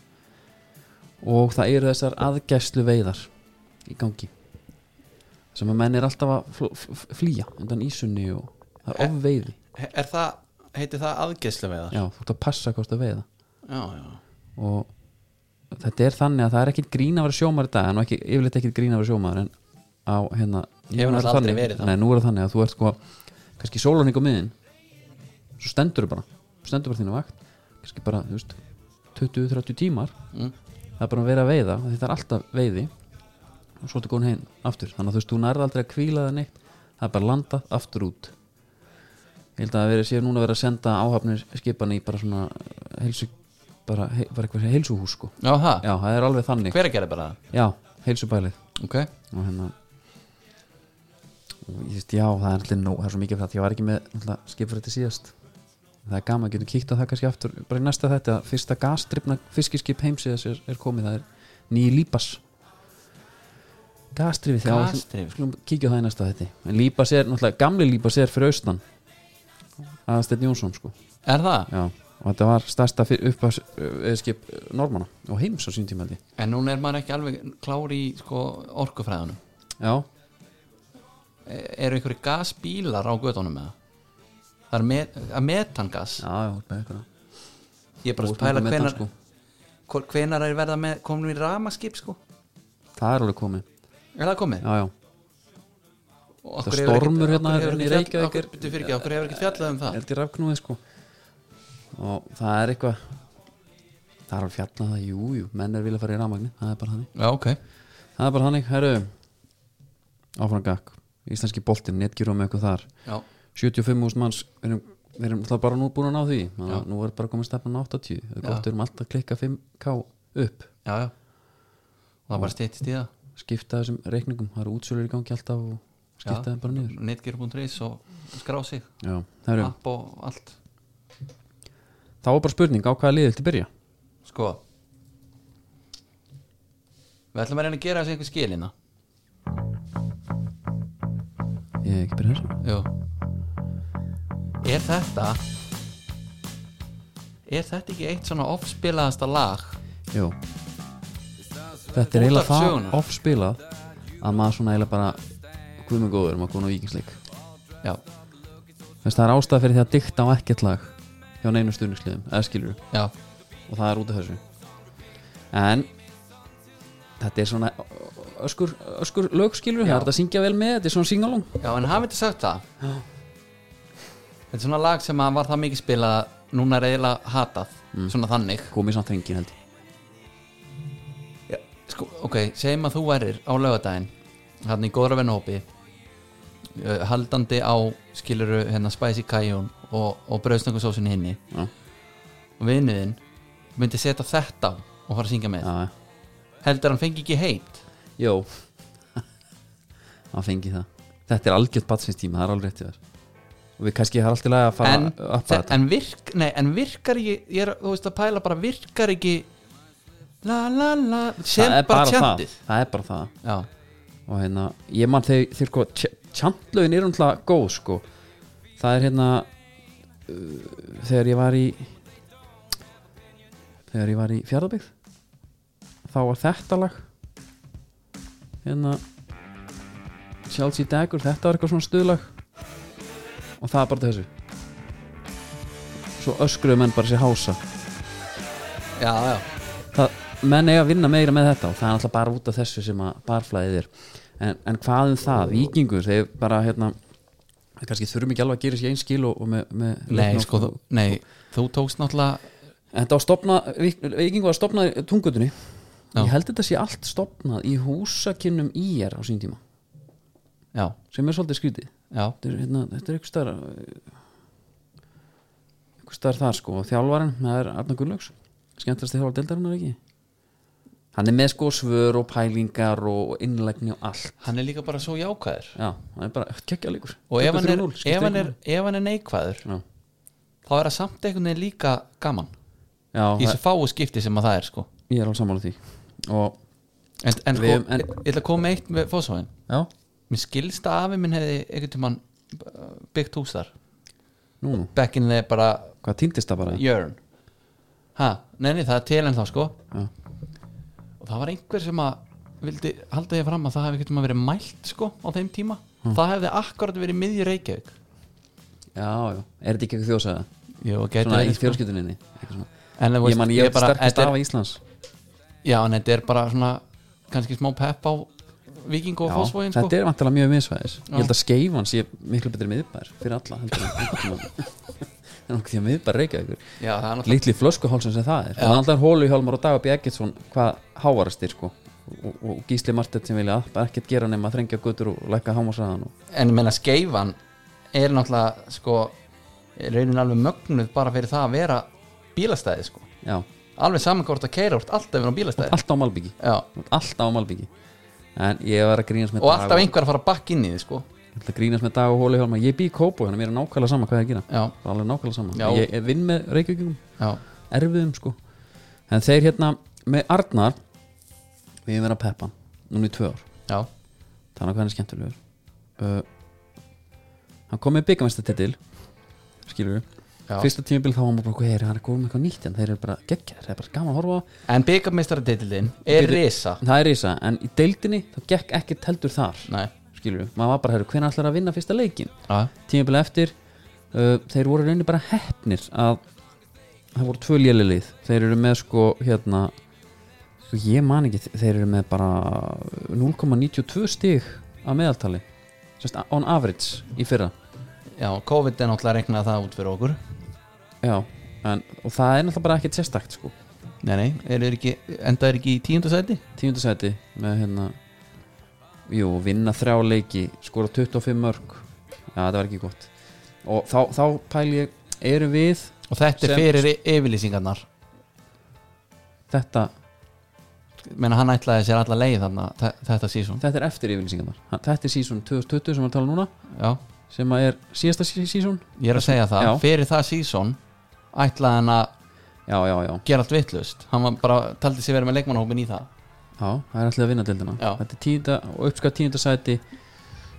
S1: og það eru þessar aðgæslu veiðar í gangi sem að menn er alltaf að fl- f- flýja undan ísunni og það er ofveiði
S2: er það, heitir það aðgeislu með
S1: já, þú ert að passa hvort að veiða
S2: já, já,
S1: og þetta er þannig að það er ekkit grín að vera sjómaður í dag en ekki, yfirleitt ekkit grín að vera sjómaður en á hérna
S2: Ég hef
S1: nú er
S2: náttúrulega aldrei
S1: þannig,
S2: verið það.
S1: nei, nú er það þannig að þú ert sko kannski sólarning á miðin svo stendur bara, stendur bara þínu vakt kannski bara, þú veist 20-30 tímar
S2: Mm.
S1: það er bara að vera að veiða, þetta er alltaf veiði og svo ertu góðin heim aftur þannig að þú veist, þú nærði aldrei að kvíla það neitt það er bara landað aftur út ég held að það verið séu núna að vera að senda áhafnir skipan í bara svona eh, heilsu, bara, he, bara eitthvað sem heilsuhús sko.
S2: já, það
S1: já, það er alveg þannig
S2: hver að gera bara
S1: já, heilsubælið
S2: það ok,
S1: og hérna og ég veist, já, það er allir nóg það er svo mikið fyrir það, ég var ekki með skipfrætti síðast það er gaman, getum kíkt á það kannski aftur bara í næsta þetta, fyrsta gasdrifna fiskiskip heimsíðas er, er komið, það er nýji lípas gasdrifið, já,
S2: Gasdrifið.
S1: skulum- skulum kíkja á það í næsta þetta, en lípas er, náttúrulega gamli lípas er fyrir austan aðastetn Jónsson, sko
S2: er það?
S1: já, og þetta var stærsta eh, uppskip normanna og heims á sín tíma held ég.
S2: en núna er maður ekki alveg klár í sko, orkufræðanum
S1: já,
S2: E- eru einhverju gasbílar á gödunum með það? það er met, að metangas
S1: já, já, með eitthvað
S2: ég er bara að pæla hvenar sko. hvenar er verða með komin í ramaskip sko
S1: það er alveg komið
S2: er það komið?
S1: já, já,
S2: Og
S1: Það
S2: okkur hefur
S1: stormur
S2: ekkert-
S1: hérna
S2: okkur
S1: hérna
S2: hefur
S1: í
S2: ekkert fjall-
S1: Reykjavík
S2: okkur-
S1: er-
S2: bíddu, fyrirgefðu, okkur hefur ekkert fjallað um það
S1: er þetta í rafknúið sko og það er eitthvað það er alveg fjallað það, jú, jú menn er vilja fara í rafmagni, það er bara þannig
S2: já ok
S1: það er bara þannig, herru áfram gakk, íslenski boltinn, netgjurum eitthvað þar
S2: já,
S1: 75.000 manns, við erum, við erum alltaf bara nú búin að ná því, þannig að nú er bara komið stefnan á 80, það er gott, við erum alltaf að klikka 5k upp,
S2: já, já og það bara stýttist í það
S1: skipta þessum reikningum það eru útsölur í gangi alltaf og skipta
S2: Já.
S1: þeim bara niður
S2: netgear.is og skrá sig
S1: já, herru,
S2: app og allt
S1: þá var bara spurning á hvaða liðið til byrja
S2: sko við ætlum að reyna að gera þessu einhver hérna. skilina
S1: ég er ekki byrja þessu
S2: Jú. er þetta er þetta ekki eitt svona ofspilaðasta lag
S1: Jú Þetta er eiginlega
S2: Útvarp
S1: það
S2: sögunnar.
S1: oft spilað að maður svona eiginlega bara guðmur góður, maður góðan á vikingsleik
S2: já,
S1: Þess það er ástæða fyrir því að dikta á ekkert lag hjá neinu stuðningsliðum, eða skilur
S2: já,
S1: og það er út af þessu En þetta er svona öskur, öskur lögskilur, það er þetta að syngja vel með þetta er svona singalong
S2: já en hafið þetta sagt það þetta er svona lag sem að var það mikið spilað að núna er eiginlega hatað svona þannig
S1: komið samt hringin held ég
S2: Já, sko, ok, segjum að þú erir á laugardaginn hann í góðra vennahópi eh, haldandi á skiluru hérna Spicy Cajun og, og brauðstöngusósunni hinni
S1: Já.
S2: og vinnuðinn myndi setja þetta á og fara að syngja með
S1: Já,
S2: heldur hann fengi ekki heit
S1: Jó Það fengi það Þetta er algjört batsvinstíma, það er alveg rétt í þér og við kannski það er alltaf að fara
S2: en,
S1: að uppa
S2: þe-
S1: þetta
S2: en, virk, nei, en virkar ekki ég er, þú veist að pæla bara virkar ekki la la la sem
S1: það er bara
S2: tjandið
S1: það, það er bara það
S2: Já,
S1: og hérna, ég man þegar þeir sko tjandlaugin er umtlað góð sko það er hérna uh, þegar ég var í þegar ég var í fjárðabyggð þá var þetta lag hérna Chelsea Dagger, þetta var eitthvað svona stuðlag og það er bara til þessu svo öskruðu menn bara sér hása
S2: já, já,
S1: það, menn eiga að vinna meira með þetta og það er alltaf bara út af þessu sem að barflæðið er en, en hvað um það, vikingur þeir bara hérna þeir kannski þurfum ekki alveg að gera sér einn skil og, og með, með
S2: nei,
S1: leiknum.
S2: sko, þú, nei, þú tókst náttúrulega
S1: En þetta á stopna, vikingu var stopnað í tungutunni
S2: Já.
S1: ég held þetta sé allt stopnað í húsakinnum ír á sín tíma
S2: já,
S1: sem er svolítið skrítið
S2: já,
S1: þetta er, hérna, þetta er einhver starf einhver starf þar sko og þjálfarinn, það er Arna Gunnlaugs skemmtast þjálfar deildarinnar ekki hann er með sko svör og pælingar og innlegni og allt
S2: hann er líka bara svo jákvæður
S1: já, hann er bara kekkja líkur
S2: og ef hann, er, ef, hann er, ef hann er neikvæður
S1: já,
S2: þá er það samt einhvern veginn líka gaman
S1: já
S2: í
S1: það,
S2: þessu fáu skipti sem að það er sko
S1: ég er alveg sammála því og
S2: en, en sko,
S1: Við- en-
S2: ég, ég ætla að koma með eitt með fósóin
S1: já,
S2: mér skilst að afi minn hefði einhvern tímann uh, byggt hús þar
S1: nú, nú,
S2: back in the bara
S1: hvað týndist það bara
S2: yearn ha, neini það er til en þá sko
S1: Já.
S2: og það var einhver sem að vildi halda ég fram að það hefði einhvern tímann verið mælt sko á þeim tíma það hefði akkurat verið miðjur Reykjavík
S1: já, já, er þetta ekki eitthvað þjóðsæða
S2: Jú, gæti
S1: svona í
S2: verið, sko.
S1: fjölskylduninni eitthvað svona.
S2: En þú veist,
S1: ég man
S2: ég
S1: ég er
S2: bara-
S1: bara sterkast
S2: þetta er-
S1: af Íslands
S2: Já, en þetta er bara svona kannski smá pepp á viking og
S1: Já,
S2: fósfóin sko.
S1: þetta er vantilega mjög misvæðis ég
S2: Já.
S1: held að skeifan sé miklu betri miðbær fyrir alla heldur en einhvern tímann. en okkur því að miðbær reykja ykkur
S2: Já, það er náttúrulega
S1: litli flöskuhálsum sem það er og þannig er hólu hjálmar og dagabí Eggertsson hvað háarastir sko og, og Gísli Martett sem vilja bara ekkert gera nema að þrengja götur og lækka hámasaðan og...
S2: En ég meina skeifan er náttúrulega sko raunin alveg mögnuð bara fyrir það að vera bílastæði sko
S1: já,
S2: Alveg saman hvort að keira úr alltaf verið á bílastæði
S1: allt á Malbyggi
S2: Já,
S1: allt á Malbyggi en ég var að grínast með
S2: og
S1: Dag
S2: alltaf einhver að fara bakk inn í því sko
S1: Ég ætla að grínast með dag og hóli hjálma Ég bý í kópu, þannig að mér er nákvæmlega sama hvað ég er að gera
S2: Já.
S1: Það er alveg nákvæmlega sama
S2: Já.
S1: Ég er vinn með reykjökjum,
S2: Já,
S1: erfiðum sko En þeir hérna, með Arnar Við erum verið að peppa hann, Núna í tvö ár,
S2: já,
S1: það er nákvæmlega hann er skemmtilegur uh, Hann kom með byggamestartitil Skilur við
S2: já
S1: Fyrsta tímabil þá var maður bara, hvað er, hann er góð með eitthvað nýtt En þeir eru bara geggjaðir, það er bara gaman að horfa á það.
S2: En byggarmeistaraditilinn er
S1: Byrju-
S2: risa
S1: Það er risa, en í deildinni þá gekk ekkert heldur þar
S2: Nei,
S1: Skilur við, maður var bara, herru, hvenær ætlar að vinna fyrsta leikinn
S2: já,
S1: tímabili eftir uh, þeir voru í rauninni bara heppnir að það voru tvö lélilið þeir eru með sko hérna sko ég man ekki, þeir eru með bara 0,92 stig að meðaltali Sest, on average í fyrra
S2: já, COVID er náttúrulega reiknað það út fyrir okkur
S1: já, en, og það er náttúrulega bara ekkert sérstakt sko,
S2: Nei, nei, er ekki, enda er ekki í tíundasæti?
S1: tíundasæti með hérna jú, vinna þrjá leiki, skora 25 mörg já, þetta var ekki gott og þá, þá pæli ég, eru við
S2: Og þetta
S1: Sem-
S2: er fyrir yfirlýsingarnar
S1: þetta
S2: menna hann ætlaði sér alla leið þarna þe- þetta sísón
S1: þetta er eftir yfirlýsingarnar Ha- þetta er sísón 2020 sem við erum að tala um núna
S2: já,
S1: sem að er síðasta sísón
S2: ég er að segja það,
S1: Já.
S2: fyrir það sísón ætlaði hann að
S1: já, já, já,
S2: gera allt vittlust hann var bara, taldi sér verið með leikmannhópin í það
S1: já, það er alltaf að vinna deildina
S2: Já.
S1: þetta er tíunda og uppskatt tíunda sæti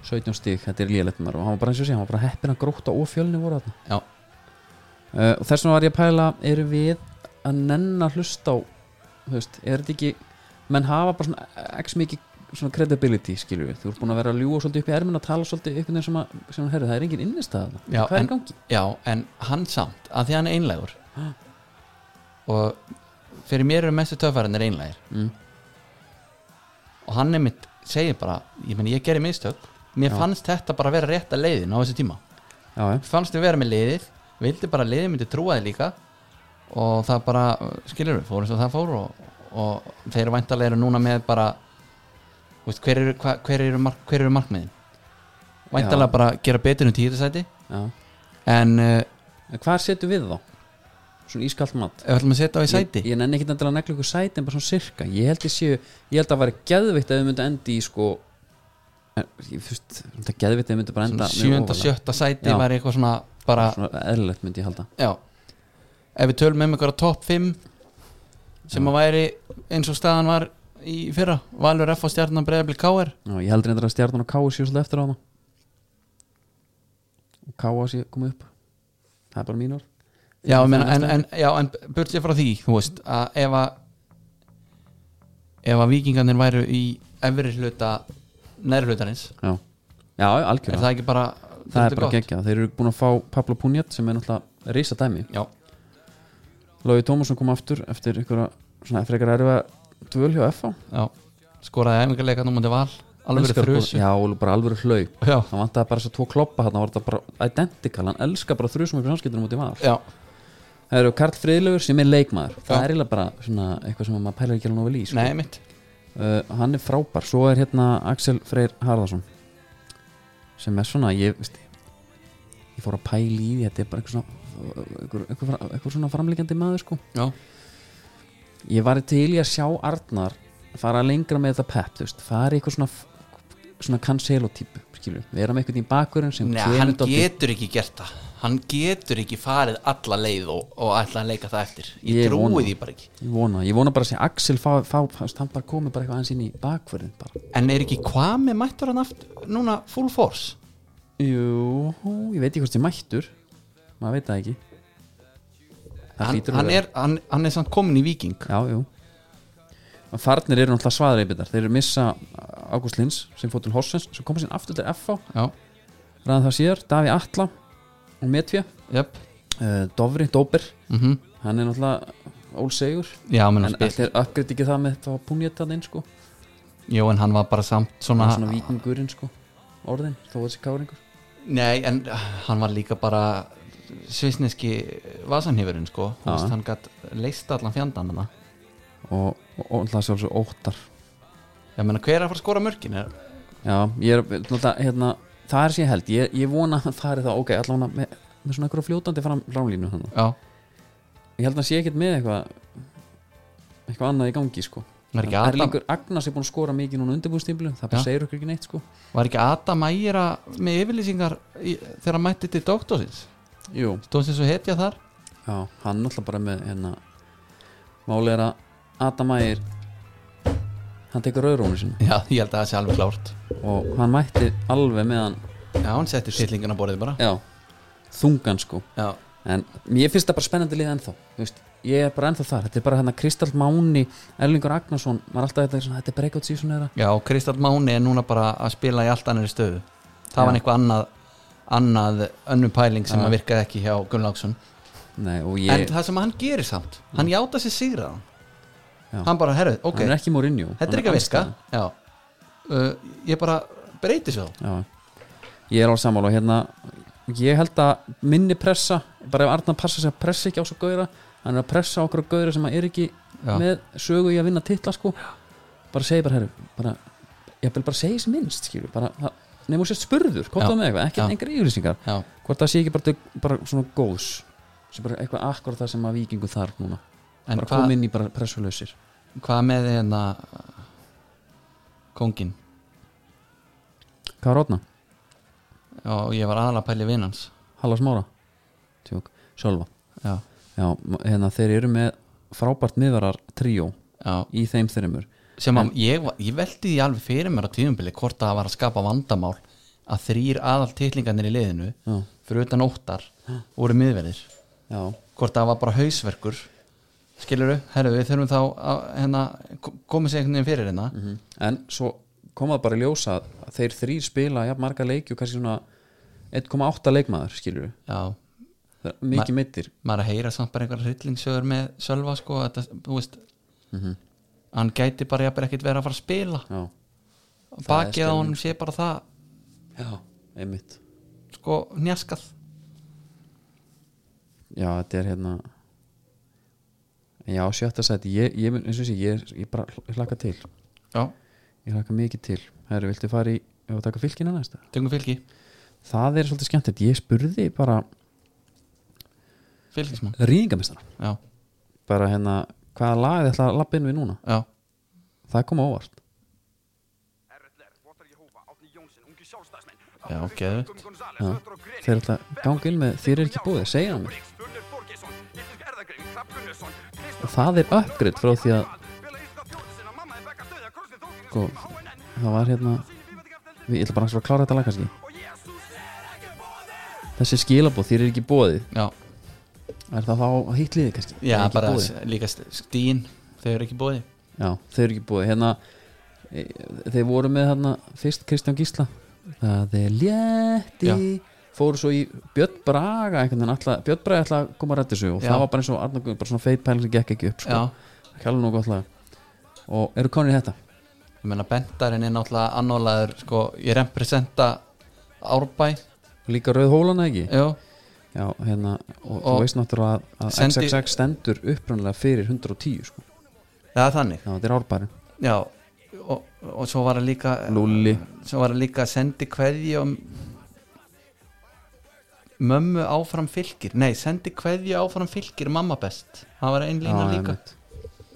S1: 17 stík, þetta er lélegt maður og hann var bara eins og sé, hann var bara heppin að gróta og fjölni voru þarna
S2: já,
S1: uh, og þess vegna var ég að pæla, erum við að nenn að hlusta á þú veist, er þetta ekki menn hafa bara svona eh, x mikið svona credibility skilju, þú ert búin að vera að ljúa svolítið upp í ermina, tala svolítið einhvern veginn sem að, sem að herri, það er engin innistæða
S2: Já,
S1: hvað er í
S2: en-
S1: gangi?
S2: já, en hann samt að því hann er einlægur og fyrir mér eru mestu töfverðinir einlægir
S1: Mm.
S2: og hann einmitt segir bara ég meni, ég gerði mistök, mér
S1: Já.
S2: fannst þetta bara vera rétta leiðin á þessu tíma
S1: Já, já,
S2: fannst við vera með liðið vildi bara að liðið myndi trúa þið líka og það bara, skilur við fórum svo það fór og, og þeir væntalega eru núna með bara þú veist, hver eru, hva, hver eru, mark, hver eru markmiðin væntalega
S1: Já.
S2: bara gera betur um tíðarsæti
S1: já.
S2: en uh,
S1: En hvað setjum við þá? Svona ískalt mat
S2: ef ætlum að setja á í sæti
S1: Ég, ég nenni ekki endilega að negla ykkur sæti en bara svona sirka Ég held ég séu, ég held að vera geðvitt að þau myndu endi í sko en, ég, þú veist, þetta er geðvitt að þau myndu bara enda
S2: svona
S1: mjög
S2: sjönda,
S1: ofarlega.
S2: sjötta sæti
S1: Já.
S2: var eitthvað svona bara,
S1: Svona eðlilegt myndi ég halda
S2: já ef við tölum um einhverja topp 5 sem að væri eins og staðan var í fyrra Valur F og stjarnan breyðabli KR
S1: Já, ég heldur reyndar að stjarnan og Káa séu svolítið eftir á hana og Káa séu komið upp það er bara mín orð
S2: Já, menn, en, en, já, en burt ég frá því þú veist, að ef að ef að vikingarnir væru í efri hluta næri hlutarins,
S1: Já, já
S2: er
S1: algjörlega
S2: það ekki bara
S1: það er bara geggja, þeir eru búin að fá Pablo Punjat sem er náttúrulega reysa dæmi
S2: Já,
S1: Lói Tómasson kom aftur eftir einhverja svona frekar erfa dvöl hjá FH
S2: já, skoraði æfingarleika nú mútið val, alveg
S1: Elskar
S2: verið þrjus
S1: bara- Já, og bara alveg hlaup
S2: Já.
S1: hann vantaði bara þess að tvo kloppa hann var þetta bara identical, hann elskar bara þrjusum ykkur samskiptunum út í val
S2: já,
S1: Það eru Karl Friðlaugur sem er leikmaður
S2: Já.
S1: það er eiginlega bara svona eitthvað sem maður pælar ekki alveg nógu vel í sko.
S2: nei mitt
S1: uh, hann er frábær, svo er hérna Axel Freyr Harðarsson sem er svona, ég veist ég fór að pæla í því, þetta er bara eitthvað svona eitthvað, eitthvað, eitthvað svona framlíkjandi maður sko
S2: Já,
S1: ég var til í að sjá Arnar fara lengra með þetta pep, þú veist fara í eitthvað svona svona cancelo-típu, skilju, vera með eitthvað í bakverðin sem
S2: nei,
S1: kemur
S2: hann
S1: dálítið-
S2: getur ekki gert það hann getur ekki farið alla leið og, og ætla að leika það eftir ég,
S1: Ég
S2: ég
S1: vona.
S2: trúi því bara ekki
S1: ég vona, ég vona bara að sé Axel fá, fá, fá, hann bara komið bara eitthvað aðeins inn í bakverðin bara.
S2: En er ekki hvað með mættur hann aftur núna full force?
S1: jú, ég veit ekki hvort ég mættur maður veit það ekki Það
S2: Hann,
S1: hlýtur að
S2: hann,
S1: vera.
S2: er, hann, hann er samt komin í viking
S1: Já, jú En Farnir eru náttúrulega svaðreipitar Þeir eru missa Ágúst Lins sem fór til Horsens sem koma sín aftur til FH
S2: Já,
S1: ræðan það síðar, Daví Atla og Metvja,
S2: jöp
S1: uh, Dofri, Dóber
S2: mm
S1: hann er náttúrulega ólsegur
S2: Já, menn
S1: en
S2: hann
S1: allir
S2: spil
S1: uppgriðt ekki það með þetta var púnjétan inn sko,
S2: Jó, en hann var bara samt
S1: hann
S2: svona,
S1: er svona vikingurinn sko orðin, þó þessi káringur
S2: Nei, en ah, hann var líka bara svisneski vasanhifurinn sko Þú
S1: Já.
S2: veist, Hann gætt leist allan fjandann hana
S1: og, og, og náttúrulega sjálfsög óttar
S2: Já, menn hver er að fara að skora mörkin? Er,
S1: Já, ég er náttúrulega hérna, það er sem ég held, ég, ég vona að það er það ok, allavega með, með svona einhverja fljótandi fram ránlínu hann
S2: já,
S1: ég held að hann sé ekkert með eitthvað eitthvað annað í gangi sko
S2: Var ekki Adam-
S1: Erlingur Agnars er búin að skora mikið núna undirbúðstímlu það bara
S2: Já.
S1: segir okkur ekki neitt sko
S2: var ekki Adam Ægera með yfirlýsingar í, þegar hann mætti til doktorsins?
S1: Jú.
S2: Stóðsins og hetja þar?
S1: já, hann náttúrulega bara með hérna máli er að Adam Ægir hann tekur rauðrónu sinna
S2: Já, ég held að það sé alveg klárt
S1: og hann mætti alveg með hann
S2: Já, hann setti sýllingin á borðið bara
S1: já, þungan sko
S2: Já,
S1: en mér finnst það bara spennandi lið ennþá þú veist, ég er bara ennþá þar, þetta er bara hérna Kristall Máni, Erlingur Agnarsson maður er alltaf þetta, er svona, þetta er breakout season þeirra
S2: já og Kristall Máni er núna bara að spila í allt annari stöðu Það var eitthvað annað, annað önnu pæling sem að virkaði ekki hjá Gunnlaugsson
S1: Nei, og
S2: En
S1: ég,
S2: það sem hann gerir samt Hann játa sér sigraðan
S1: Já.
S2: Hann bara, herru, ok,
S1: hann er ekki Mourinho
S2: þetta
S1: hann
S2: er ekki að virka
S1: andstæðan.
S2: Já uh, Ég bara breyti svo
S1: Já, ég er á sammála og hérna ég held að minni pressa bara ef Arnar passa sig að pressa ekki á svo gauðra hann er að pressa á okkur á gauðra sem að er ekki
S2: Já.
S1: með sögu í að vinna titla sko bara segi bara herru bara, ég vil bara segja sem minnst skilur bara, það, nefnum sérst spurður, kom
S2: Já.
S1: það með eitthvað ekki
S2: Já.
S1: engar yfirlýsingar,
S2: Já,
S1: hvort það sé ekki bara, til- bara svona góðs sem bara eitthvað akkur það sem að vikingu þarf núna
S2: En
S1: bara
S2: hvað-
S1: koma inn í bara pressulausir
S2: hvað með hérna uh, Kóngin
S1: hvað er rótna?
S2: Já, og ég var aðalega pæli vinn hans
S1: Hallas Mára? Tjók, sjálfa
S2: Já,
S1: Já, hérna þeir eru með frábært miðvarar tríó
S2: já
S1: í þeim þreymur
S2: sem að ég, var- ég veldi því alveg fyrir mér á tíðumbili hvort það var að skapa vandamál að þrýr aðal titlingarnir í liðinu
S1: Já.
S2: fyrir utan óttar voru miðverðir
S1: Já,
S2: hvort það var bara hausverkur skilur þau, herru við þurfum þá að hérna, ko- koma sér einhvern veginn fyrir hérna
S1: en svo kom það bara í ljósa að þeir þrýr spila jafn marga leiki og kannski svona 1,8 leikmaður skilur við,
S2: já,
S1: Það er mikið mittir
S2: maður er að heyra samt bara einhverja hryllingssögur með Sölva sko, þetta, þú veist Mhm. hann gæti bara jafnir ekkert verið að fara að spila
S1: Já,
S2: bakið á honum sé bara það
S1: já, einmitt
S2: sko njaskað
S1: Já, þetta er hérna Já, sjötta sæti ég, ég, mun- eins og sé, ég, ég bara hlaka til
S2: já,
S1: ég hlaka mikið til Herru, viltu fara í, ef að taka fylkina næsta?
S2: tökum fylgi,
S1: Það er svolítið skemmtilegt, ég spurði bara
S2: fylgismann
S1: rýðingamestara
S2: já,
S1: bara hérna, hvaða lag þið ætla að lappa inn við núna
S2: já
S1: það kom á óvart
S5: RLR, Votar Jehóva, Átni Jónsson, ungi sjálfstæðismenn
S2: Já,
S5: Árni
S2: geðveikt.
S5: Viktor, Gum Gonzales,
S1: Já.
S5: Östur og Grenier,
S1: Þeir ætla að ganga inn með Þér er ekki búið, segir hann mér.
S5: Briggs, Unnur Þorgeirsson, Íslensk erðagrein, Hrafn Gunnarsson, Kristján
S1: og það er uppgritt frá því að
S5: Karl, Bela Íska Þjóðsson, Mamma er Becka Stöð
S1: sko, það var hérna við ætla bara að klára þetta lag kannski þessi skilabóð, þér er ekki bóðið
S2: já,
S1: er það þá hitt liðið kannski
S2: já
S1: Þér er ekki
S2: bara
S1: boðið?
S2: s- líka st- stíin þau eru ekki bóði
S1: Já, þau eru ekki búið hérna, e, Þeir voru með hérna fyrst Kristján Gísla Það er létti Fóru svo í Björn Braga einhvern veginn ætla, Björn Braga ætla að koma að rættu sig og
S2: Já.
S1: það var bara eins og Arnar Guðn, bara svona feit pæling sem gekk ekki upp sko.
S2: já,
S1: Hjálfum nú gott lag Og eru komin í þetta?
S2: ég meina bentarinn er náttúrulega annólaður sko, ég representa árbæ
S1: Og líka Rauð Hólana ekki?
S2: já,
S1: Já, hérna, og, þú
S2: Og-
S1: veist náttúrulega að, að
S2: Sendi-
S1: XXX stendur upprannlega fyrir 110 sko.
S2: það er þannig
S1: Já, þetta er árbærin
S2: já, og, og svo var að líka
S1: Lúli,
S2: svo var að líka að sendi kveðju um mömmu áfram fylgir nei, sendi kveðju áfram fylgir mamma best, það var einn lína líka
S1: einmitt.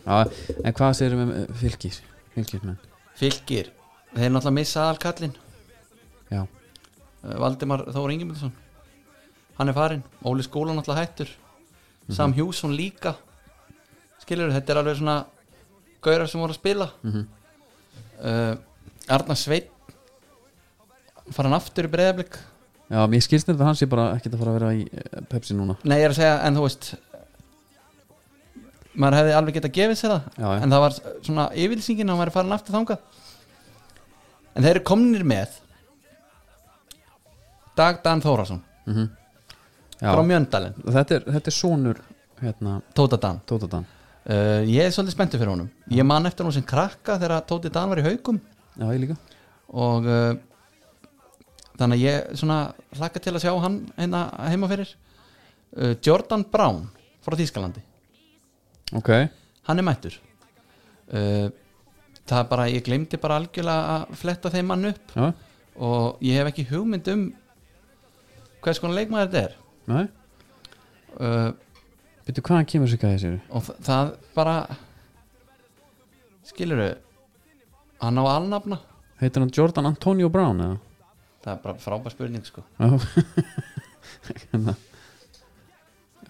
S1: Já, en hvað segir við með fylgir? Fylgismenn,
S2: fylgir, þeir náttúrulega missa aðalkallin
S1: já
S2: Eh, Valdimar Þór Ingemilsson hann er farinn, Óli Skóla náttúrulega hættur
S1: Mhm.
S2: Sam Hjússon líka skilur, þetta er alveg svona gaurar sem voru að spila
S1: Mhm.
S2: uh, Arnar Sveit farin aftur í breyðablik
S1: Já, mér skilst þetta að hann sé bara ekkert að fara að vera í eh, Pepsi núna
S2: Nei, ég er að segja, en þú veist maður hefði alveg getað gefið sér það
S1: Já, já.
S2: en það var svona yfirlýsingin að hann væri farin aftur þangað en þeir eru komnir með Dag Dan Þórasson
S1: Já,
S2: frá Mjöndalinn,
S1: þetta er, þetta er sonur hérna,
S2: Tóta Dan
S1: Tóta Dan
S2: uh, ég er svolítið spenntur fyrir honum ég man eftir honum sem krakka þegar Tóti Dan var í haukum
S1: Já, ég líka
S2: og uh, þannig að ég svona hlakka til að sjá hann hérna heima fyrir uh, Jordan Brown frá Þýskalandi
S1: Ok,
S2: hann er mættur uh, það er bara, ég glemdi bara algjörlega að fletta þeim mann upp
S1: já,
S2: og ég hef ekki hugmynd um hvers konar leikmaður þetta er
S1: nei
S2: uh,
S1: Veitu hvaðan kemur sér gæði sér
S2: og þa- það bara skilurðu hann á alnafna
S1: Heitir hann Jordan Antonio Brown eða?
S2: það er bara frábær spurning sko
S1: Já, hérna,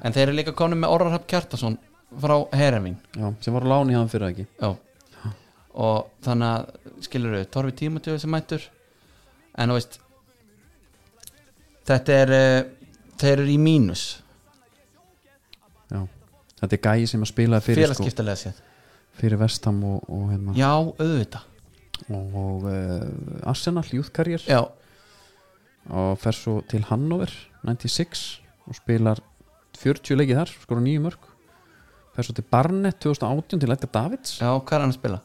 S2: en þeir eru líka konum með Orrar Hap Kjartason frá Hereming
S1: já sem var á láni hjá hann fyrir ekki
S2: Já. og þannig að skilur við Torfi Tímatöðu sem mættur en þú veist þetta er eh, þeir eru í mínus
S1: Já, þetta er gæði sem að spilaði fyrir sko,
S2: félagskiptalega séð
S1: Fyrir Vestam og, og, hérna,
S2: já, auðvitað
S1: og, og uh, Arsenal, Youth Carrier
S2: já,
S1: Og fer svo til Hannover 96 og spilar 40 leikið þar, skora nýju mörg fer svo til Barnett 2018 til Edgar Davids
S2: já, hvað er hann að spila?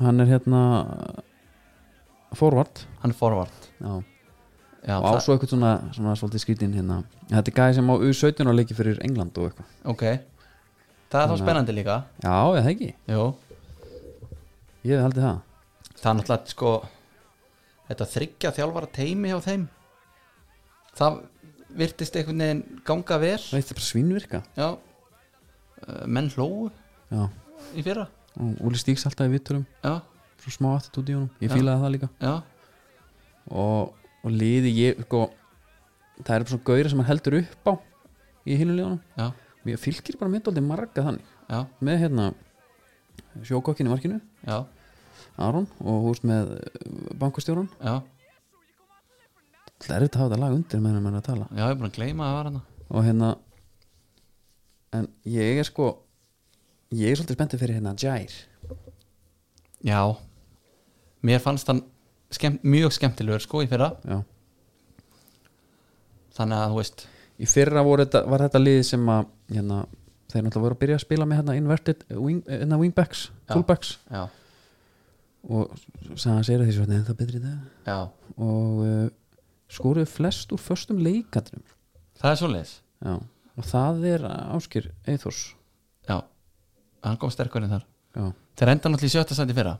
S1: hann er hérna forward
S2: hann er forvart
S1: já.
S2: já,
S1: og á
S2: það,
S1: svo eitthvað svona, svona svolítið skrítin hérna þetta er gæði sem á U17 á leiki fyrir England og eitthvað
S2: ok það er þá spennandi líka
S1: já, eða það ekki,
S2: Jú.
S1: ég hefði haldið það
S2: það er náttúrulega sko þetta þryggja þjálfara teimi hjá þeim það virtist einhvern veginn ganga vel
S1: það er bara svinvirka
S2: já, Eh, menn hlóu
S1: já.
S2: í fyrra
S1: og Úli stíks alltaf í vitturum
S2: já,
S1: svo smá attitúti í honum, ég fílaði það líka
S2: já,
S1: og, og liði ég sko, það er svona gauðir sem hann heldur upp á í hinulegunum
S2: já,
S1: mér fylgir bara mitt aldrei marga þannig
S2: já,
S1: með hérna sjókokkinn í markinu,
S2: já,
S1: Aron og húst með uh, bankustjóran
S2: já,
S1: það er þetta að hafa þetta lag undir meðan maður er að tala
S2: já, ég er búin að gleyma að það var hana
S1: og hérna en ég er sko ég er svolítið spenntið fyrir hérna Jair
S2: Já, mér fannst hann skemmt, mjög skemmtilegur sko í fyrra
S1: já.
S2: Þannig að þú veist,
S1: í fyrra voru þetta, var þetta lið sem að hérna, þeir náttúrulega voru að byrja að spila með hérna inverted wing, hérna wingbacks fullbacks
S2: já,
S1: og sagði hans er þessi svona ennþá betri í dag
S2: já,
S1: og uh, skoruðu flest úr föstum leikandrum
S2: það er svoleiðis
S1: já. og það er Áskir Eithors
S2: Já, hann kom sterkurinn þar
S1: já
S2: Þeir enda náttúrulega í sjötta sæti í fyrra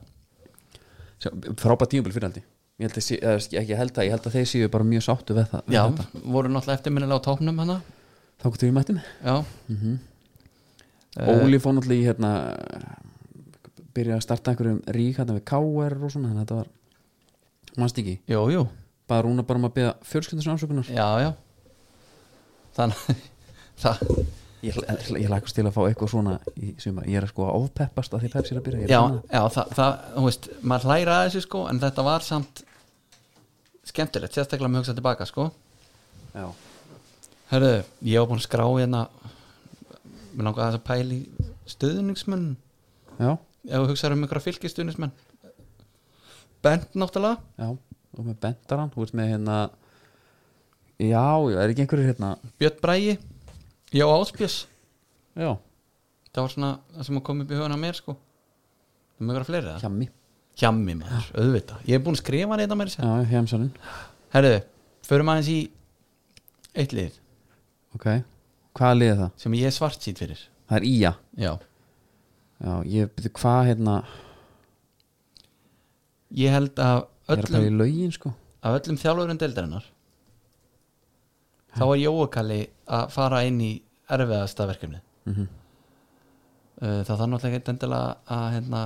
S1: frábært tímabil fyrir haldi ég held að, sé, eða, ekki, ég held að, ég held að þeir séu bara mjög sáttu við það við
S2: Já,
S1: þetta.
S2: voru náttúrulega eftirminnilega á tópnum hana
S1: þá gott við mættum
S2: Já,
S1: Óli fór náttúrulega í hérna byrja að starta einhverjum rík hérna við KR og svona þannig að þetta var mannst ekki
S2: jú, jú,
S1: bara rúna bara um að beða fjölskyldum sem afsökunar
S2: já, já Þannig, það
S1: Ég, ég, ég lakast til að fá eitthvað svona í sumar, ég er að sko að ofpeppast að því Pepsi er að byrja Ég er
S2: já,
S1: svona-
S2: já það, það, þú veist, maður hlæra að þessu sko en þetta var samt skemmtilegt, sérstaklega með hugsa tilbaka sko
S1: já.
S2: Hörðu, ég var búin að skrá hérna mér langaði aðeins að pæla í stuðningsmenn
S1: já,
S2: ef þú hugsaður um einhverja fylgistuðningsmenn Bent náttúrulega
S1: já, og með Bentaran þú ert með hérna já, já, er ekki einhverjir hérna
S2: Björn Brægi, já Áspjörs
S1: já,
S2: það var svona það sem kom upp í hugan á mér sko það með einhverja fleiri það
S1: hjammi,
S2: Hjammi maður, auðvitað, ég er búin að skrifa hann hérna mér
S1: já, hjemsaninn
S2: Herðu, förum aðeins í eitt lið
S1: ok, hvað liði það?
S2: sem ég er svart sýt fyrir
S1: það er Ía,
S2: Já,
S1: já, ég byrju hvað hérna,
S2: ég held að
S1: ég er að pæla í
S2: öllum,
S1: lögin sko
S2: að öllum þjálfurum deildarinnar þá var Jóakalli að fara inn í erfiðasta verkefni mm
S1: Mhm.
S2: það þarf náttúrulega ekki endilega að hérna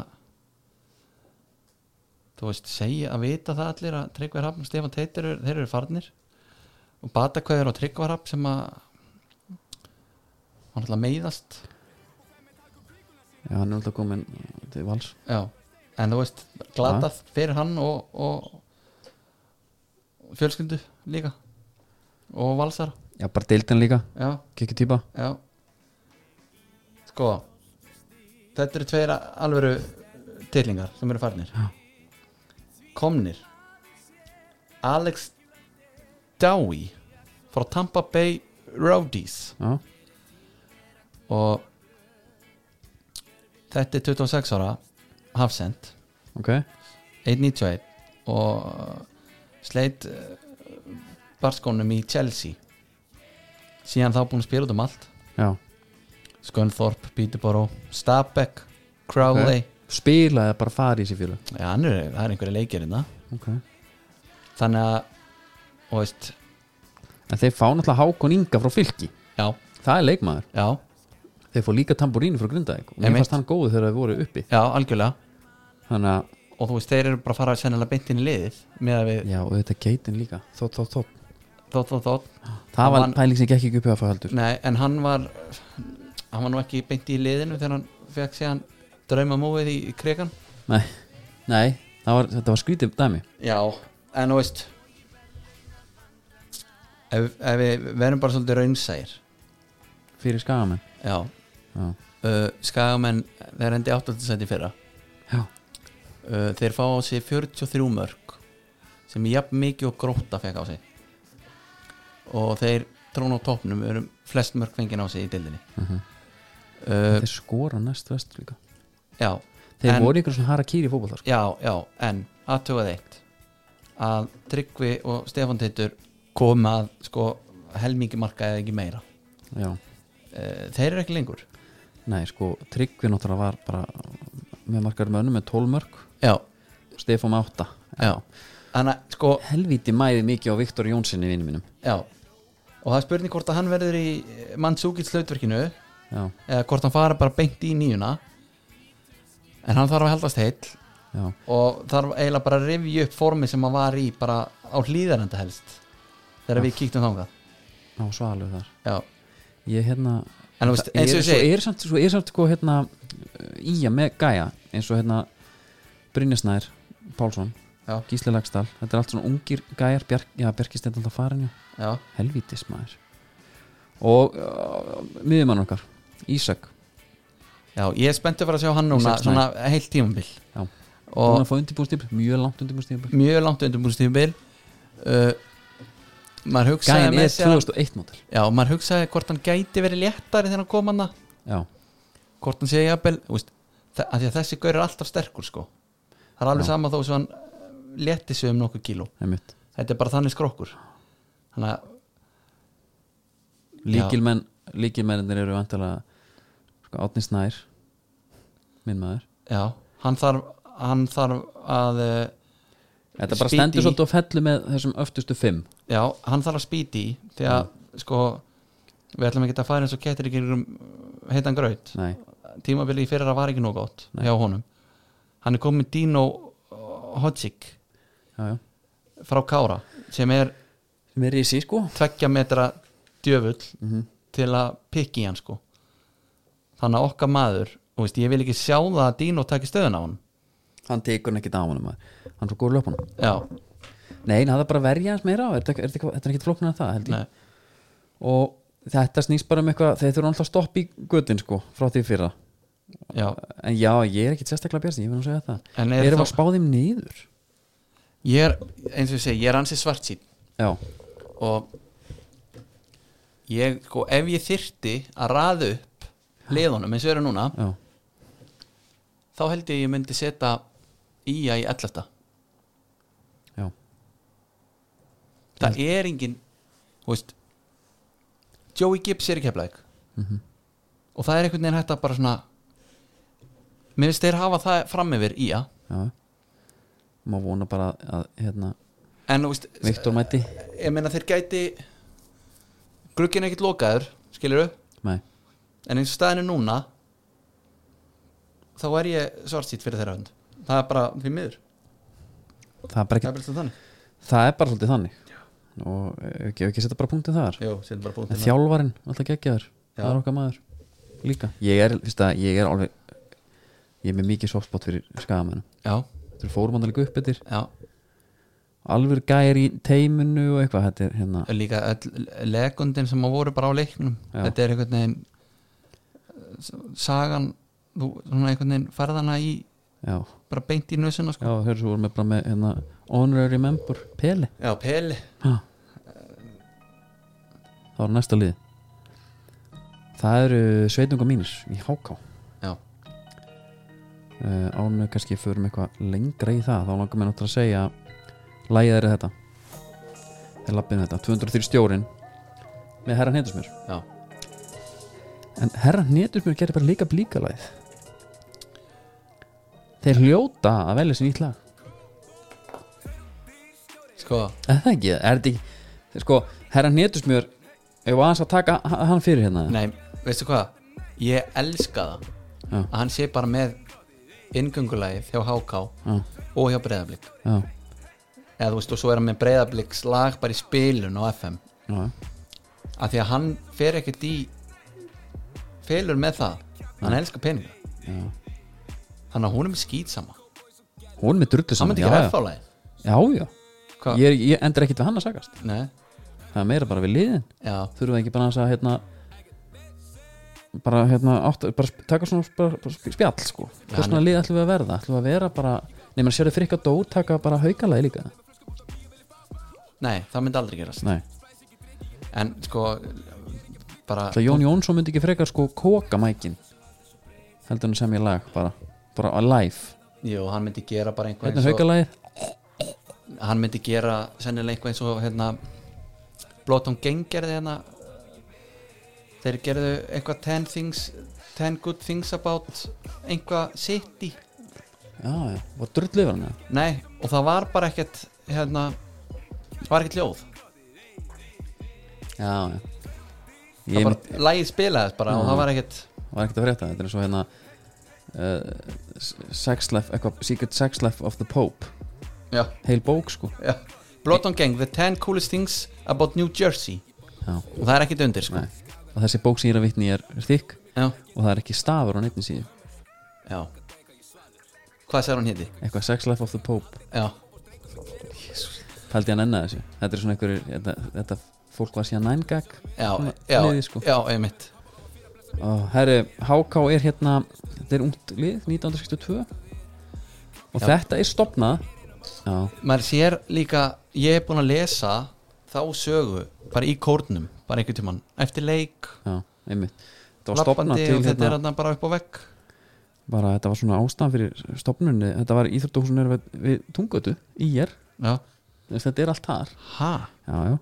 S2: þú veist, segja að vita það allir að Tryggvar Hafn og Stefán Teitir eru- þeir eru farnir og batakvæður og Tryggvar Hafn sem að hann ætla að meiðast
S1: já, hann er alltaf komin til vals
S2: Já, en þú veist glatað fyrir hann og, og fjölskyldu líka og valsara
S1: já, bara deildin líka,
S2: já,
S1: kikki típa
S2: já sko þetta eru tveir alvöru tillingar sem eru farnir já. komnir Alex Dowie frá Tampa Bay Rowdies
S1: já,
S2: og þetta er 26 ára hafsend
S1: ok,
S2: 1.91 og sleit uh, barskónum í Chelsea síðan þá búin að spila út um allt
S1: já
S2: Skönþorp, Peterborough, Stabæk Crowley
S1: spilaði að bara fara í sér fjölu
S2: Já, hann er, það er einhverja hérna. leikirina
S1: ok, en
S2: þannig að og veist,
S1: þeir fá náttúrulega Hákon Inga frá fylki
S2: já,
S1: það er leikmaður,
S2: já,
S1: þeir fá líka tambúrínu frá Grindavík og mér
S2: Einmitt.
S1: fannst hann góðu þegar þeir voru uppi
S2: já, algjörlega
S1: þannig að,
S2: og þú veist, þeir eru bara að fara sennilega beint inn í liðið með að við,
S1: já, og þetta geitin líka þótt, þótt, þótt
S2: þótt, þótt, þótt
S1: það var
S2: Hann-
S1: pæling sem gekk ekki upp hjá að fá heldur
S2: Nei, en hann var hann var nú ekki beint í liðinu þegar hann fekk síðan draumamóið í í krigan
S1: nei, nei það var, þetta var skrítið dæmi
S2: Já, en þú veist ef, ef við verðum bara svolítið raunsægir
S1: fyrir skagamenn
S2: Já
S1: já,
S2: uh, Skagamenn, þeir endi 8. sæti í fyrra
S1: já,
S2: uh, Þeir fá á sig 43 mörg sem er jafn mikið og gróta fekk á sig og þeir trón á toppnum eru flest mörg fengin á sig í dildinni uh
S1: þeir skora næst vest líka
S2: Já,
S1: þeir
S2: En-
S1: voru ykkur svona harakýri í fótbollar sko.
S2: já, já, en aðtugað eitt að Tryggvi og Stefán Teitur kom að sko helmingi marka eða ekki meira
S1: já,
S2: Eh, þeir eru ekki lengur
S1: nei, sko, Tryggvi náttúrulega var bara með margar mönnum með 12 mörg
S2: já,
S1: Stefán með 8
S2: já þannig að sko,
S1: helvíti mæði mikið á Viktor Jónssoni vinnu mínum
S2: já og það er spurning hvort að hann verður í mannsúkilt slautverkinu
S1: já,
S2: eða hvort hann fara bara beint í nýjuna en hann þarf að heldast heill
S1: já,
S2: og þarf eiginlega bara að rifja upp formi sem hann var í bara á hlýðarenda helst þegar við kíktum þangað
S1: á svalu þar
S2: já,
S1: ég hérna
S2: En þú veist,
S1: það-
S2: eins
S1: ég
S2: og ég
S1: svo
S2: segi-
S1: er samt, svo er samt sko, hérna, íja með gæja eins og hérna Brynjarsnær, Pálsson
S2: Já.
S1: Gísli Lagstall, þetta er allt svona ungir gæjar Bjark, já, Bjarkist er alltaf farin já.
S2: já,
S1: helvítis maður og uh, miðjumann okkar Ísak,
S2: já ég er spenntur fyrir að sjá hann núna
S1: Ísak Snær.
S2: svona heilt tímabil
S1: já
S2: og
S1: hún að fá undirbúrstýp, mjög langt undirbúrstýp
S2: mjög langt undirbúrstíðumbil uh, maður hugsaði
S1: gæjan
S2: með
S1: er
S2: sér að-
S1: 2001 mótil
S2: Já, maður hugsaði hvort hann gæti verið léttari þegar hann kom hann
S1: já,
S2: hvort hann sé jafnvel þú veist, þa- af því að þessi gaur er alltaf sterkur sko það er alveg
S1: Já.
S2: sama þó sem hann eh, létti sig um nokkuð kíló
S1: einmitt
S2: þetta er bara þannig skrokkur þannig að,
S1: líkilmenn, líkilmennir eru vantilega sko, Átni Snær minn maður
S2: já, hann þarf hann þarf að eh,
S1: Þetta bara
S2: Spýti í.
S1: stendur svolítið og fellur með þessum öftustu fimm
S2: já, hann þarf að spýti í því að
S1: Mm.
S2: sko við ætlum ekki að fara eins og kettir ekki heitan graut
S1: Nei,
S2: tímabili í fyrra var ekki nóg gott hjá honum hann er komin Dino Hodzik
S1: já, já
S2: frá Kára sem er
S1: Sem er risi, sko
S2: tveggja metra djöfull til að pikki hann sko þannig að okkar maður þú veist, ég vil ekki sjá það að Dino taki stöðun á hann
S1: hann tekur hann ekki dámanum hann er svo góður löpunum
S2: já,
S1: nei, hann er bara að verja hans meira er þetta, er þetta, þetta er ekki flóknar en það held ég
S2: nei,
S1: og þetta snýst bara um eitthvað þeir þurfa alltaf að stoppa í göttin sko frá því fyrra
S2: já
S1: en já, ég er ekkit sérstaklega björn ég verðum að segja það
S2: En
S1: er
S2: er
S1: erum
S2: þá-
S1: að spá þeim niður
S2: ég er, eins og ég segi, ég er ansi svart sín
S1: já,
S2: og ég, sko, ef ég þyrti að raða upp liðunum eins og eru núna,
S1: já,
S2: þá held ég ég myndi setja Ía í 11
S1: já
S2: það er engin þú veist Joey Gibbs er í keflæk og það er einhvern veginn hægt að bara svona mér finnst þeir hafa það fram yfir í að
S1: já má vona bara að hérna,
S2: en þú veist,
S1: Viktor mæti
S2: ég meina þeir gæti glugginn er ekkert lokaður skilur
S1: nei,
S2: en eins og staðinu núna þá er ég svartsýtt fyrir þeirra hund það er bara því miður
S1: það er bara
S2: það er
S1: ekki
S2: bara þannig
S1: það er bara svolítið þannig og eh, ekki, ekki setja bara punktið þar
S2: Jó, síðan bara búin
S1: en þjálfarinn, alltaf geggjaður það er okkar maður líka ég er, fyrst að ég er alveg ég er með mikið softspot fyrir skagamennum
S2: já,
S1: þetta er fórumandalega upp yfir
S2: já,
S1: alveg gæri í teiminu og eitthvað þetta er hérna
S2: líka öll legundin sem að voru bara á leiknum
S1: Já.
S2: þetta er einhvern veginn s- sagan þú, svona einhvern veginn ferðana í
S1: já,
S2: bara beint í nösuna
S1: já,
S2: sko.
S1: hörðu svo vorum við bara með hérna, honorary member, Pele
S2: já, Peli
S1: ha. það var næsta lið það eru sveitunga mínir í háká
S2: já,
S1: uh, ánu kannski förum eitthvað lengra í það þá langar mér náttúrulega að segja lægið er þetta þeir lappinu þetta, 203 stjórin með herran hnetusmjör
S2: já.
S1: en herran hnetusmjör gerir bara líka blíkalæð þeir hljóta að velja sér nýtt lag
S2: sko,
S1: Er það ekki, er þetta ekki sko, herra hnetusmjör ef aðeins að taka h- hann fyrir hérna
S2: nei, veistu hvað ég elska það
S1: Já.
S2: að hann sé bara með inngöngulægið hjá HK
S1: Já.
S2: og hjá Breiðablík
S1: já,
S2: eða þú veist, og svo er hann með Breiðablíks lag bara í spilun á FM
S1: já,
S2: af því að hann fer ekkert í felur með það hann elskar peninga
S1: Já.
S2: þannig að hún er með skýt sama
S1: hún er með drullu
S2: hann
S1: saman
S2: myndi
S1: já,
S2: ekki
S1: já,
S2: reffálaði
S1: já, já. Ég, er- ég endur ekkit við hann að sakast
S2: Nei,
S1: það er meira bara við liðin
S2: já,
S1: þurfum við ekki bara aðeins að hérna bara hérna átt, bara sp- taka svona bara, bara sp- spjall sko hvers svona lið ætlum við að verða, ætlum við að vera bara nema að sérðu frikka dó taka bara haukalagi líka
S2: nei, það myndi aldrei gerast
S1: nei,
S2: En sko bara,
S1: það Jón Jónsson myndi ekki frekar sko koka mækin heldur hann sem ég lag bara, bara live
S2: jú, hann myndi gera bara einhver
S1: hérna
S2: eins og
S1: haukalagið
S2: Hann myndi gera sennilega einhver eins og hérna Blótum Gang gerði hérna Þeir gerðu eitthvað 10 things 10 good things about einhvað city
S1: já, já, var drullu yfir hann eða?
S2: Nei, og það var bara ekkert hérna, það var ekkert ljóð
S1: já, já
S2: Það
S1: ég Mm.
S2: bara,
S1: mitt,
S2: lagið spilaðist bara og
S1: Já.
S2: það var ekkert
S1: var ekkert að frétta þetta er svo hérna uh, sex life, eitthvað, secret sex life of the pope
S2: Já,
S1: heil bók sko
S2: já Blótum Gang, the 10 coolest things about New Jersey
S1: já,
S2: og það er ekkert undir sko
S1: nei og þessi bók sem ég er að vitni í er þykk
S2: Já,
S1: og það er ekki stafur á neittni síðu
S2: já Hvað sagði hún héti?
S1: eitthvað sex life of the pope
S2: Já,
S1: pældi hann enna þessu þetta er svona einhverju, þetta, þetta fólk var síðan nængag
S2: já,
S1: Svona
S2: já,
S1: liðið, sko.
S2: já, einmitt
S1: og herri, HK er hérna þetta er ungt lið, 1962 og
S2: Já.
S1: þetta er stopnað já,
S2: Maður sér líka, ég er búin að lesa þá sögu, bara í kórnum bara einhvern tímann, eftir leik
S1: já, einmitt þetta var stopnað
S2: lappandi
S1: til
S2: og þetta
S1: hérna,
S2: er hérna bara upp á vegg
S1: bara, þetta var svona ástæðan fyrir stopnunni þetta var íþjóttuhúsunir við, við tungötu í er,
S2: Já,
S1: þetta er allt þar
S2: ha,
S1: já, já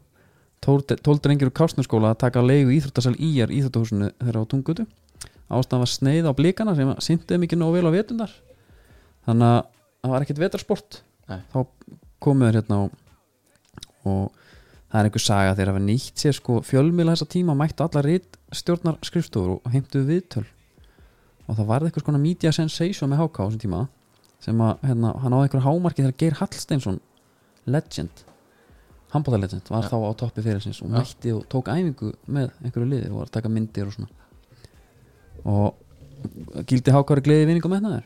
S1: tóldrengir úr Kásnarskóla að taka leigu íþróttasal í er íþróttahúsinu þeirra á Tungutu ástæðan var sneið á blíkana sem sýndi þeim ekki nóg vel á vetundar þannig að það var ekkert vetarsport
S2: Nei.
S1: þá komu þeir hérna og, og það er einhver saga þeir hafa nýtt sér sko fjölmila þessa tíma mættu alla rít stjórnar skrifstofur og heimtuðu viðtöl og það varði eitthvað skona media sensation með HK á þessum tíma sem að hérna, hann áði einhver hámarki þegar Geir Hallsteinsson legend handbóðarlegend var þá á toppi fyrirsins og mætti og tók æfingu með einhverju liði og var að taka myndir og svona og gildi hákári gleði vinningum með þær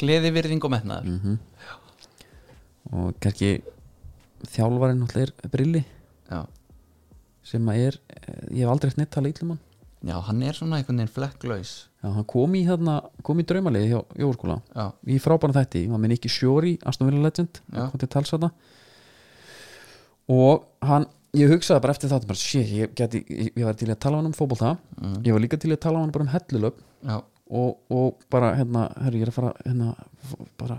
S2: Gleði, virðing og metnaður
S1: og kannski þjálfarinn náttúrulega er brilli
S2: já.
S1: sem að er, eh, ég hef aldrei eftir neitt tala ítlum hann
S2: já, hann er svona einhvern veginn flekklaus
S1: Já, hann kom í, þarna, kom í draumaliði hjá Jóskóla
S2: Já.
S1: í frábæna þætti, hann minn ekki Sjóri Aston Villa Legend,
S2: Já.
S1: hann kom til tals þarna og hann ég hugsaði bara eftir þáttum bara, shit, ég, geti, ég, ég var til í að tala hann um fótbolta
S2: Mhm.
S1: ég var líka til í að tala hann bara um hellulöp
S2: Já,
S1: og, og bara hérna, herri, ég er að fara hérna, f- bara,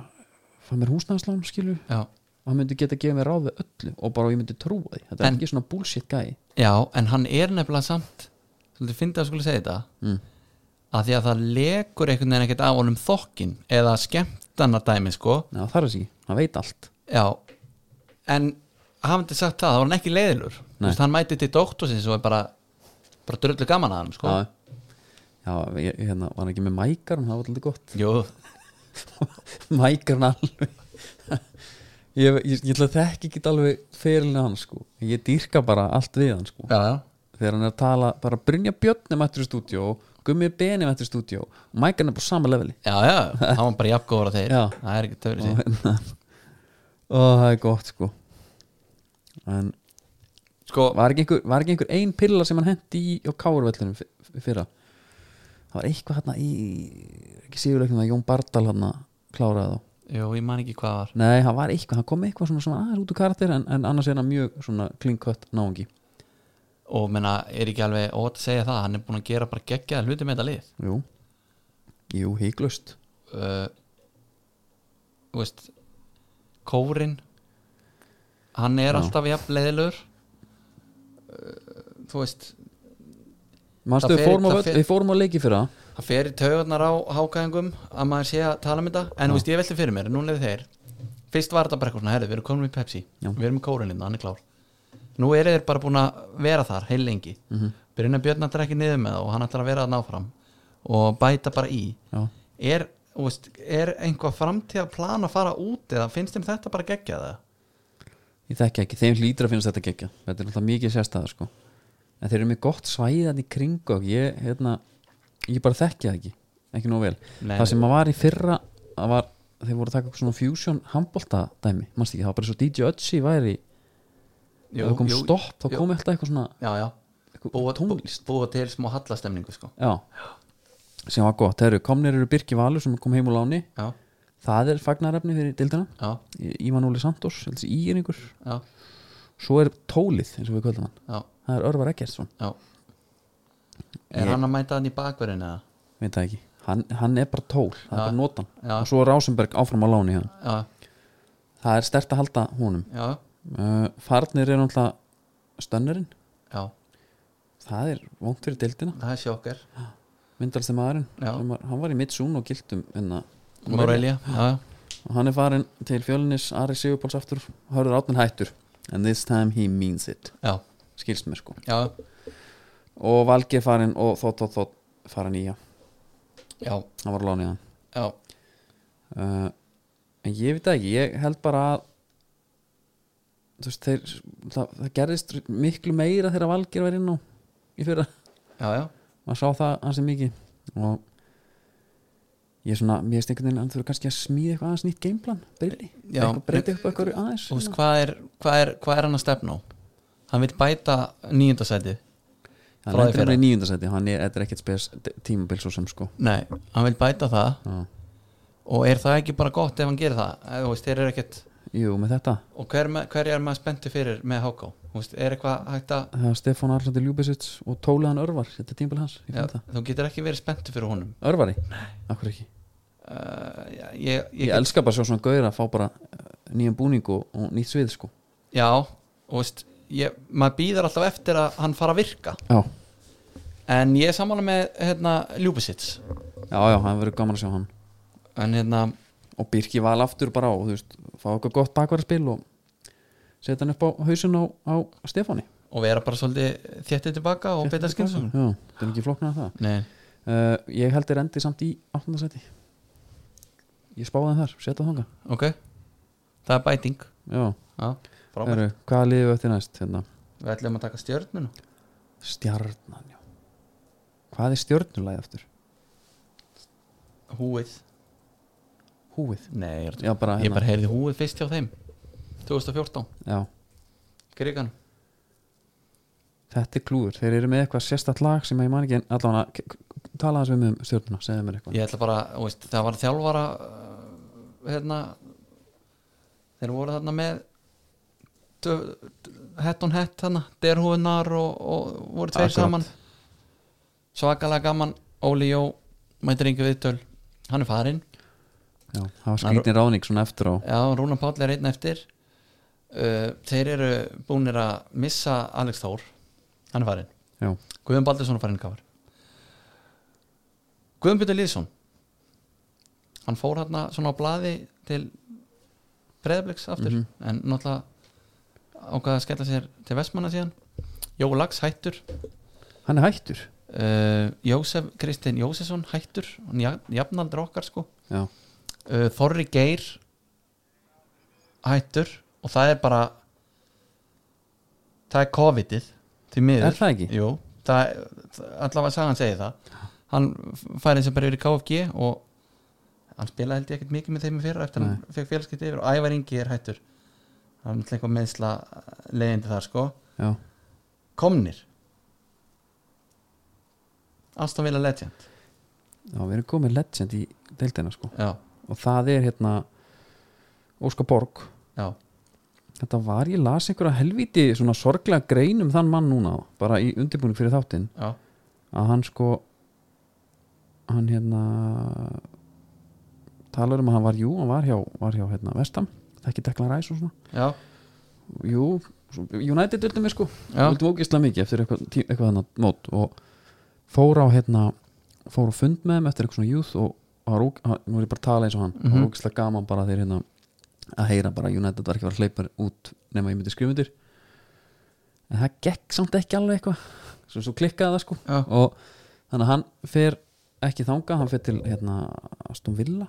S1: fara mér húsnæðslán skilur,
S2: já,
S1: hann myndi geta að gefa mér ráð við öllu og bara ég myndi trúa því þetta er
S2: En-
S1: ekki svona bullshit gæi
S2: já en hann er nefnilega samt Svolítið fyndið að skuli segja þetta mm. að Því að það lekur einhvern veginn ekkert af honum þokkin Eða skemmtanardæmi, sko
S1: Já, það er þess ekki, hann veit allt
S2: Já, en hafandi sagt það, þá var hann ekki leiðilur
S1: Nei.
S2: Vist, Hann mæti til doktorsins og er bara bara drullu gaman að hann, sko
S1: Já, já ég, ég- hérna, var hann ekki með mækarn það var alltaf gott
S2: Jú,
S1: mækarn alveg ég, ég, ég ætla að þekki ekki alveg ferilinu hann sko ég dýrka bara allt við hann sko
S2: já, já
S1: þegar hann er að tala, bara Brynja Björn er mættur í stúdíó og Gummi Beni er mættur í stúdíó og mækarn er bara á sama leveli
S2: Já, já, hann var bara jafngóður að þeir
S1: Já.
S2: Það er ekki töfri
S1: og
S2: sér
S1: hérna og það er gott sko en
S2: Sko,
S1: var ekki einhver, var ekki einhver ein pilla sem hann hendi í á Káruvellunum fyrra það var eitthvað hérna í ekki síðuleiknum að Jón Bardal hérna kláraði þá
S2: jú, ég man ekki hvað var
S1: Nei, hann var eitthvað, hann kom með eitthvað svona, svona aðeins út úr karakter en, en annars er hann mjög svona klinkött náungi
S2: Og menna, er ekki alveg ótt að segja það Hann er búin að gera bara geggjaða hluti með þetta lið
S1: Jú, Jú híklust
S2: uh, Þú veist Kórin Hann er alltaf jafn leiðilur uh, Þú veist,
S1: Manstu,
S2: Það
S1: við
S2: fer-
S1: fórum,
S2: það
S1: fer...
S2: fer-
S1: við fórum á leiki fyrir það
S2: það fer í taugarnar á hákæðingum að maður sé að tala um þetta en þú veist, ég velti fyrir mér, núna er þeir fyrst var þetta bara eitthvað svona, herðu, við erum komin í Pepsi
S1: Já.
S2: við erum í kórinina, hann er klár nú eru þeir bara búin að vera þar heil lengi mm
S1: Mhm.
S2: -hmm. byrjun að Björn að drekja niður með það og hann ætlar að vera að ná fram og bæta bara í
S1: Já.
S2: er, þú veist, er einhvað framtíða plan að fara út eða finnst þeim þetta bara geggja það
S1: Ég þekki ekki, þeim hlýtur að finnst þetta gekkja Þetta er alltaf mikið sérstæða sko En þeir eru með gott svæðan í kring og ég, hérna, ég bara þekki það ekki ekki nóg vel
S2: Nei.
S1: Það sem að var í fyrra að var, þeir voru að taka eitthvað svona fusion handbolta dæmi, manstu ekki, það var bara svo DJ Ötzi væri, ef það kom stopp þá
S2: jú.
S1: kom alltaf eitthvað svona
S2: já, já,
S1: eitthvað
S2: búa, búa,
S1: tónlist
S2: búa til smá hallastemningu sko.
S1: Já, sem var gott Þeir eru komnir eru Birki Valur sem kom heim úr láni
S2: já,
S1: Það er fagnarefni fyrir dildina
S2: já,
S1: Ívan Óli Santos, þessi íringur
S2: já,
S1: Svo er tólið eins og við kvöldum hann
S2: já
S1: Það er Örvar Ekkertsson,
S2: Já Er hann að mæta hann í bakverðin eða?
S1: veit það ekki Hann, hann er bara tól, það er bara notan
S2: Já.
S1: Og svo er Rásenberg áfram á láni hann
S2: Já,
S1: Það er stert að halda honum
S2: já,
S1: uh, Farnir er náttúrulega stönnurinn
S2: já
S1: Það er vont fyrir dildina
S2: Það er sjokkar
S1: Myndalsti maðurinn,
S2: Já.
S1: Sem var- hann var í Mitsún og gildum hérna
S2: Morelia Já, já
S1: og hann er farin til fjölinis Ari Sigurpáls aftur, hörður átnir hættur and this time he means it
S2: Já,
S1: skilst mér sko
S2: já,
S1: og Valgi er farin og þótt þótt þótt farin í að,
S2: já,
S1: hann var að lána í hann
S2: já.
S1: uh, en ég veit það ekki, ég held bara að þú veist þeir það, það gerðist miklu meira þegar Valgir var inn á í fyrra,
S2: Já, já,
S1: maður sá það hansi mikið og ég er svona, mér veist einhvern veginn að þú eru kannski að smíða eitthvað aðeins nýtt gameplan, byrli
S2: Já.
S1: eitthvað breyta upp eitthvað aðeins
S2: Þú veist, hvað er, hvað er, hvað er hann að stefna á? Hann vil bæta nýjöndasætið
S1: hann
S2: frá því
S1: lendir
S2: fyrra.
S1: hann í nýjöndasæti hann er, þetta er ekkert spes tímabil svo sem sko
S2: Nei, hann vil bæta það
S1: Já.
S2: Og er það ekki bara gott ef hann gerir það? Eh, Þú veist, þeir eru ekkert
S1: jú, með þetta,
S2: Og hver, með- hverja er maður spenntu fyrir með Háká? Þú veist, er eitthvað hægt að
S1: það er Stefán Arlandi Ljúbisits og tóliðan Örvar, þetta er tímabil hans ég
S2: já,
S1: finn það,
S2: Þú getur ekki verið spenntu fyrir honum
S1: Örvari, akkur ekki ég,
S2: uh, já, Ég, ég, get-
S1: elska bara að sjá svona gauðir að fá bara uh, nýjan búning og, og nýtt svið sko
S2: Já, og veist ég, maður býðar alltaf eftir að hann fara að virka
S1: já,
S2: en ég er samanlega með hérna, Ljúbisits
S1: já, já, það verður gaman að sjá hann
S2: en hérna,
S1: og Birki val aftur bara á, þú veist fá eitthvað gott bakvaraspil og setja hann upp á hausin á, á Stefáni
S2: og vera bara svolítið þéttið tilbaka og beita skynsum
S1: já, það er ekki flóknað það
S2: Nei,
S1: uh, ég held þér endi samt í 18. seti ég spáði þeim þar, setja þanga
S2: ok það er bæting
S1: já,
S2: já, frábært.
S1: Heru, hvað liðum við eftir næst hérna?
S2: við ætlum að taka stjörnuna
S1: stjarnan, já hvað er stjörnulæði aftur?
S2: húið
S1: húið
S2: Nei, ég,
S1: Já, bara
S2: ég
S1: hérna.
S2: bara heyrði húið fyrst hjá þeim 2014,
S1: Já,
S2: Gríkan
S1: þetta er klúður Þeir eru með eitthvað sérstætt lag sem ég man ekki en allan að tala þess við um stjórnuna, segðu mér eitthvað
S2: Ég ætla bara, þú veist, það var þjálfara uh, hérna þeir voru þarna með dö- dö- hett on hett þarna derhúðunar og, og voru tveir
S1: Akkurat.
S2: saman svakalega gaman Óli Jó mætir yngi viðtöl, hann er farinn
S1: Já, það var skrítin ráðning svona eftir á
S2: Já, Rúna Páll er einn eftir uh, Þeir eru búnir að missa Alex Þór Hann er farinn
S1: Já,
S2: Guðjón Baldursson er farinn kafar Guðjón Björn Lýðsson Hann fór hérna svona á blaði til Breiðabliks aftur En náttúrulega ákvaða að skella sér til Vestmanna síðan Jó Lax hættur
S1: hann er hættur
S2: uh, Jósef Kristinn Jósesson hættur Hann ja- jafnaldra okkar sko
S1: Já,
S2: uh, Þorri Geir hættur og það er bara það er COVID-ið því miður
S1: Er það ekki?
S2: Jú, það, það- allavega sagan segir það hann færið sem bara yfir í KFG og hann spilaði held ég ekkert mikið með þeim í fyrra eftir
S1: Nei.
S2: hann fekk félskipti yfir og Ævar Ingi er hættur það er náttúrulega eitthvað meðsla leiðindi þar sko
S1: já,
S2: komnir Aston Villa Legend
S1: já, við erum komið legend í deildina sko
S2: já,
S1: og það er hérna Óskar Borg
S2: já,
S1: Þetta var, ég las einhverja helviti svona sorglega grein um þann mann núna bara í undirbúning fyrir þáttinn
S2: já
S1: að hann sko hann hérna talar um að hann var, jú, hann var hjá, var hjá hérna, Vestam, þekki Deklan Ræs og svona
S2: já,
S1: jú, svo- United vildum við sko
S2: Já.
S1: vildum ógislega mikið eftir eitthvað, tí- eitthvað hann mót og fór á hérna fór á fund með þeim eftir eitthvað svona youth og var, óg- hann- nú er ég bara að tala eins og hann mm
S2: Mhm.
S1: var ógislega gaman bara þeir hérna að heyra bara að United var ekki að fara að hleypa út nema ég myndi skrifundir en það gekk samt ekki alveg eitthvað svo, svo klikkaði það sko
S2: Já.
S1: og þannig að hann fer ekki þangað, hann fer til hérna Aston Villa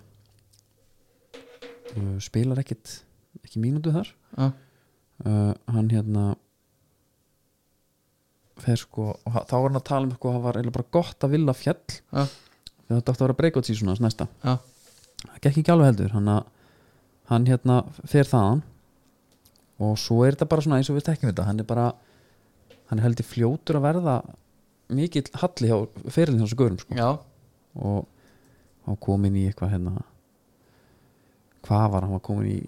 S1: Uh, spilar ekkit ekki mínútu þar
S2: já,
S1: uh, hann hérna fer sko og ha- þá var hann að tala um sko hann var eiginlega bara gott að vilja fjall
S2: já,
S1: þegar þetta átti að vera breakout season hans næsta
S2: já.
S1: það gekk ekki alveg heldur hann, að, hann hérna fer þaðan og svo er þetta bara svona eins og við tekjum þetta hann er bara hann er heldur fljótur að verða mikill halli hjá fyrirlin þessu gurum sko
S2: Já,
S1: og hann kom inn í eitthvað hérna hvað var hann var komin í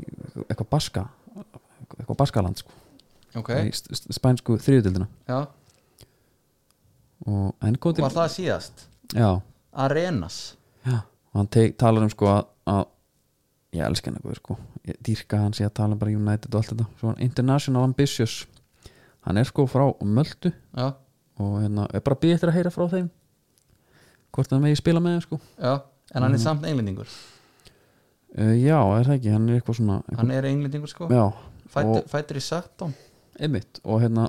S1: eitthvað baska eitthvað baskaland sko
S2: ok
S1: í st- st- spænsku þriðutildina
S2: já.
S1: og hann kom til
S2: Var það síðast?
S1: já,
S2: Arenas
S1: já, og hann te- talar um sko að, að ég elska hann eitthvað sko ég dýrka hann sé að tala um bara United og allt þetta svo hann international ambitious hann er sko frá Möldu
S2: Já,
S1: og hérna er bara býð eftir að heyra frá þeim hvort hann megi spila með þeim sko
S2: já Mhm. En hann er samt englendingur
S1: uh, já, er það ekki, hann er eitthvað svona eitthvað,
S2: Hann er englendingur sko
S1: já,
S2: Fættur,
S1: og
S2: fættur í Saturn
S1: einmitt og hérna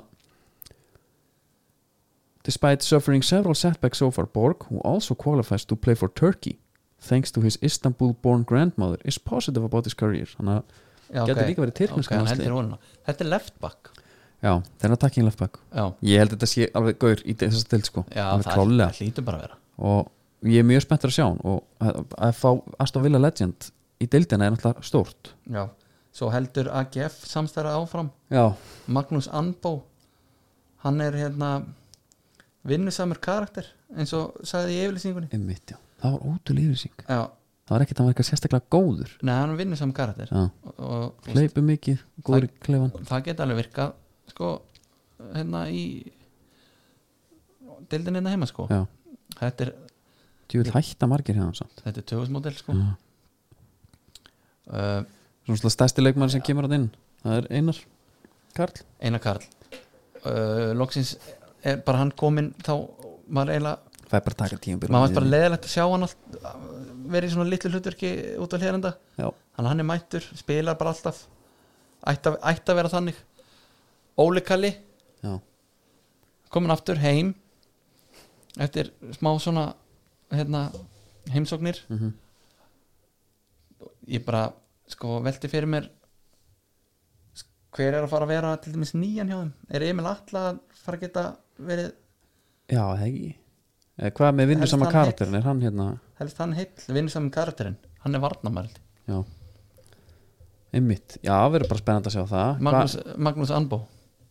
S1: Despite suffering several setbacks so far, Borg, who also qualifies to play for Turkey, thanks to his Istanbul-born grandmother, is positive about his career. Þannig að,
S2: já,
S1: Gæti líka verið tyrkneska
S2: okay, hann
S1: landsliðið.
S2: heldur honum. Þetta er left back
S1: já, þeirra takkinn left back.
S2: Já,
S1: Ég held að þetta sé alveg gaur í þess að stild, sko.
S2: já
S1: Alveg
S2: það
S1: klárlega.
S2: það hlýtur bara að vera
S1: Og ég er mjög spenntur að sjá hann og að, að fá Aston Villa Legend í deildina er náttúrulega stórt.
S2: Já, svo heldur AGF samstæra áfram
S1: Já,
S2: Magnús Anbó Hann er hérna vinnusamur karakter eins og sagði í yfirlýsingunni
S1: einmitt, já. Það var ótrúlega yfirsýng.
S2: Já,
S1: Það var ekkert að hann var eitthvað sérstaklega góður.
S2: neða hann er vinnusamur karakter
S1: Já,
S2: og, og
S1: hleypu mikið, góður í klefan.
S2: það geta alveg virkað sko, hérna í deildin hérna heima sko
S1: Já,
S2: þetta er,
S1: þú vil hætta margir hérna samt.
S2: þetta er töfusmodell sko
S1: Já.
S2: uh,
S1: Svona stærsti leikmann sem kemur að inn Það er Einar Karl
S2: Einar Karl uh, loksins er bara hann kominn þá var eiginlega,
S1: Það er bara að taka tíum
S2: maður var bara leðilegt að sjá hann allt, verið í svona litlu hlutverki út á hléranda,
S1: Já,
S2: þannig að hann er mættur spilar bara alltaf ætti að, ætti að vera þannig Óli Kalli
S1: já,
S2: komin aftur heim eftir smá svona hérna, heimsóknir ég bara sko velti fyrir mér s- hver er að fara að vera til dæmis nýjan hjá þeim er Emil Atla að fara að geta verið
S1: já, það ekki Eh, Hvað með vinnur sama
S2: Helst hann
S1: karakterin er hann hérna
S2: helst hann heill, vinnur saman karakterinn hann er varnamæld
S1: Já Einmitt, já, verður bara spennandi að sjá það
S2: Magnús,
S1: Hva,
S2: Magnús Anbó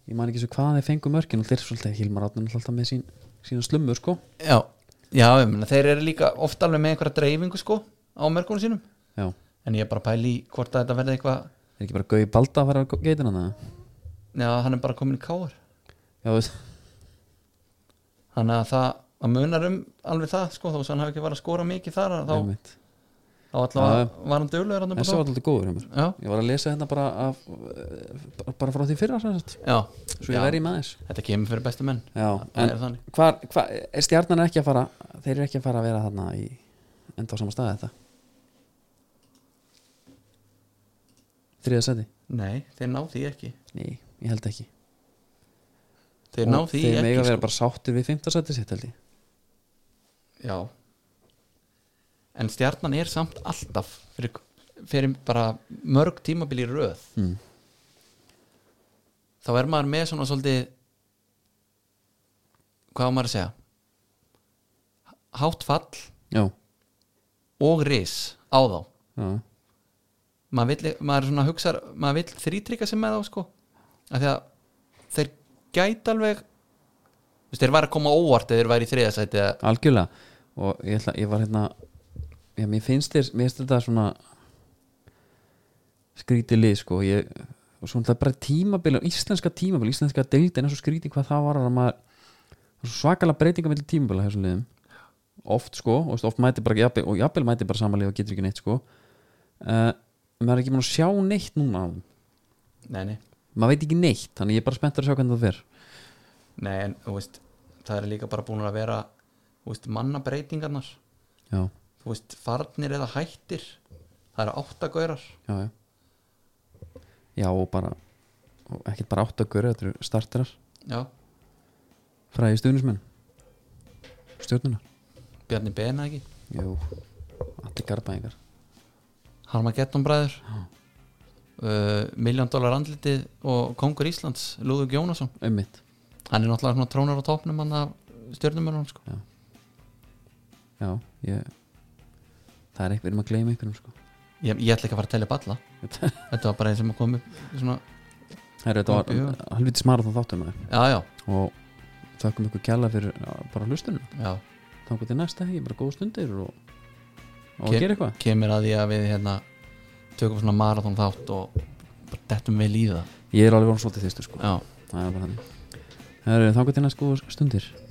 S1: Ég man ekki svo hvað þeir fengu mörkin og þeir svolítið Hilmar Átnum alltaf með sín, sína slumur sko
S2: já, já ég meina, þeir eru líka ofta alveg með einhverja dreifingu sko á mörgunum sínum
S1: Já, er
S2: en ég er bara að pæla í hvort að þetta verði eitthvað
S1: ekki bara Gauði Balda að fara á geitina það
S2: já, hann er bara komin í káar
S1: Já, veist,
S2: þannig að það að munar um alveg það sko, þó sem hann hafi ekki var að skora mikið þar að þá,
S1: einmitt
S2: þá allavega var hann döglegur hann
S1: Þessi var alltaf góður hjá mér
S2: já,
S1: Ég var að lesa hérna bara, af, eh, bara frá því fyrra sem sagt.
S2: já,
S1: Svo ég
S2: já.
S1: verði með þess
S2: þetta kemur fyrir bestu menn
S1: Já,
S2: það er þannig
S1: hvar, hvar, er stjarnan ekki að fara þeir eru ekki að fara að vera þarna í enda á sama staði þetta þriða seti
S2: nei, þeir ná því ekki
S1: nei, ég held ekki
S2: þeir ná
S1: Og
S2: því
S1: þeir mega
S2: ekki sko.
S1: vera bara sáttir við fymta seti sitt held ég
S2: já en stjarnan er samt alltaf fyrir, fyrir bara mörg tímabil í röð
S1: mm.
S2: þá er maður með svona svolítið hvað á maður að segja hátt fall
S1: já,
S2: og ris á þá
S1: já,
S2: maður, vill, maður svona hugsar maður vill þrítrykka sem með þá sko af því að þeir gæti alveg þú veist, þeir var að koma á óvart eða þeir væri í þriðasæti eða,
S1: algjörlega og ég, ætla, ég var hérna já, mér finnst þér, mér finnst þetta svona skrítið lið sko ég, og svona það bara tímabil íslenska tímabil, íslenska deildin er svo skrítið hvað það var að maður það er svo svakalega breytinga mellir tímabila þessum liðum oft sko, og veist, oft mæti bara jafnvel, og jafnvel mæti bara samanlega og getur ekki neitt sko uh, maður er ekki mann að sjá neitt núna á þeim.
S2: nei, nei,
S1: maður veit ekki neitt, þannig ég er bara spenntur að sjá hvernig það fer
S2: nei en, þú veist, það er líka bara búin að vera þú veist, mannabreitingarnar
S1: já,
S2: þú veist, farnir eða hættir það eru áttagaurar
S1: já, já já og bara og ekkert bara átt að gera, þetta eru startarar
S2: já,
S1: fræði stuðnismenn stjórnuna
S2: Bjarni Bena ekki
S1: jú, allir garbaðingar
S2: Harmageddon bræður uh, Miljón dólar andlitið og Kongur Íslands, Lúður Gjónasson
S1: einmitt,
S2: hann er náttúrulega svona trónar á topnum hann af stjörnumörnum sko.
S1: já, ég það er eitthvað, við erum að gleyma einhverjum sko
S2: ég, ég ætla ekki að fara að telja upp alla þetta var bara einn sem að koma upp svona,
S1: Herru, þetta var
S2: Já.
S1: halvviti smarathon þáttum maður
S2: já, já,
S1: og þakkum ykkur kjalla fyrir já, bara hlustunum
S2: já
S1: þá hvað til næsta hegi, bara góða stundir og, og
S2: Kem-
S1: gera eitthvað
S2: kemur að því að við hérna tökum svona marathon þátt og bara dettum vel í það
S1: ég er alveg orðinn svolítið þýstur sko
S2: já,
S1: það er bara þannig Herru, þá hvað til næsta góða stundir